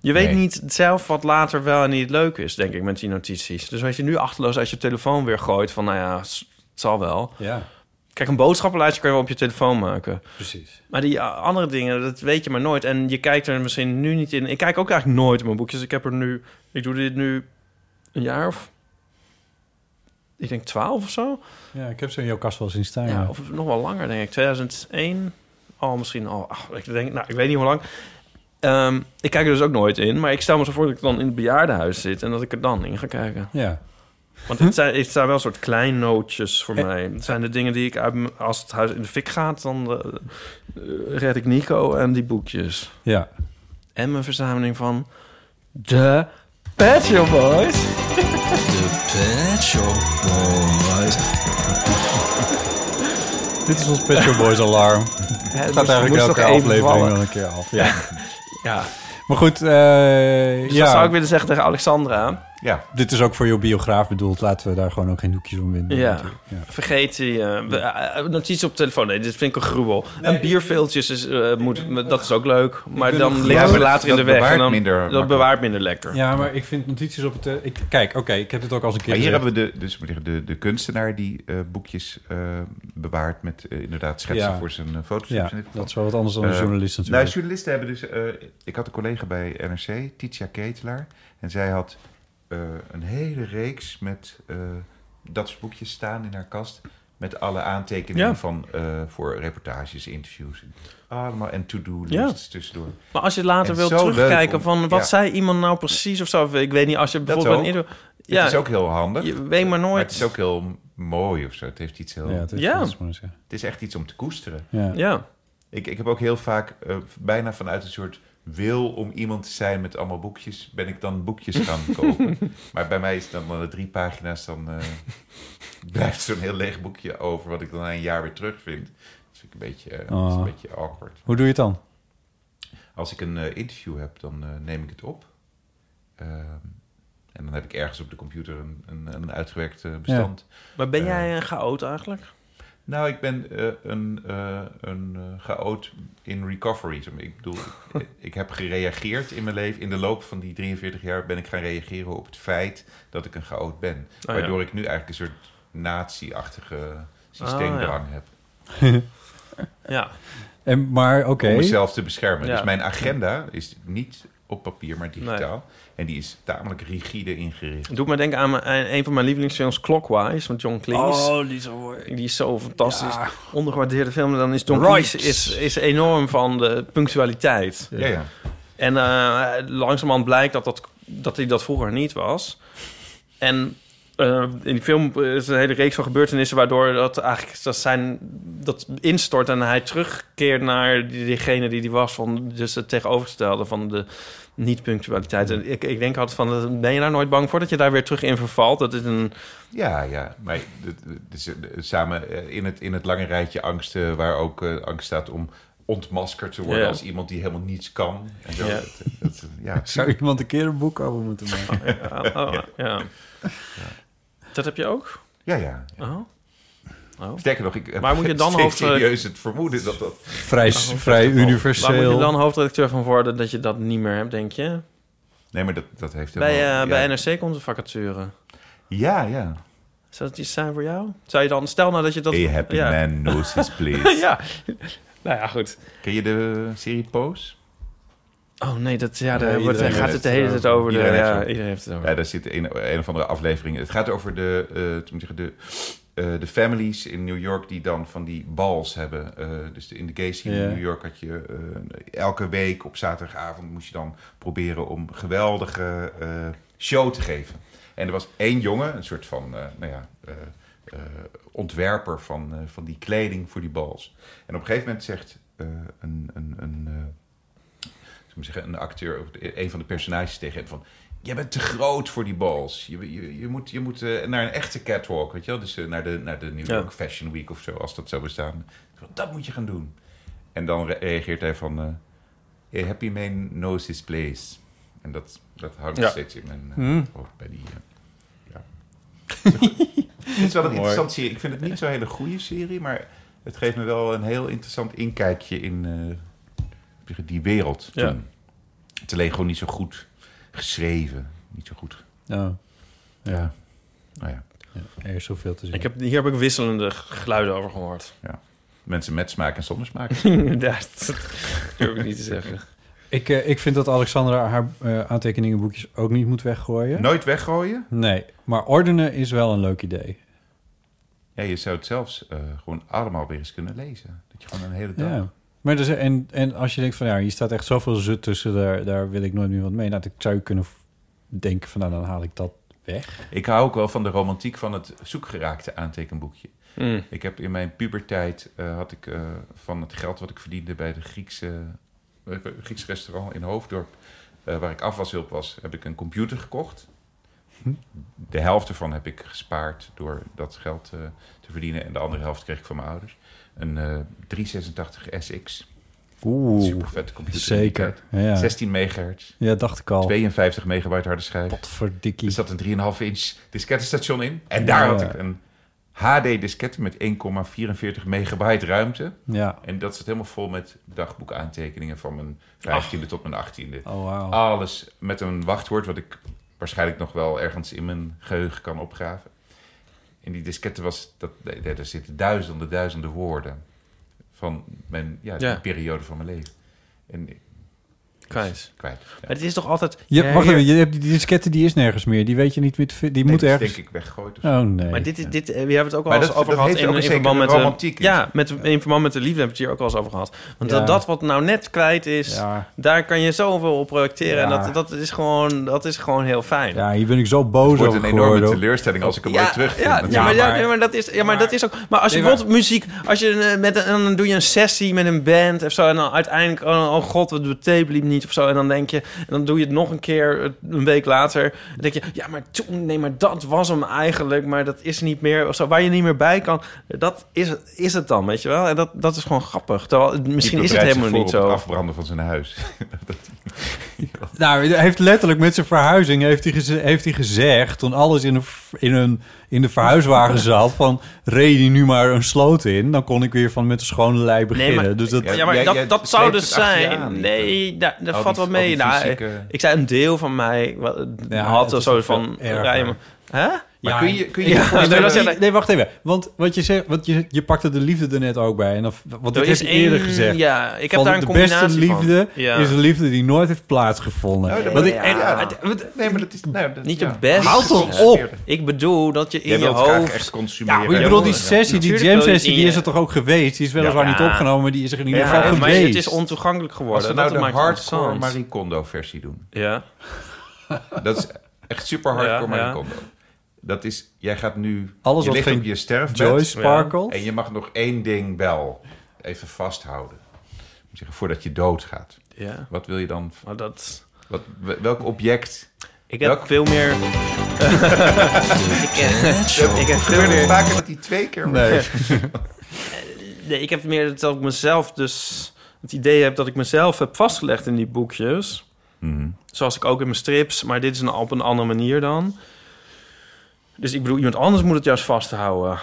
Je weet Nee. niet zelf wat later wel en niet leuk is, denk ik, met die notities. Dus als je nu achterloos uit je telefoon weer gooit van, nou ja, s- het zal wel. Ja, Kijk, een boodschappenlijstje kan je wel op je telefoon maken. precies. Maar die eh, andere dingen, dat weet je maar nooit. En je kijkt er misschien nu niet in. Ik kijk ook eigenlijk nooit in mijn boekjes. Ik heb er nu... Ik doe dit nu een jaar of... Ik denk twaalf of zo. Ja, ik heb ze in jouw kast wel zien staan. Ja, ja. of nog wel langer, denk ik. 2001. Al misschien al... ach, ik denk... Nou, ik weet niet hoe lang. Ehm, ik kijk er dus ook nooit in. Maar ik stel me zo voor dat ik dan in het bejaardenhuis zit... en dat ik er dan in ga kijken. ja. Want het zijn, het zijn wel een soort kleinootjes voor mij. Het zijn de dingen die ik... Uit, m- als het huis in de fik gaat, dan eh, eh, red ik Nico en die boekjes Ja. en mijn verzameling van de Pet Shop Boys. Dit is ons Pet Shop Boys alarm. Het gaat eigenlijk elke aflevering wel een keer af. Ja. Ja. Maar goed, eh, Dus dat zou ja, ik willen zeggen tegen Alexandra. Ja, dit is ook voor jouw biograaf bedoeld. Laten we daar gewoon ook geen doekjes om winden. Ja. natuurlijk. ja. Vergeet die eh, we- eh, eh, notities op telefoon. Nee, dit vind ik een gruwel. en bierveeltjes, is, eh, moet, dat is ook leuk. Maar dan liggen ze dat- later in dat de weg. bewaart en dan, minder dat makkelijk. bewaart minder lekker. Ja, maar ik vind notities op het... eh, Ik, kijk, oké, ik heb dit ook als een keer maar hier gezegd. hebben we de, dus moet ik zeggen, de, de kunstenaar die eh, boekjes eh, bewaart met eh, inderdaad schetsen Ja. voor zijn eh, foto's. Ja, dat is wel wat anders dan een Eh, journalist Nou, natuurlijk. journalisten hebben dus... eh, ik had een collega bij NRC, Titia Ketelaar. En zij had eh, een hele reeks met eh, dat soort boekjes staan in haar kast. Met alle aantekeningen Ja. van, eh, voor reportages, interviews. Allemaal en to-do-lists tussendoor. Maar als je later En wilt zo leuk terugkijken om- van wat ja. zei iemand nou precies of zo. Ik weet niet, als je bijvoorbeeld... ook. een ieder- Ja, ja, het is ook heel handig. je weet maar Maar het nooit. is ook heel mooi of zo. Het, heeft iets heel, ja, het is Ja. dat is maar zeggen. het is echt iets om te koesteren. Ja. Ja. Ik, ik heb ook heel vaak, eh, bijna vanuit een soort wil om iemand te zijn met allemaal boekjes, ben ik dan boekjes gaan kopen. Maar bij mij is dan eh, drie pagina's, dan eh, blijft zo'n heel leeg boekje over, wat ik dan na een jaar weer terugvind. Dat vind ik een beetje, eh, dat is Oh. een beetje awkward. Hoe doe je het dan? Als ik een eh, interview heb, dan eh, neem ik het op. Ehm, en dan heb ik ergens op de computer een, een, een uitgewerkt eh, bestand. Maar ben Eh. jij een chaot eigenlijk? Nou, ik ben eh, een, eh een eh, chaot in recovery. Ik bedoel, ik, ik heb gereageerd in mijn leven. In de loop van die 43 jaar ben ik gaan reageren op het feit dat ik een chaot ben. Oh, ja. waardoor ik nu eigenlijk een soort nazi-achtige Oh, systeemdrang heb. Ja. En, maar oké. Om mezelf te beschermen. Ja. Dus mijn agenda is niet op papier, maar digitaal. En die is tamelijk rigide ingericht. Het doet me denken aan mijn- aan een van mijn lievelingsfilms, Clockwise, van John Cleese. Oh, die zo Die is zo fantastisch. Ja. Ondergewaardeerde film. En Dan is John Right. Cleese is, is enorm van de punctualiteit. Ja, ja. En eh langzamerhand blijkt dat, dat, dat hij dat vroeger niet was. En eh, in die film is een hele reeks van gebeurtenissen... waardoor dat eigenlijk dat zijn, dat instort en hij terugkeert naar die- diegene die die was. Van, dus het tegenovergestelde van de niet-punctualiteit. En ik, ik denk altijd van, eh, ben je daar nooit bang voor dat je daar weer terug in vervalt? Dat is een... Ja, ja. Maar het- het is, eh, samen eh, in het, in het lange rijtje angsten, waar ook eh, angst staat om ontmaskerd te worden Ja. als iemand die helemaal niets kan. En zo. Ja. Dat, eh, dat- ja. Zou iemand een keer een boek over moeten maken? Ja, oh, ja. Dat heb je ook? ja, ja. Oh. Sterker nog, ik heb Maar moet je dan steeds hoofd- serieus het vermoeden dat dat... vrij vrij Waar moet universeel. je dan hoofdredacteur van worden dat je dat niet meer hebt, denk je? Nee, maar dat, dat heeft bij, eh, helemaal- ja. bij NRC komt een vacature. Ja, ja. Zou dat iets zijn voor jou? Zou je dan, stel nou dat je dat... Hey, happy ja. man knows his place. ja. Nou ja, goed. Ken je de serie Pose? Oh nee, dat, ja, daar Ja, wordt, daar iedereen gaat heeft het de hele het tijd over. de- Iedereen heeft ja, het. iedereen heeft het over. Ja, daar zit een, een of andere aflevering. Het gaat over de, eh, hoe moet ik zeggen, de, eh, de families in New York die dan van die balls hebben. Eh, dus de- in de gay scene Ja. in New York had je eh, elke week op zaterdagavond moest je dan proberen om een geweldige eh, show te geven. En er was één jongen, een soort van, eh, nou ja, eh, eh, ontwerper van, eh, van die kleding voor die balls. En op een gegeven moment zegt eh, een, een, een, eh, ik moet zeggen, een acteur, of de- een van de personages tegen hem van... Jij bent te groot voor die balls. Je, je, je moet, je moet eh, naar een echte catwalk, weet je wel? Dus eh, naar, de, naar de New Ja. York Fashion Week of zo, als dat zou bestaan. Dat moet je gaan doen. En dan re- reageert hij van... eh, hey, happy man knows his place. En dat, dat hangt Ja. steeds in mijn eh, Hmm. hoofd bij die... eh, ja. is wel een Mooi. interessante serie. Ik vind het niet zo'n hele goede serie, maar het geeft me wel een heel interessant inkijkje in eh, die wereld. Ja. Toen. Het is alleen gewoon niet zo goed geschreven. Niet zo goed. Nou, ja. Nou ja, Oh, ja, er is zoveel te zien. Ik heb, hier heb ik wisselende geluiden over gehoord. mensen met smaak en zonder smaak. Inderdaad, dat durf ik niet te zeggen. Ik, eh, ik vind dat Alexandra haar eh, aantekeningenboekjes ook niet moet weggooien. Nooit weggooien. Nee, maar ordenen is wel een leuk idee. Ja, je zou het zelfs eh, gewoon allemaal weer eens kunnen lezen. Dat je gewoon een hele dag... Ja. Maar dus, en, en als je denkt van ja, hier staat echt zoveel zut tussen, daar, daar wil ik nooit meer wat mee. Nou, ik zou je kunnen v- denken van nou, dan haal ik dat weg. Ik hou ook wel van de romantiek van het zoekgeraakte aantekenboekje. Mm. Ik heb in mijn pubertijd eh, had ik eh, van het geld wat ik verdiende bij de Griekse eh, Grieks restaurant in Hoofddorp, eh, waar ik afwashulp was, heb ik een computer gekocht. Hm? De helft ervan heb ik gespaard door dat geld eh, te verdienen en de andere helft kreeg ik van mijn ouders. Een eh 386 SX, Oeh, super vette computer. zeker. Ja, 16 megahertz, ja dacht ik al. 52 megabyte harde schijf. Potverdikkie. Er zat een 3,5 inch diskettenstation in. En daar Ja. had ik een HD-diskette met 1,44 megabyte ruimte. Ja. En dat zat helemaal vol met dagboekaantekeningen van mijn 15e tot mijn 18e. Oh, wauw. Alles met een wachtwoord, wat ik waarschijnlijk nog wel ergens in mijn geheugen kan opgraven. In die diskette was, dat, nee, daar zitten duizenden, duizenden woorden van mijn, ja, Ja. de periode van mijn leven. En ik- Kwijt. kwijt. Ja. Maar het is toch altijd... Je, Ja, wacht hier- even, je hebt die diskette die is nergens meer. Die weet je niet meer te vinden. Die Nee, moet dat is ergens. denk ik weggegooid. of zo. Oh nee. Maar dit is, dit, eh, we hebben het ook al Maar eens dat- over dat gehad. heeft ook een in zekere verband met romantiek De, in ja, met, in verband met de liefde hebben we het hier ook al eens over gehad. Want Ja. dat, dat wat nou net kwijt is, ja. daar kan je zoveel op projecteren. En Ja. dat, dat, is gewoon, dat is gewoon heel fijn. ja, hier ben ik zo boos Het wordt over een enorme geworden. teleurstelling als ik hem Ja, ooit terug vind. ja, natuurlijk. ja, maar, ja, maar- nee, maar dat is, ja, maar, dat is ook. Maar als je Nee, maar- bijvoorbeeld muziek, als je eh, met een, dan doe je een sessie met een band of zo, en dan uiteindelijk, oh, oh god, de tape liep niet of zo, en dan denk je, en dan doe je het nog een keer eh, een week later, dan denk je, ja, maar toen, nee, maar dat was hem eigenlijk, maar dat is niet meer, of zo, waar je niet meer bij kan, dat is, het- is het dan, weet je wel? En dat, dat is gewoon grappig. Terwijl, eh, misschien Die is het bereidt zich helemaal niet voor op zo. het afbranden van zijn huis. Nou, hij heeft letterlijk met zijn verhuizing heeft hij, geze- heeft hij gezegd... toen alles in, een, v- in, een, in de verhuiswagen zat... van reed hij nu maar een sloot in... dan kon ik weer van met een schone lei beginnen. maar- dus dat, Ja, Ja, maar jij- dat, jij dat zou sleept dus het achter je aan. zijn. Nee, daar- dat Al valt die- wel al mee. die Nou, fysieke- Ik zei een deel van mij wel, Ja, het had een is soort nog van veel erger. rijmen. Hè? Maar kun je, kun je, Ja, je voorstellen- Nee, dat nee, nee, wacht even. Want wat je zegt, want je, je pakte de liefde er net ook bij. En of, want dat Er heb je eerder één- gezegd. Ja, ik heb Van daar een de combinatie beste liefde van. Ja. is een liefde die nooit heeft plaatsgevonden. Nou, dat- Want ik, Ja. en- ja, dat- nee, maar dat is... Nou, dat, Niet ja. de best. Houd toch op! Ik bedoel dat je in Jij je wilt graag hoofd... echt consumeren. Ja, maar ik bedoel, die Ja, sessie, die natuurlijk wil je jam-sessie, in die je- is er toch ook geweest? Die is weliswaar Ja. niet opgenomen, maar die is er in ieder Ja, geval maar geweest. het is ontoegankelijk Als we geworden. nou dat de maakt hardcore het Marie Kondo versie doen. Ja. Dat is echt super hardcore Ja, Marie ja. Kondo. Dat is... Jij gaat nu... Alles je wat ligt geen op je sterfbed. Joy Sparkle. En je mag nog één ding wel even vasthouden. Ik moet zeggen, Voordat je doodgaat. ja. Wat wil je dan... Maar dat... Wat, welk object... Ik heb Welk- veel meer... ik, heb, ik heb veel Gebeurt het meer... vaker dat die twee keer wordt? Nee. Nee, ik heb meer dat ik mezelf dus... Het idee heb dat ik mezelf heb vastgelegd in die boekjes... Mhm. Zoals ik ook in mijn strips, maar dit is een, op een andere manier dan. Dus ik bedoel, iemand anders moet het juist vasthouden.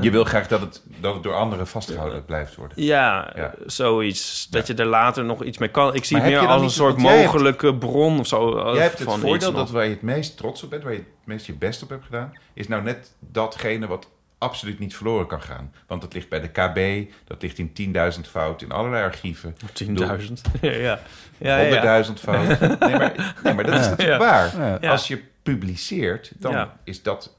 Je wil graag dat het, dat het door anderen vastgehouden blijft worden. ja, Ja. zoiets. Dat je er later nog iets mee kan. Ik zie Maar het heb meer je dan als een niet- want soort jij hebt- mogelijke bron of zo. eh, Jij hebt het van iets voordeel nog. dat waar je het meest trots op bent, waar je het meest je best op hebt gedaan, is nou net datgene wat absoluut niet verloren kan gaan. Want dat ligt bij de KB, dat ligt in 10.000 fout, in allerlei archieven, 10.000. ja, ja. ja, ja. 100.000 fout. Nee maar, nee, maar dat is natuurlijk waar. Ja. Ja. Als je publiceert, dan Ja. is dat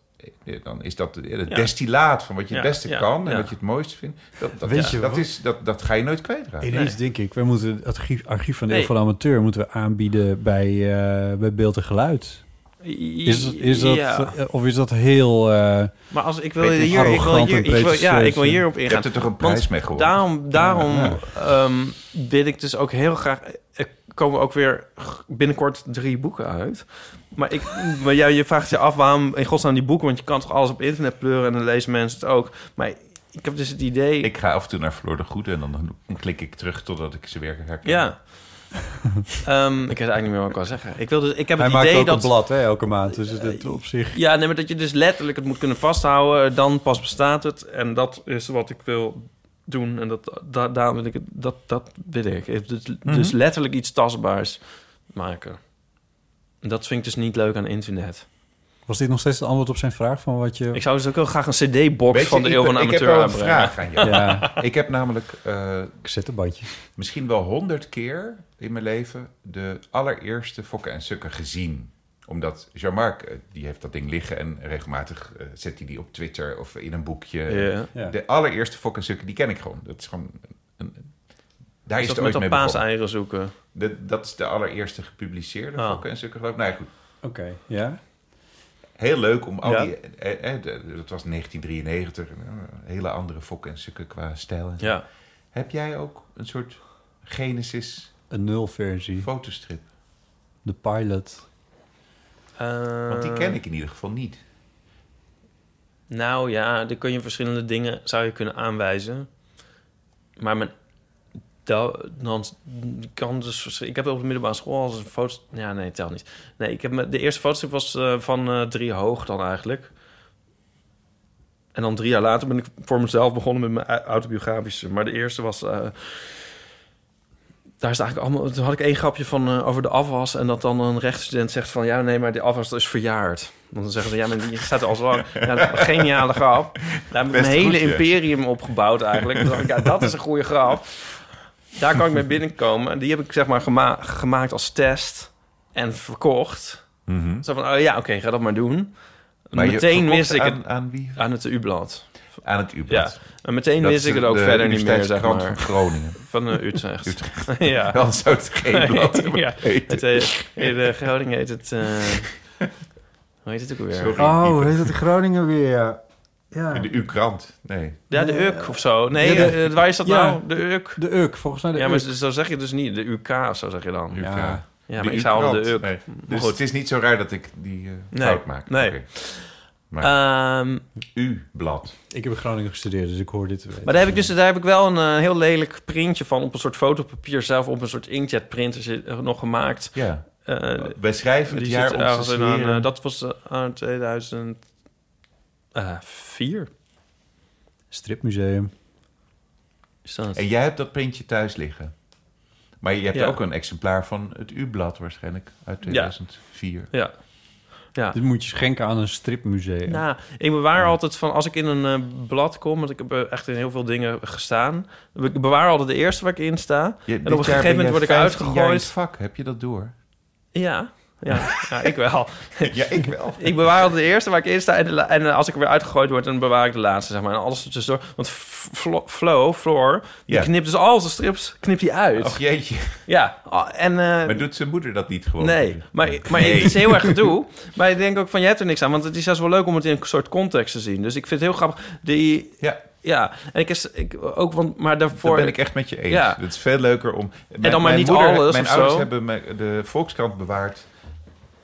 eh, dan is dat eh, het Ja. destilaat van wat je het Ja, beste ja, kan en ja. wat je het mooiste vindt. Dat, dat, Weet je dat, wat? is, dat, dat ga je nooit kwijtraken. Ineens denk ik, we moeten het archief, archief van de Nee. Eeuw van de Amateur moeten we aanbieden bij, eh, bij Beeld en Geluid. Is, dat- is dat, Ja. eh, Of is dat heel... eh, Maar als ik wil Weet je, hier, ik wil arrogant hier, en ik wil, ja, ik wil pretentieus, hierop Je ingaan. hebt er toch een Want prijs mee gewonnen? Daarom, daarom Ja. ehm, wil ik dus ook heel graag... Er komen ook weer g- binnenkort drie boeken uit. Maar, ik, maar jij, je vraagt je af waarom in godsnaam die boeken... want je kan toch alles op internet pleuren en dan lezen mensen het ook. Maar ik heb dus het idee... Ik ga af en toe naar Floor de Goede en dan klik ik terug totdat ik ze weer herken. ja. Ehm, ik weet eigenlijk niet meer wat ik wil zeggen. Ik, wil dus, ik heb Hij het maakt idee ook een dat... Eh, blad hè, elke maand. Dus het op zich... Ja, nee, maar dat je dus letterlijk het moet kunnen vasthouden. eh, Dan pas bestaat het. En dat is wat ik wil doen. En dat, da, daarom wil ik het... Dat, dat wil ik. Ik- Dus, Mhm. dus letterlijk iets tastbaars maken. En Dat vind ik dus niet leuk aan internet. Was dit nog steeds het antwoord op zijn vraag van wat je... Ik zou dus ook heel graag een cd-box Weet je, van de ik Eeuw ben- van de Ik heb Amateur wel een aanbrengen. vraag aan jou. Ja, Ik heb namelijk eh, cassettebandje. misschien wel honderd keer in mijn leven de allereerste Fokken en Sukken gezien. Omdat Jean-Marc, eh, die heeft dat ding liggen en regelmatig eh, zet hij die op Twitter of in een boekje. Ja. Ja. De allereerste Fokken en Sukken, die ken ik gewoon. Dat is gewoon... Een, een- daar Is is het dat met ooit mee dat begonnen. paaseieren zoeken? De- dat is de allereerste gepubliceerde Ah. Fokken en Sukken, geloof ik. Nou ja, goed. Oké, ja. Heel leuk om al Ja. die... eh, eh, de- dat was 1993. een eh, hele andere Fokken en Sukken qua stijl. en zo. Ja. Heb jij ook een soort Genesis Een nulversie. fotostrip? De pilot. Want Eh. die ken ik in ieder geval niet. Nou ja, dan kun je verschillende dingen zou je kunnen aanwijzen. Maar mijn, da- dan kan dus vers- Ik heb op de middelbare school als een foto. Ja, nee, tel niet. Nee, ik heb me, de eerste fotostrip was eh, van eh, drie hoog dan eigenlijk. En dan drie jaar later ben ik voor mezelf begonnen met mijn au- autobiografische. Maar de eerste was. eh, daar is het eigenlijk allemaal. Toen had ik één grapje van eh, over de afwas. En dat dan een rechtsstudent zegt van ja, nee, maar die afwas is verjaard. Want dan zeggen ze ja, maar die staat er al zo lang. Ja, dat is een geniale grap. Daar heb ik Best een hele goed, ja. imperium opgebouwd eigenlijk. Dan dacht ik, ja, dat is een goede grap. Daar kan ik mee binnenkomen. Die heb ik zeg maar gema- gemaakt als test en verkocht. Zo van, oh ja, oké, ga dat maar doen. je meteen verkocht wist ik aan, het Aan wie? aan het U-blad. Aan het Ja. U-blad. En meteen Dat wist is ik het de- ook de verder niet meer, zeg Universiteitskrant van maar. Groningen. Van eh, Utrecht. Utrecht. ja. Dan zou het geen blad hebben ja. geheten. Het, eh, in eh, Groningen heet het... eh, hoe heet het ook alweer? Sorry. Oh, heet het de Groningen weer? Ja. De U-krant. Nee. Ja, de UK of zo. Nee, Ja, de- eh, waar is dat ja. nou? De UK. De Uk, volgens mij de Ja, maar Uk. zo zo zeg je dus niet. De UK, zo zeg je dan. UK. Ja. Ja, De maar ik zou al U-krant. de UK. Nee. Dus goed. het is niet zo raar dat ik die eh, Nee. fout maak. Nee. Oké. Maar Ehm, U-blad. Ik heb in Groningen gestudeerd, dus ik hoor dit te weten. Maar daar heb ik dus daar heb ik wel een eh, heel lelijk printje van op een soort fotopapier zelf op een soort inkjet printer zit- eh, nog gemaakt. Ja. Eh, Wij schrijven het die jaar zit op ergens in aan, eh, dat was eh, aan 2004. Stripmuseum. Is dat? En jij hebt dat printje thuis liggen. Maar je hebt Ja. ook een exemplaar van het U-blad waarschijnlijk uit 2004. Ja. Ja. Dit moet je schenken aan een stripmuseum. Nou, ik bewaar altijd van als ik in een eh, blad kom, want ik heb eh, echt in heel veel dingen gestaan. Ik bewaar altijd de eerste waar ik in sta. Je- en dit op jaar een gegeven ben moment word ik jij 15 jaar in uitgegooid. het vak, heb je dat door? Ja, ja, ja, ik wel. Ja, ik wel. Ik bewaar altijd de eerste waar ik in sta. En, de la- en eh, als ik er weer uitgegooid word, dan bewaar ik de laatste, zeg maar. En alles er tussendoor. Want F- Flo, Flo, Floor, die Ja. knipt dus al zijn strips knipt hij uit. Ach jeetje. Ja, ah, en... eh, Maar doet zijn moeder dat niet gewoon? Nee, maar, maar het is heel erg gedoe. Maar ik denk ook van, je hebt er niks aan. Want het is juist wel leuk om het in een soort context te zien. Dus ik vind het heel grappig. Die, Ja, ja, en ik is ik, ook, want, maar daarvoor... dat ben ik echt met je eens. Ja. Het is veel leuker om... Mijn, dan maar mijn niet moeder, alles Mijn of ouders zo. hebben me- de Volkskrant bewaard...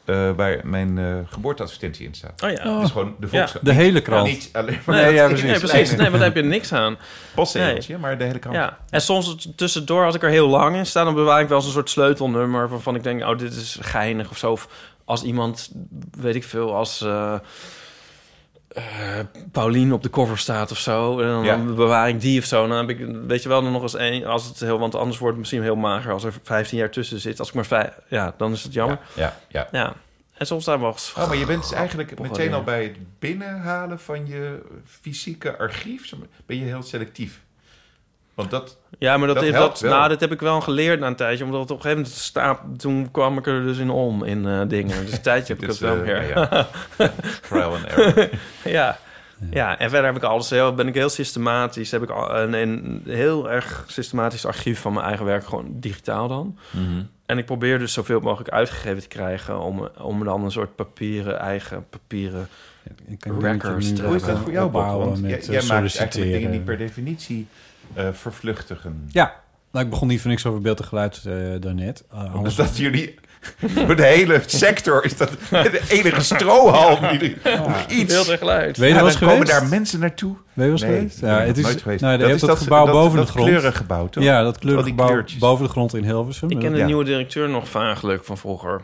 eh, waar mijn eh, geboorteadvertentie in staat. Oh ja. Dat is gewoon de Volkskrant. De hele krant. Niet alleen maar Nee, dat ja, nee, precies. precies. Nee, want daar heb je niks aan. postzegeltje, maar de hele krant. Ja. En soms t- tussendoor, als ik er heel lang in sta... dan bewaar ik wel eens een soort sleutelnummer... waarvan ik denk, oh, dit is geinig of zo. Of als iemand, weet ik veel, als... eh eh, Paulien op de cover staat of zo. En dan Ja. bewaar ik die of zo. Dan heb ik, weet je wel, dan nog eens één. Als het heel, want anders wordt het misschien heel mager als er 15 jaar tussen zit. Als ik maar vijf, ja, dan is het jammer. ja, ja. ja. Ja. En soms zijn we wel eens Oh, maar je bent dus eigenlijk Grappige meteen al dingen. bij het binnenhalen van je fysieke archief. Ben je heel selectief. Want dat... Ja, maar dat, Dat is, helpt dat, wel. nou, dat heb ik wel geleerd na een tijdje. Omdat het op een gegeven moment staat, toen kwam ik er dus in om in eh, dingen. Dus een tijdje heb ik dit, het wel eh, meer. Ja. nou ja, trial and error. ja. en verder heb ik alles heel, ben ik heel systematisch. Heb ik al- een, een heel erg systematisch archief van mijn eigen werk, gewoon digitaal dan. Mhm. En ik probeer dus zoveel mogelijk uitgegeven te krijgen om, om dan een soort papieren, eigen papieren. Ik kan niet Records. nu Hoe Hoe is dat gaan voor jou, Bob? opbouwen Want met, jij, eh, jij maakt eigenlijk solliciteren. dingen die per definitie eh, vervluchtigen. Ja, Nou, ik begon niet voor niks over beeld en geluid eh, daarnet. Eh, Dus anders- dat jullie... Voor de hele sector is dat de enige strohalm die er nog iets... Heel tegelijk. Weet je Ja, wel dan eens geweest? komen daar mensen naartoe. Ben je wel eens Nee, geweest? ik ben Ja, er het is, nooit geweest. Nou, dat, heeft dat, is gebouw boven dat de grond. kleurengebouw, toch? ja, dat kleurengebouw kleurtjes. boven de grond in Hilversum. Ik ken de Ja. nieuwe directeur nog vaaglijk van vroeger.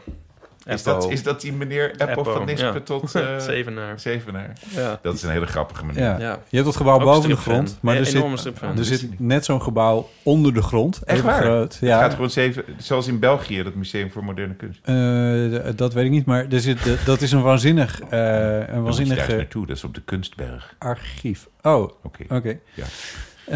Is Eppo. dat, is dat die meneer Eppo, Eppo, van Nispen ja. tot eh, Zevenaar. Zevenaar? Ja. Dat is een hele grappige meneer. ja. Ja. Je hebt dat gebouw Ook boven de stripfan. grond, maar Ja, er enorme zit, stripfan. er Dat wist Dus ik zit net zo'n gebouw onder de grond. Echt even waar? Groot. Het Ja, gaat gewoon zeven, zoals in België, dat Museum voor Moderne Kunst. Eh, d- dat weet ik niet, maar er zit, d- dat is een waanzinnig, eh een Dan moet je daar eens waanzinnige naartoe, dat is op de Kunstberg. archief. Oh, oké. Oké. Ja. Ja.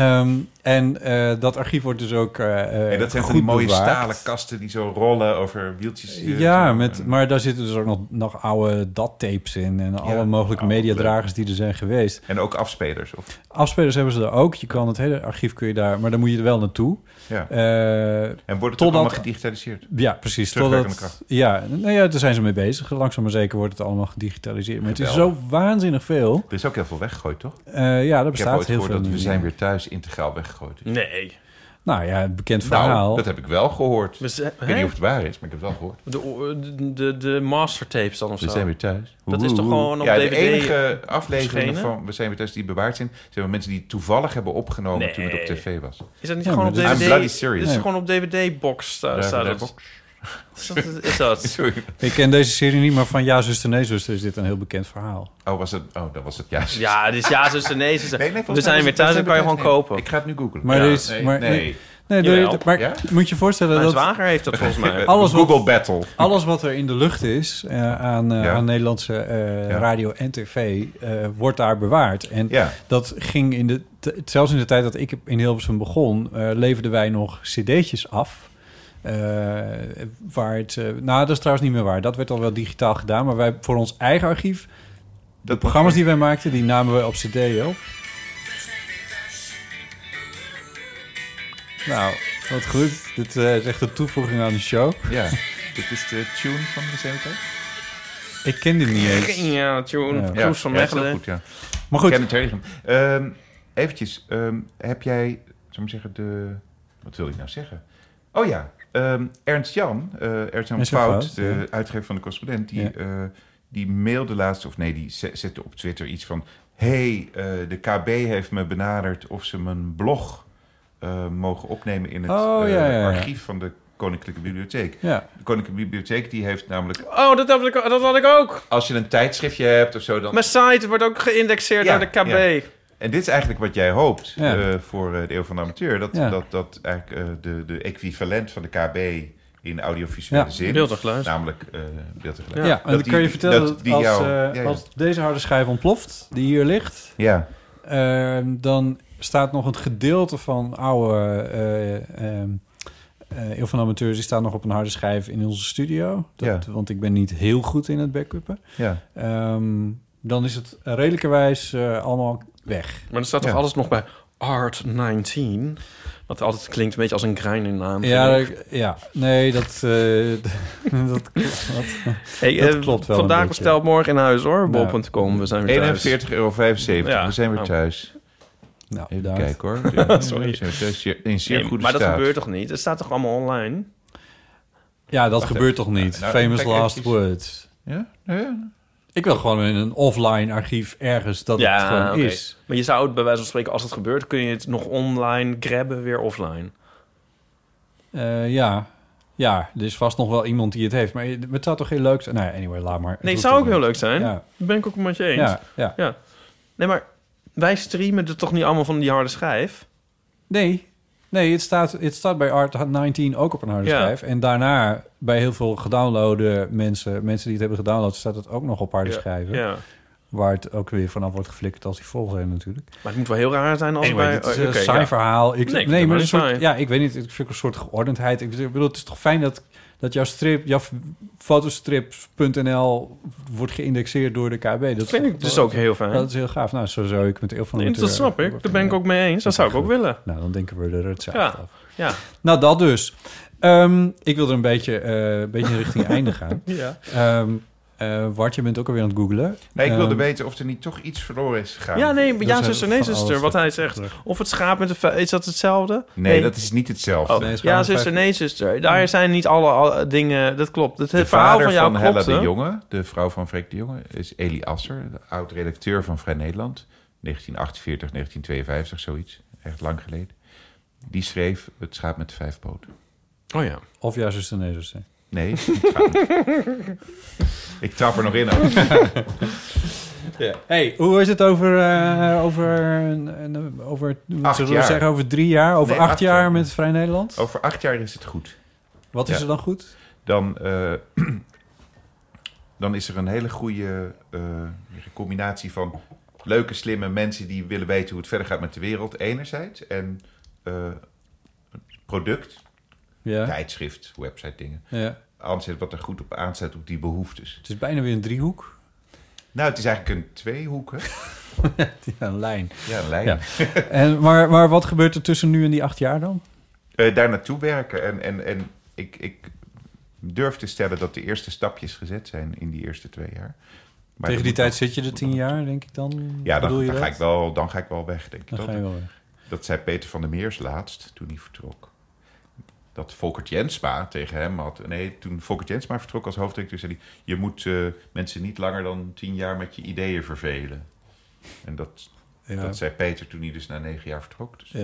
en eh, dat archief wordt dus ook. eh en dat zijn goed van die mooie bewaard. stalen kasten die zo rollen over wieltjes. eh, Ja, zo. met, En- maar daar zitten dus ook nog, nog oude dat-tapes in en alle mogelijke Oh, leuk. mediadragers die er zijn geweest. En ook afspelers. Of, Afspelers hebben ze er ook. Je kan het hele archief kun je daar, maar dan moet je er wel naartoe. ja. Eh, En wordt het totdat- ook allemaal gedigitaliseerd? ja, precies. Terugwerkende Totdat, ja, nou ja, daar zijn ze mee bezig. Langzaam maar zeker wordt het allemaal gedigitaliseerd. Maar het is zo waanzinnig veel. Er is ook heel veel weggegooid, toch? Eh, ja, er Ik heb ooit bestaat heel gehoord veel. dat we niet zijn meer. weer thuis integraal weggegooid. is. Nee. Nou ja, een bekend verhaal. Nou, dat heb ik wel gehoord. We Ik zijn- weet hè? niet of het waar is, maar ik heb het wel gehoord. De, o- de, de, de mastertapes dan of We zo. zijn weer thuis. Dat is toch Woehoe. gewoon op ja, DVD de enige afleveringen verschenen? van We zijn weer thuis die bewaard zijn, zijn wel mensen die het toevallig hebben opgenomen toen het op Nee. tv was. Is dat niet Ja, gewoon maar op dit DVD? is- I'm bloody serious. Dit is Nee. gewoon op DVD-box sta, Daar- eh, staat daar- het. Is dat? Is dat? Sorry. Ik ken deze serie niet, maar van Ja, zuster, nee, zuster is dit een heel bekend verhaal. Oh, was het? Oh, dat was het juist. Ja, dus ja, zuster, nee, zuster. Nee, nee, volgens we mij zijn weer was thuis, het- dan kan je gewoon Nee, kopen. Ik ga het nu googlen. Maar Ja, er is- nee, maar- nee. Nee, Jawel. dat- maar Ja? moet je voorstellen Mijn dat... zwager heeft dat volgens mij. Alles wat- Google Battle. Alles wat er in de lucht is eh, aan, eh, Ja. aan Nederlandse eh, Ja. radio en tv, eh, wordt daar bewaard. En Ja. dat ging in de, t- zelfs in de tijd dat ik in Hilversum begon, eh, leverden wij nog cd'tjes af. Eh, waar het, eh, nou, dat is trouwens niet meer waar. Dat werd al wel digitaal gedaan, maar wij voor ons eigen archief, de Dat- programma's die wij maakten, die namen we op cd op. Nou, wat goed. Dit eh, is echt een toevoeging aan de show. Ja. Dit is de tune van de CMT. Ik ken dit niet eens. Ja, tune. Ja. Cruise van ja, is heel Mechelen. goed, ja. Maar goed, Kenneth Herigen. Ehm, eventjes, ehm, heb jij, zou ik zeggen, de... Wat wil ik nou zeggen? Oh ja, ehm, Ernst Jan, eh, Ernst Jan Ernst Jan Fout, Fout, de uitgever van de correspondent, die, Ja. eh, die mailde laatst, of nee, die ze- zette op Twitter iets van... hey, eh, de KB heeft me benaderd of ze mijn blog eh, mogen opnemen in het Oh, eh, ja, ja, ja. archief van de Koninklijke Bibliotheek. ja. De Koninklijke Bibliotheek die heeft namelijk, Oh, dat, heb ik, dat had ik ook. als je een tijdschriftje hebt of zo, dan Mijn site wordt ook geïndexeerd Ja, door de KB. ja. En dit is eigenlijk wat jij hoopt Ja. eh, voor eh, de Eeuw van de Amateur. Dat, Ja. dat, dat eigenlijk eh, de, de equivalent van de KB in audiovisuele Ja. zin. Beeld en Nou, geluid. Namelijk eh beeld en geluid. Ja, en Dat dan die- kan je vertellen dat, die als, jou- eh, ja, ja. als deze harde schijf ontploft, die hier ligt, Ja, eh, dan staat nog een gedeelte van oude eh ehm, eh, Eeuw van Amateurs, die staat nog op een harde schijf in onze studio. Dat, Want ik ben niet heel goed in het backuppen. ja. Ehm, dan is het redelijkerwijs eh, allemaal weg. Maar er staat toch Ja. alles nog bij Art 19? Dat altijd klinkt een beetje als een grein in naam. Ja, vind ik. dat- ja, nee, dat, eh, dat, dat Hey, dat eh, klopt wel een Vandaag beetje. besteld, morgen in huis hoor. Nou. Bol.com, we zijn weer thuis. 41,75 euro. Ja. We zijn weer Oh. thuis. Nou, Even bedankt. kijken hoor. Ja, Sorry. we zijn weer thuis. Zeer- In zeer Nee, goede maar dat staat. gebeurt toch niet? Het staat toch allemaal online? Ja, dat gebeurt toch niet? Nou, Famous kijk last eventjes. words. Ja? Ja. Ik wil gewoon in een offline archief ergens dat het gewoon oké. is. Maar je zou het bij wijze van spreken, als het gebeurt, kun je het nog online grabben, weer offline. Eh, ja. ja, er is vast nog wel iemand die het heeft. Maar het zou toch heel leuk zijn? Nou ja, anyway, laat maar. Nee, het het zou ook heel heel leuk zijn. Ja, Dat ben ik ook met je eens. ja, ja. Nee, maar wij streamen het toch niet allemaal van die harde schijf? Nee, nee het, staat, het staat bij Art 19 ook op een harde Ja. schijf. En daarna bij heel veel gedownloaden mensen, mensen die het hebben gedownload, staat het ook nog op harde Ja, schijven. Ja. Waar het ook weer vanaf wordt geflikkerd als die vol zijn natuurlijk. Maar het moet wel heel raar zijn als Anyway, wij... dit is eh, oh, een oké, saai ja. verhaal. Ik, Nee, ik nee, vind het maar wel een soort, saai. ja, ik weet niet. Ik vind ook een soort geordendheid. Ik bedoel, het is toch fijn dat, dat jouw strip, jouw fotostrip.nl wordt geïndexeerd door de KB. Dat Dat vind ik dus ook heel fijn. Dat is heel gaaf. Nou, zo zou ik met heel van Nee, de dat snap ik. Daar ben ik ook mee eens. Dat zou ik ook willen. Nou, dan denken we er hetzelfde Ja, af. ja. Nou, dat dus. Ehm, ik wil er een beetje, eh, een beetje richting einde gaan. Ja. Ehm, Eh Wart, je bent ook alweer aan het googlen. Nee, ik wilde Ehm, weten of er niet toch iets verloren is gegaan. Ja, nee, ja, zijn zuster, van nee, alles zuster. Wat hij zegt. Of het schaap met de vuil, is dat hetzelfde? Nee, dat is niet hetzelfde. Oh, Nee, het is ja, gewoon zuster, vijf- nee, zuster. Daar zijn niet alle, alle dingen. Dat klopt. Het de verhaal vader van van, jou Hella klopt. de Jonge, de vrouw van Freek de Jonge, is Eli Asser, de oud-redacteur van Vrij Nederland. 1948, 1952, zoiets. Echt lang geleden. Die schreef Het schaap met de vijf poten. Oh ja. Of juist zuster, nee, zuster. Nee, het schaap met- ik trap er nog in. ook. Hey, hoe is het over, eh, over, eh, over, Acht zullen we jaar. zeggen, over drie jaar, over Nee, acht, acht jaar, jaar. met Vrij Nederland? Over acht jaar is het goed. Wat is ja. er dan goed? Dan, eh, dan is er een hele goede eh, combinatie van leuke, slimme mensen die willen weten hoe het verder gaat met de wereld, enerzijds. En eh, product, Ja. tijdschrift, website dingen. ja. aanzet wat er goed op aanzet op die behoeftes. Het is bijna weer een driehoek. Nou, het is eigenlijk een tweehoek, hè? Ja, een lijn. Ja, een lijn. Ja. En, maar, maar wat gebeurt er tussen nu en die acht jaar dan? Eh, daar naartoe werken. En, en, en ik, ik durf te stellen dat de eerste stapjes gezet zijn in die eerste twee jaar. Maar Tegen die dat tijd moet nog- zit je er tien jaar, denk ik dan? Ja, Bedoel dan, je dan, ga dat? ik wel, dan ga ik wel weg, denk ik. Dan ga je Dat, wel weg. dat zei Peter van der Meers laatst, toen hij vertrok. Dat Volkert Jensma tegen hem had... Nee, toen Volkert Jensma vertrok als hoofddirecteur... zei hij, je moet eh, mensen niet langer dan tien jaar met je ideeën vervelen. En dat, Ja. Dat zei Peter toen hij dus na negen jaar vertrok. Dus, Ja.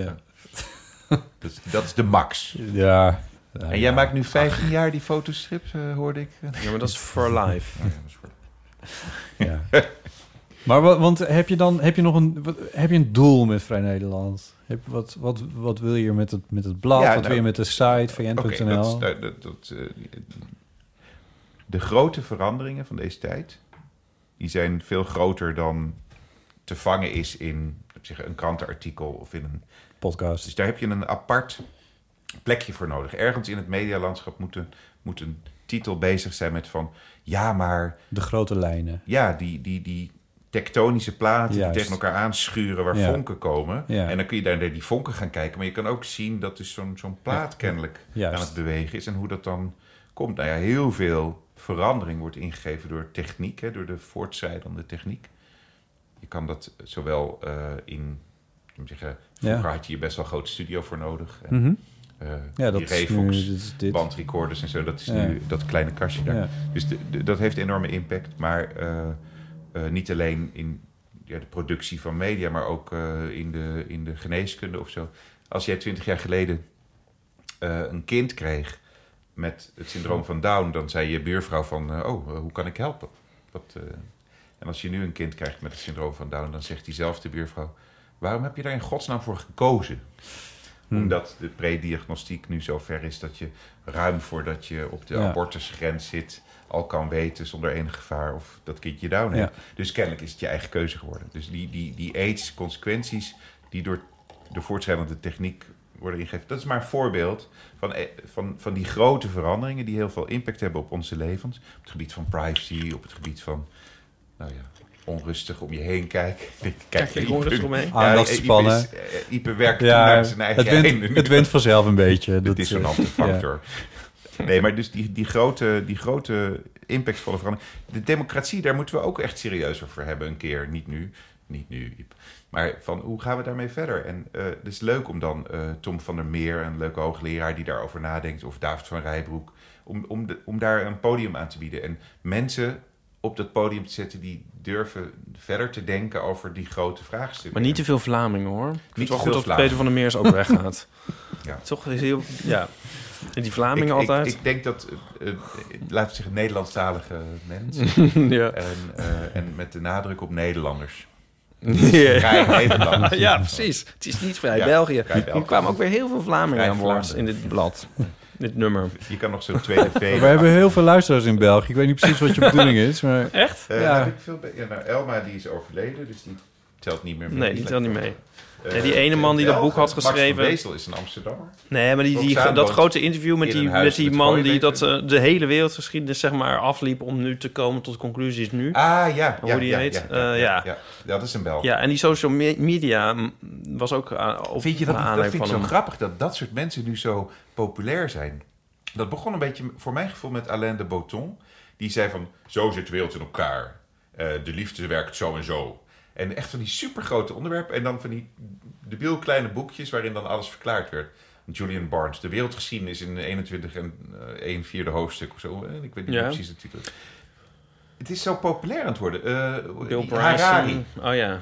ja. dat, is- dat is de max. ja. En jij maakt nu 15 jaar die fotostrip, eh, hoorde ik. Oh, Ja, maar dat is for life. ja, dat is voor- Ja. maar wat, want heb je dan heb je nog een, wat- heb je een doel met Vrij Nederland? Heb, wat, wat, wat wil je met het, met het blad? Ja, wat nou, wil je met de site, vn.nl? Oké, dat is- dat, dat, dat, eh, de grote veranderingen van deze tijd... die zijn veel groter dan te vangen is in ik zeg, een krantenartikel of in een Dus Podcast. daar heb je een apart plekje voor nodig. Ergens in het medialandschap moet een, moet een titel bezig zijn met van... ja, maar De grote lijnen. ja, die, die, die tektonische platen Juist. die tegen elkaar aanschuren waar Ja. vonken komen. Ja. En dan kun je daar naar die vonken gaan kijken. Maar je kan ook zien dat dus zo'n zo'n plaat kennelijk Juist. aan het bewegen is. En hoe dat dan komt. Nou ja, heel veel verandering wordt ingegeven door techniek. Hè, door de voortschrijdende techniek. Je kan dat zowel eh, in... Ik moet zeggen, vroeger had je hier best wel een groot studio voor nodig. En, Mhm. eh, Ja, dat die is nu Revox, dit. Is dit. bandrecorders en zo. Dat is Ja. nu dat kleine kastje daar. Ja. Dus de- de- dat heeft enorme impact. Maar eh, eh, niet alleen in ja, de productie van media, maar ook eh, in, de, in de geneeskunde of zo. Als jij twintig jaar geleden eh, een kind kreeg met het syndroom van Down, dan zei je buurvrouw van, eh, oh, eh, hoe kan ik helpen? Wat, eh, En als je nu een kind krijgt met het syndroom van Down, dan zegt diezelfde buurvrouw, waarom heb je daar in godsnaam voor gekozen? Hmm. Omdat de prediagnostiek nu zo ver is dat je ruim voordat je op de Ja. abortusgrens zit, al kan weten zonder enig gevaar of dat kindje down Ja. heeft. Dus kennelijk is het je eigen keuze geworden. Dus die, die, die aids-consequenties die door de voortschrijdende techniek worden ingegeven, dat is maar een voorbeeld van, eh, van, van die grote veranderingen die heel veel impact hebben op onze levens. Op het gebied van privacy, op het gebied van, nou ja, onrustig om je heen kijken. Kijk, Kijk, ik hoor er omheen. Aandachtspannen. Ja, Ipe, is- eh, Ipe werkt Ja, naar zijn eigen het wint, einde. het wint vanzelf een beetje. eh, De eh, dissonante factor. Nee, maar dus die, die, grote, die grote impactvolle verandering. De democratie, daar moeten we ook echt serieus over hebben een keer. Niet nu, niet nu. Iep. Maar van hoe gaan we daarmee verder? En eh, het is leuk om dan eh, Tom van der Meer, een leuke hoogleraar die daarover nadenkt, of David van Rijbroek, om, om, de- om daar een podium aan te bieden. En mensen op dat podium te zetten die durven verder te denken over die grote vraagstukken. Maar niet te veel Vlamingen hoor. Ik Niet vind het wel te veel goed dat Peter van der Meers ook weggaat. Ja. Toch is heel. Ja. En die Vlamingen ik, altijd. Ik, ik denk dat, eh, eh, laten we zeggen, Nederlandstalige mensen. ja. En, eh, en met de nadruk op Nederlanders. Ja. Vrij Nederland. ja, precies. Het is niet vrij Ja, België. vrij Er België. kwamen ook weer heel veel Vlamingen Vrij aan boord in Vlaanderen. dit blad. Dit nummer. Je kan nog zo'n tweede V. We hebben heel veel luisteraars in België. Ik weet niet precies wat je bedoeling is, maar... Echt? Eh, ja. heb ik veel be- ja, nou, Elma die is overleden, dus die telt niet meer mee. Nee, die telt niet mee. Eh, Nee, die ene man die dat Belgen, boek had Max van geschreven. Wezel is een Amsterdammer. Nee, maar die, die, Roxane dat woont grote interview met in die, een huis met die met man die dat gooiletters. eh, de hele wereldgeschiedenis zeg maar afliep om nu te komen tot conclusies nu. Ah, ja. ja Hoe die ja, heet? Ja, Eh, ja. ja. Ja, dat is een Belg. Ja, en die social me- media mm, was ook aan, op Vind je dat, niet- naar dat aanleiding vind ik zo van hem. grappig dat dat soort mensen nu zo populair zijn? Dat begon een beetje voor mijn gevoel met Alain de Botton. Die zei van, zo zit de wereld in elkaar. Eh, de liefde werkt zo en zo. En echt van die supergrote onderwerpen. En dan van die debiel kleine boekjes waarin dan alles verklaard werd. Julian Barnes, de wereldgeschiedenis in 21 en eh, 1 vierde hoofdstuk of zo. Eh, Ik weet niet Ja. meer precies de titel. Het is zo populair aan het worden. Eh, Bill die Bryson. Harari. Oh ja.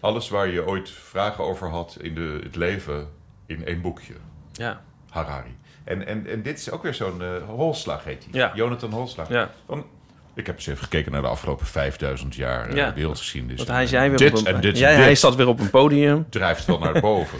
Alles waar je ooit vragen over had in de, het leven in één boekje. Ja. Harari. En, en, en dit is ook weer zo'n eh, Holslag heet hij. Ja. Jonathan Holslag. ja. Ik heb eens even gekeken naar de afgelopen 5000 jaar eh, Ja. wereldgeschiedenis. Want hij zei weer dit op een, en dit en jij, dit. Hij staat weer op een podium. drijft wel naar boven.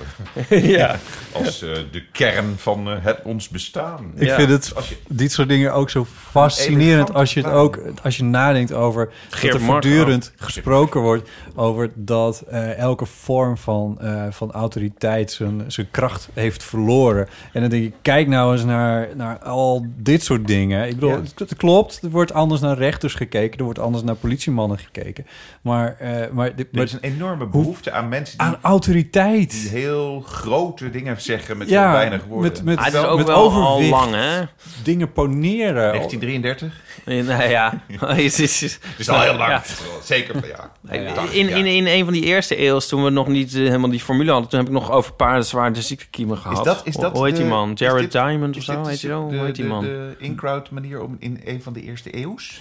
ja. als eh, de kern van eh, het ons bestaan. Ik Ja. vind het, Als je- dit soort dingen ook zo fascinerend Elefant. als je het ook, als je nadenkt over Geert dat er Mark voortdurend gesproken wordt over dat eh, elke vorm van, eh, van autoriteit zijn, zijn kracht heeft verloren. En dan denk ik, kijk nou eens naar, naar al dit soort dingen. Ik bedoel, Ja. het, het klopt, er wordt anders naar rechters gekeken, er wordt anders naar politiemannen gekeken. Maar, eh, maar, dit- Er maar is een enorme behoefte aan mensen die, aan autoriteit. die heel grote dingen zeggen met Ja, zo weinig woorden. met, met, Ah, het is ook met wel al overwicht lang, hè? dingen poneren. 1933? Nee, nou ja. Het is- is- Dat is al heel lang. Ja. Zeker, ja. Eh, In, in, in een van die eerste eeuws, toen we nog niet eh, helemaal die formule hadden... toen heb ik nog over paardenszwaarde ziektekiemen gehad. Is dat- is dat Hoe heet die de- man? is Jared dit- Diamond of Is zo? dit Heet die, de- zo? Hoe dus de- heet die de- man? De in-crowd manier om in een van de eerste eeuws?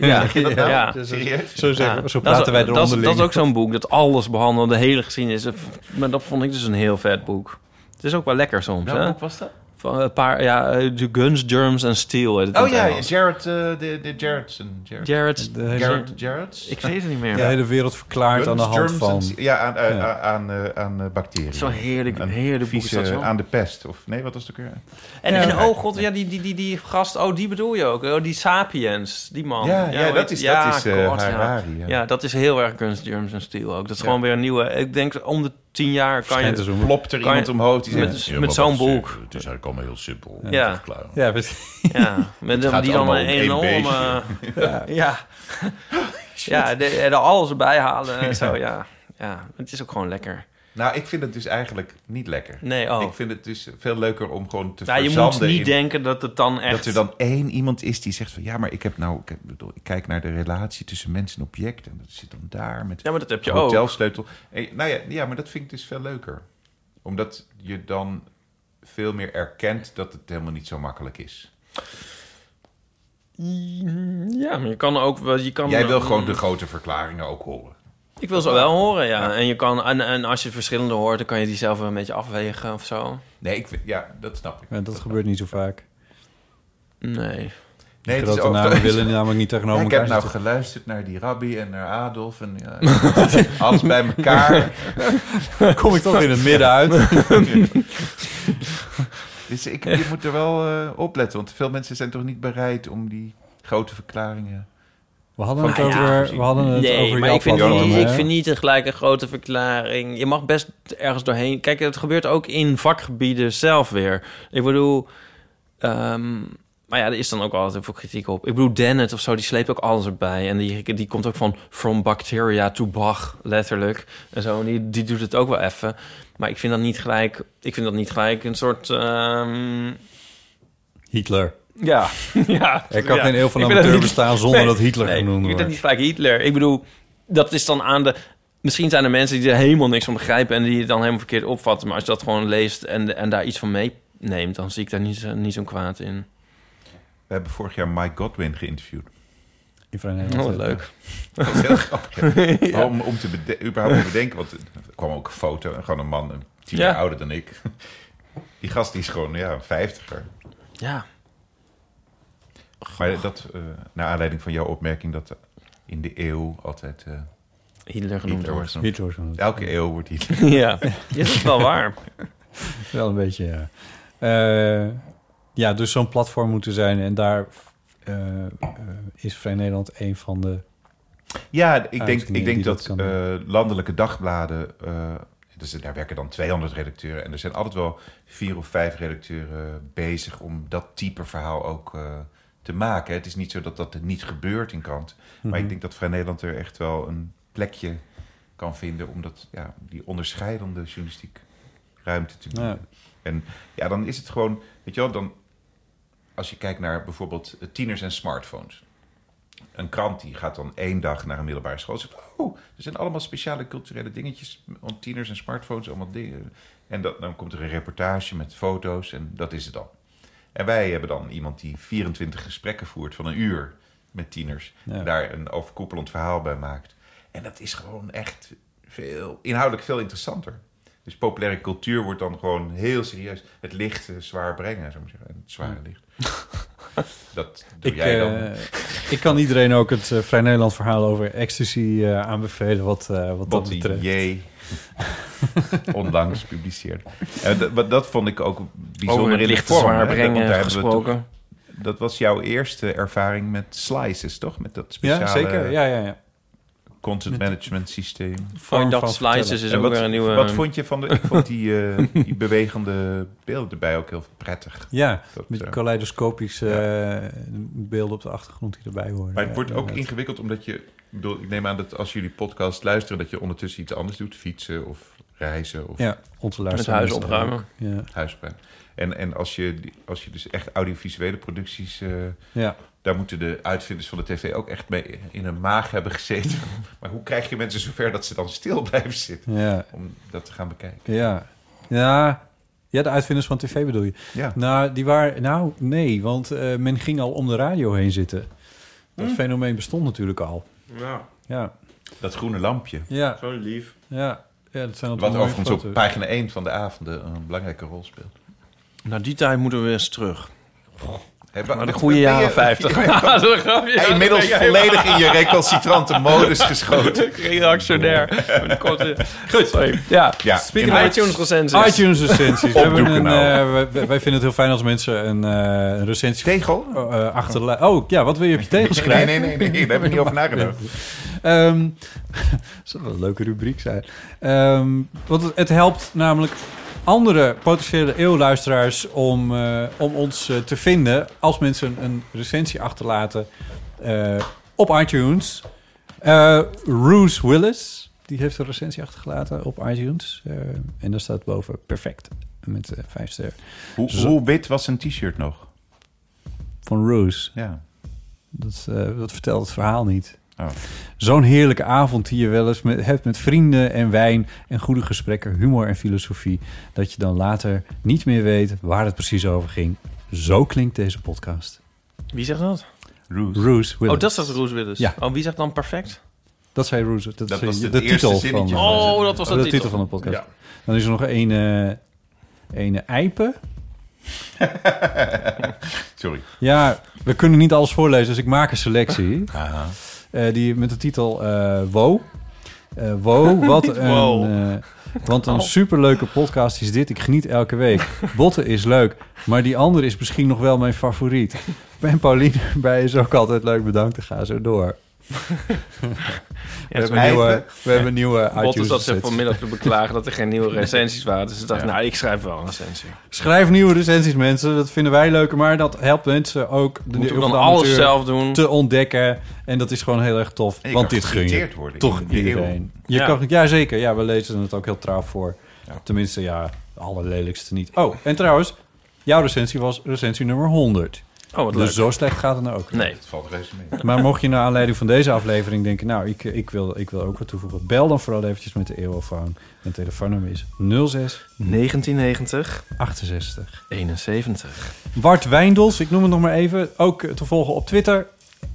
ja, Ken je dat nou? ja. Serieus? Zo, zeggen, Ja, zo dat is- praten wij dat is- eronder. Dat is ook zo'n boek dat alles behandelde, de hele geschiedenis. Maar dat vond ik dus een heel vet boek. Het is ook wel lekker soms, Welk hè? boek was dat? Van een paar, ja, eh, The Guns, Germs and Steel. heet het in Oh het ja, Engels. Jared, eh, de, de Jaredson. Jared, Jared. De hele- Jared, Jared's? Ik weet het niet De meer. hele wereld verklaard aan de hand Germs van. en- ja, aan, eh, Ja. aan, eh, aan eh, bacteriën. Zo'n heerlijk, Een heerlijk boek is Vieze, dat zo. aan de pest. Of nee, wat was het ook weer? En, Ja. en oh god, ja, die, die, die, die gast, oh die bedoel je ook. Oh, die Sapiens, die man. ja, ja, hoe dat heet- is, ja, dat is eh, god, ja. Harari. Ja. Ja, dat is heel erg Guns, Germs and Steel ook. Dat is gewoon weer een nieuwe... Ik denk om de tien jaar kan je... Schijnt dus om- Plopt er Kan je- iemand omhoog die met- zegt... met maar zo'n dat is, boek. eh, Het is eigenlijk allemaal heel simpel. Ja. Dat is klaar. Ja, precies. Ja, met gaat die dan allemaal een om één enorme... Ja, ja. ja de, er alles erbij halen en zo, ja. ja. Het is ook gewoon lekker. Nou, ik vind het dus eigenlijk niet lekker. Nee, oh. Ik vind het dus veel leuker om gewoon te Ja, je moet verzanden niet in- denken dat het dan echt... Dat er dan één iemand is die zegt van... Ja, maar ik heb nou... Ik, heb- bedoel, ik kijk naar de relatie tussen mens en object. En dat zit dan daar met Ja, maar dat heb je de ook. hotelsleutel. En, nou ja, ja, maar dat vind ik dus veel leuker. Omdat je dan veel meer erkent dat het helemaal niet zo makkelijk is. Ja, maar je kan ook wel... Je kan Jij wil gewoon Mm. de grote verklaringen ook horen. Ik wil ze wel horen, ja. En, je kan, en, en als je verschillende hoort, dan kan je die zelf wel een beetje afwegen of zo. Nee, ik vind- ja, dat snap ik. Ja, dat gebeurt niet zo vaak. Nee. Nee, het is Grote ook- namen willen namelijk niet Ja, tegenover ik elkaar heb nou zitten. geluisterd naar die rabbi en naar Adolf en ja, alles bij elkaar. kom ik toch in het midden uit. Dus ik, je moet er wel eh, op letten, want veel mensen zijn toch niet bereid om die grote verklaringen. We hadden Van het ja, over, gezien. we hadden het Nee, over maar jouw ik vind, platform, niet, hè? ik vind niet tegelijk een grote verklaring. Je mag best ergens doorheen. Kijk, het gebeurt ook in vakgebieden zelf weer. Ik bedoel, ehm, maar ja, er is dan ook altijd heel veel kritiek op. Ik bedoel, Dennett of zo, die sleept ook alles erbij. En die, die komt ook van From Bacteria to Bach, letterlijk. En zo, en die, die doet het ook wel even. Maar ik vind dat niet gelijk, ik vind dat niet gelijk een soort... ehm, Hitler. ja, ja. Er kan ja. geen eeuw van Ik vind dat amateur niet- bestaan zonder Nee, dat Hitler nee, genoemd Ik vind wordt. dat niet vaak Hitler. Ik bedoel, dat is dan aan de... Misschien zijn er mensen die er helemaal niks van begrijpen... en die het dan helemaal verkeerd opvatten. Maar als je dat gewoon leest en, en daar iets van meeneemt... dan zie ik daar niet, zo- niet zo'n kwaad in. We hebben vorig jaar Mike Godwin geïnterviewd. Die van Nederland, Oh, wat eh, leuk. Dat was heel grappig. Maar Om, om te bede- überhaupt te bedenken, want er kwam ook een foto, gewoon een man, een tien Ja. jaar ouder dan ik. Die gast die is gewoon ja, een vijftiger. Ja. Maar dat, eh naar aanleiding van jouw opmerking, dat in de eeuw altijd eh Hitler genoemd Hitler wordt. wordt. Hitler was het. Elke eeuw wordt Hitler. Ja. ja, dat is wel waar. Wel een beetje, ja. Eh, ja, dus zo'n platform moeten zijn. En daar eh, eh, is Vrij Nederland een van de... Ja, ik denk, Uitingen ik denk die dat, dat kan doen. eh, landelijke dagbladen. eh, dus daar werken dan 200 redacteuren. En er zijn altijd wel vier of vijf redacteuren bezig om dat type verhaal ook eh, te maken. Het is niet zo dat dat er niet gebeurt in Kant. Maar Mhm. ik denk dat Vrij Nederland er echt wel een plekje kan vinden. om dat, ja, die onderscheidende journalistiek ruimte te bieden. Ja. En ja, dan is het gewoon, weet je wel, dan als je kijkt naar bijvoorbeeld eh, tieners en smartphones. een krant die gaat dan één dag naar een middelbare school. Zegt, oh, er zijn allemaal speciale culturele dingetjes. Om tieners en smartphones, allemaal dingen. En dat, dan komt er een reportage met foto's en dat is het dan. En wij hebben dan iemand die 24 gesprekken voert van een uur met tieners. Ja. En daar een overkoepelend verhaal bij maakt. En dat is gewoon echt veel, inhoudelijk veel interessanter. Dus populaire cultuur wordt dan gewoon heel serieus het licht eh, zwaar brengen, zou ik maar zeggen. En Het zware licht. dat doe Ik, jij dan. eh, ik kan iedereen ook het eh, Vrij Nederland verhaal over ecstasy eh, aanbevelen wat, eh, wat dat Botti betreft. J. onlangs gepubliceerd. En dat, maar dat vond ik ook bijzonder Over het in de licht vorm, zwaar hè. Dat- want daar brengen hebben we gesproken. toch- dat was jouw eerste ervaring met slices, toch? Met dat speciale Ja, zeker. Ja, ja, ja. content management systeem. vorm Van van dat slices is En ook wat, weer een nieuwe... eh, wat vond je van de, ik vond die, eh, die bewegende beelden erbij ook heel prettig. Ja, Dat, met die eh, kaleidoscopische eh, beelden op de achtergrond die erbij horen. maar het Ja, wordt ook inderdaad. ingewikkeld omdat je... Ik, bedoel, ik neem aan dat als jullie podcast luisteren... dat je ondertussen iets anders doet. Fietsen of reizen of Ja, onze het luisteraars. huis opruimen. Ja, huispijn. En, en als, je, die- als je dus echt audiovisuele producties... eh, ja. daar moeten de uitvinders van de tv ook echt mee in hun maag hebben gezeten. Maar hoe krijg je mensen zover dat ze dan stil blijven zitten? ja. Om dat te gaan bekijken. Ja. Ja. Ja, de uitvinders van tv bedoel je. Ja. Nou, die waren, nou nee, want eh, men ging al om de radio heen zitten. Dat Hm? fenomeen bestond natuurlijk al. Ja, Ja, Dat groene lampje. ja, zo lief. ja. ja dat zijn altijd Wat mooie overigens op foto's. pagina 1 van de avonden een belangrijke rol speelt. Nou, die tijd moeten we eens terug. Hey, Maar de goede jaren 50. Hij inmiddels volledig in je recalcitrante modus geschoten. Reactionair. Goed, sorry. Ja, Ja, speaking in- of iTunes recensies. iTunes recensies. We Op hebben Doe een, Kanaal. eh, wij- wij, wij vinden het heel fijn als mensen een eh, een recensie Tegel? eh achterlaten. Oh ja, wat wil je op je tegel Nee, schrijven? nee, nee, nee, daar heb ik niet over nagedacht. Ehm zou wel een leuke rubriek zijn. Ehm, want het, het helpt namelijk andere potentiële eeuwluisteraars om, eh, om ons eh, te vinden als mensen een, een recensie achterlaten eh, op iTunes. Eh Roos Willis, die heeft een recensie achtergelaten op iTunes. Eh, en daar staat boven perfect met eh, vijf sterren. Hoe, Zo. hoe wit was zijn t-shirt nog? Van Roos. Ja. Dat, eh, dat vertelt het verhaal niet. Oh. Zo'n heerlijke avond die je wel eens met, hebt met vrienden en wijn en goede gesprekken, humor en filosofie. Dat je dan later niet meer weet waar het precies over ging. Zo klinkt deze podcast. Wie zegt dat? Roos. Roos Willis. Oh, dat zegt Roos Willis. Ja. Oh, wie zegt dan perfect? Dat zei Roos. Dat, Dat is was de, het eerste titel van, zinnetje. eh, Oh, Oh, dat was de dat titel van de podcast. Ja. Dan is er nog een, eh een eipen. Sorry. Ja, we kunnen niet alles voorlezen, dus ik maak een selectie. Aha. Eh, die met de titel eh Wow. Eh, wow, wat een... wow. eh, want een superleuke podcast is dit. Ik geniet elke week. Botten is leuk, maar die andere is misschien nog wel mijn favoriet. Ben Pauline erbij is ook altijd leuk. Bedankt, en ga zo door. we, hebben een nieuwe, we hebben een nieuwe Botten iTunes zat zich set. vanmiddag te beklagen dat er geen nieuwe recensies waren. Dus ik dacht, nou, ik schrijf wel een recensie. Schrijf nieuwe recensies, mensen. Dat vinden wij leuker, maar dat helpt mensen ook... De, Moet ik de- dan de alles amateur zelf doen? te ontdekken. En dat is gewoon heel erg tof. En je want kan dit gun je geciteerd worden toch in de eeuw. iedereen. Je Ja. Kan, ja, zeker. Ja, we lezen het ook heel trouw voor. Ja. Tenminste, ja, de allerlelijkste niet. Oh, en trouwens, jouw recensie was recensie nummer 100. Oh, wat Dus leuk. zo slecht gaat het nou ook. niet. Nee. Het valt reuze mee. Maar mocht je naar aanleiding van deze aflevering denken... nou, ik, ik, wil, ik wil ook wat toevoegen... bel dan vooral eventjes met de Eeuwofoon. Mijn telefoonnummer is 06 1990, 68 71. Bart Wijndels, ik noem het nog maar even. Ook te volgen op Twitter.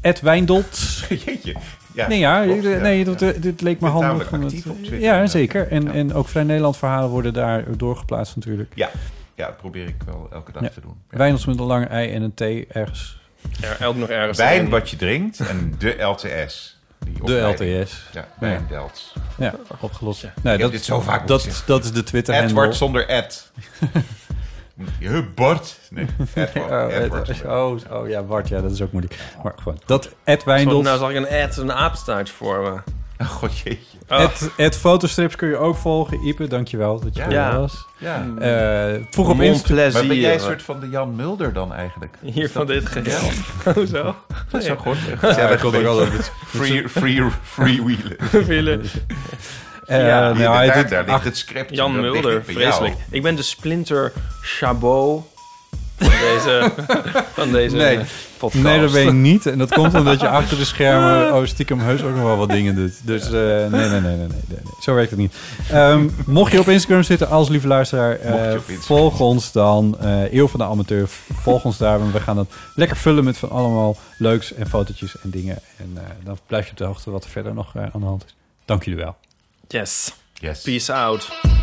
Ed Wijndels. Jeetje. Ja, Nee, ja, klopt, nee dat- ja. Dit, leek me bent handig. tamelijk om het- eh, actief op Twitter, ja, ja. zeker. En, Ja. en ook Vrij Nederland verhalen worden daar doorgeplaatst natuurlijk. Ja, ja, dat probeer ik wel elke dag Ja. te doen. Ja. Wijndels met een lange ei en een T ergens. Er elk nog ergens. Wijn een. wat je drinkt en de LTS. Die De opleiding. LTS. Ja, Ja. wijn Delts. Ja, opgelost. Nee, heb dit zo vaak moeten dat, zeggen. dat is de Twitter Edward handle. zonder Ed. Je Bart. Nee, Edward. Oh, Edward Ed- zonder Ed. oh, oh ja, Bart, ja, dat is ook moeilijk. Maar gewoon, dat Ed Zo, Wijndels. Nou zag ik een ad, een aapstaart voor me. Oh, god jeetje. Oh. Ed, Ed Fotostrips kun je ook volgen. Ipe, dankjewel dat je Ja. er Ja. was. Ja. Eh, vroeg op Mon Insta. plezier. Maar ben jij een soort van de Jan Mulder dan eigenlijk? Hier van dit geheel. Hoezo? Dat is wel goed. Ja, dat komt ook altijd. Free, free, freewheelen. Willen. Eh, Ja, nou, Hier, hij daar, doet- daar ligt ach, het script. Jan Dat ligt Mulder, niet bij jou. vreselijk. Ik ben de Splinter Chabot van deze, van deze Nee. podcast. Nee, dat weet ik niet. En dat komt omdat je achter de schermen oh, stiekem heus ook nog wel wat dingen doet. Dus eh, nee, nee, nee, nee, nee, nee, nee. Zo werkt het niet. Ehm, mocht je op Instagram zitten als lieve luisteraar, eh, Mocht je op Instagram volg ons dan. eh Eeuw van de Amateur, volg ons daar. Want we gaan dat lekker vullen met van allemaal leuks en fotootjes en dingen. En eh, dan blijf je op de hoogte wat er verder nog eh, aan de hand is. Dank jullie wel. Yes. Yes. Peace out.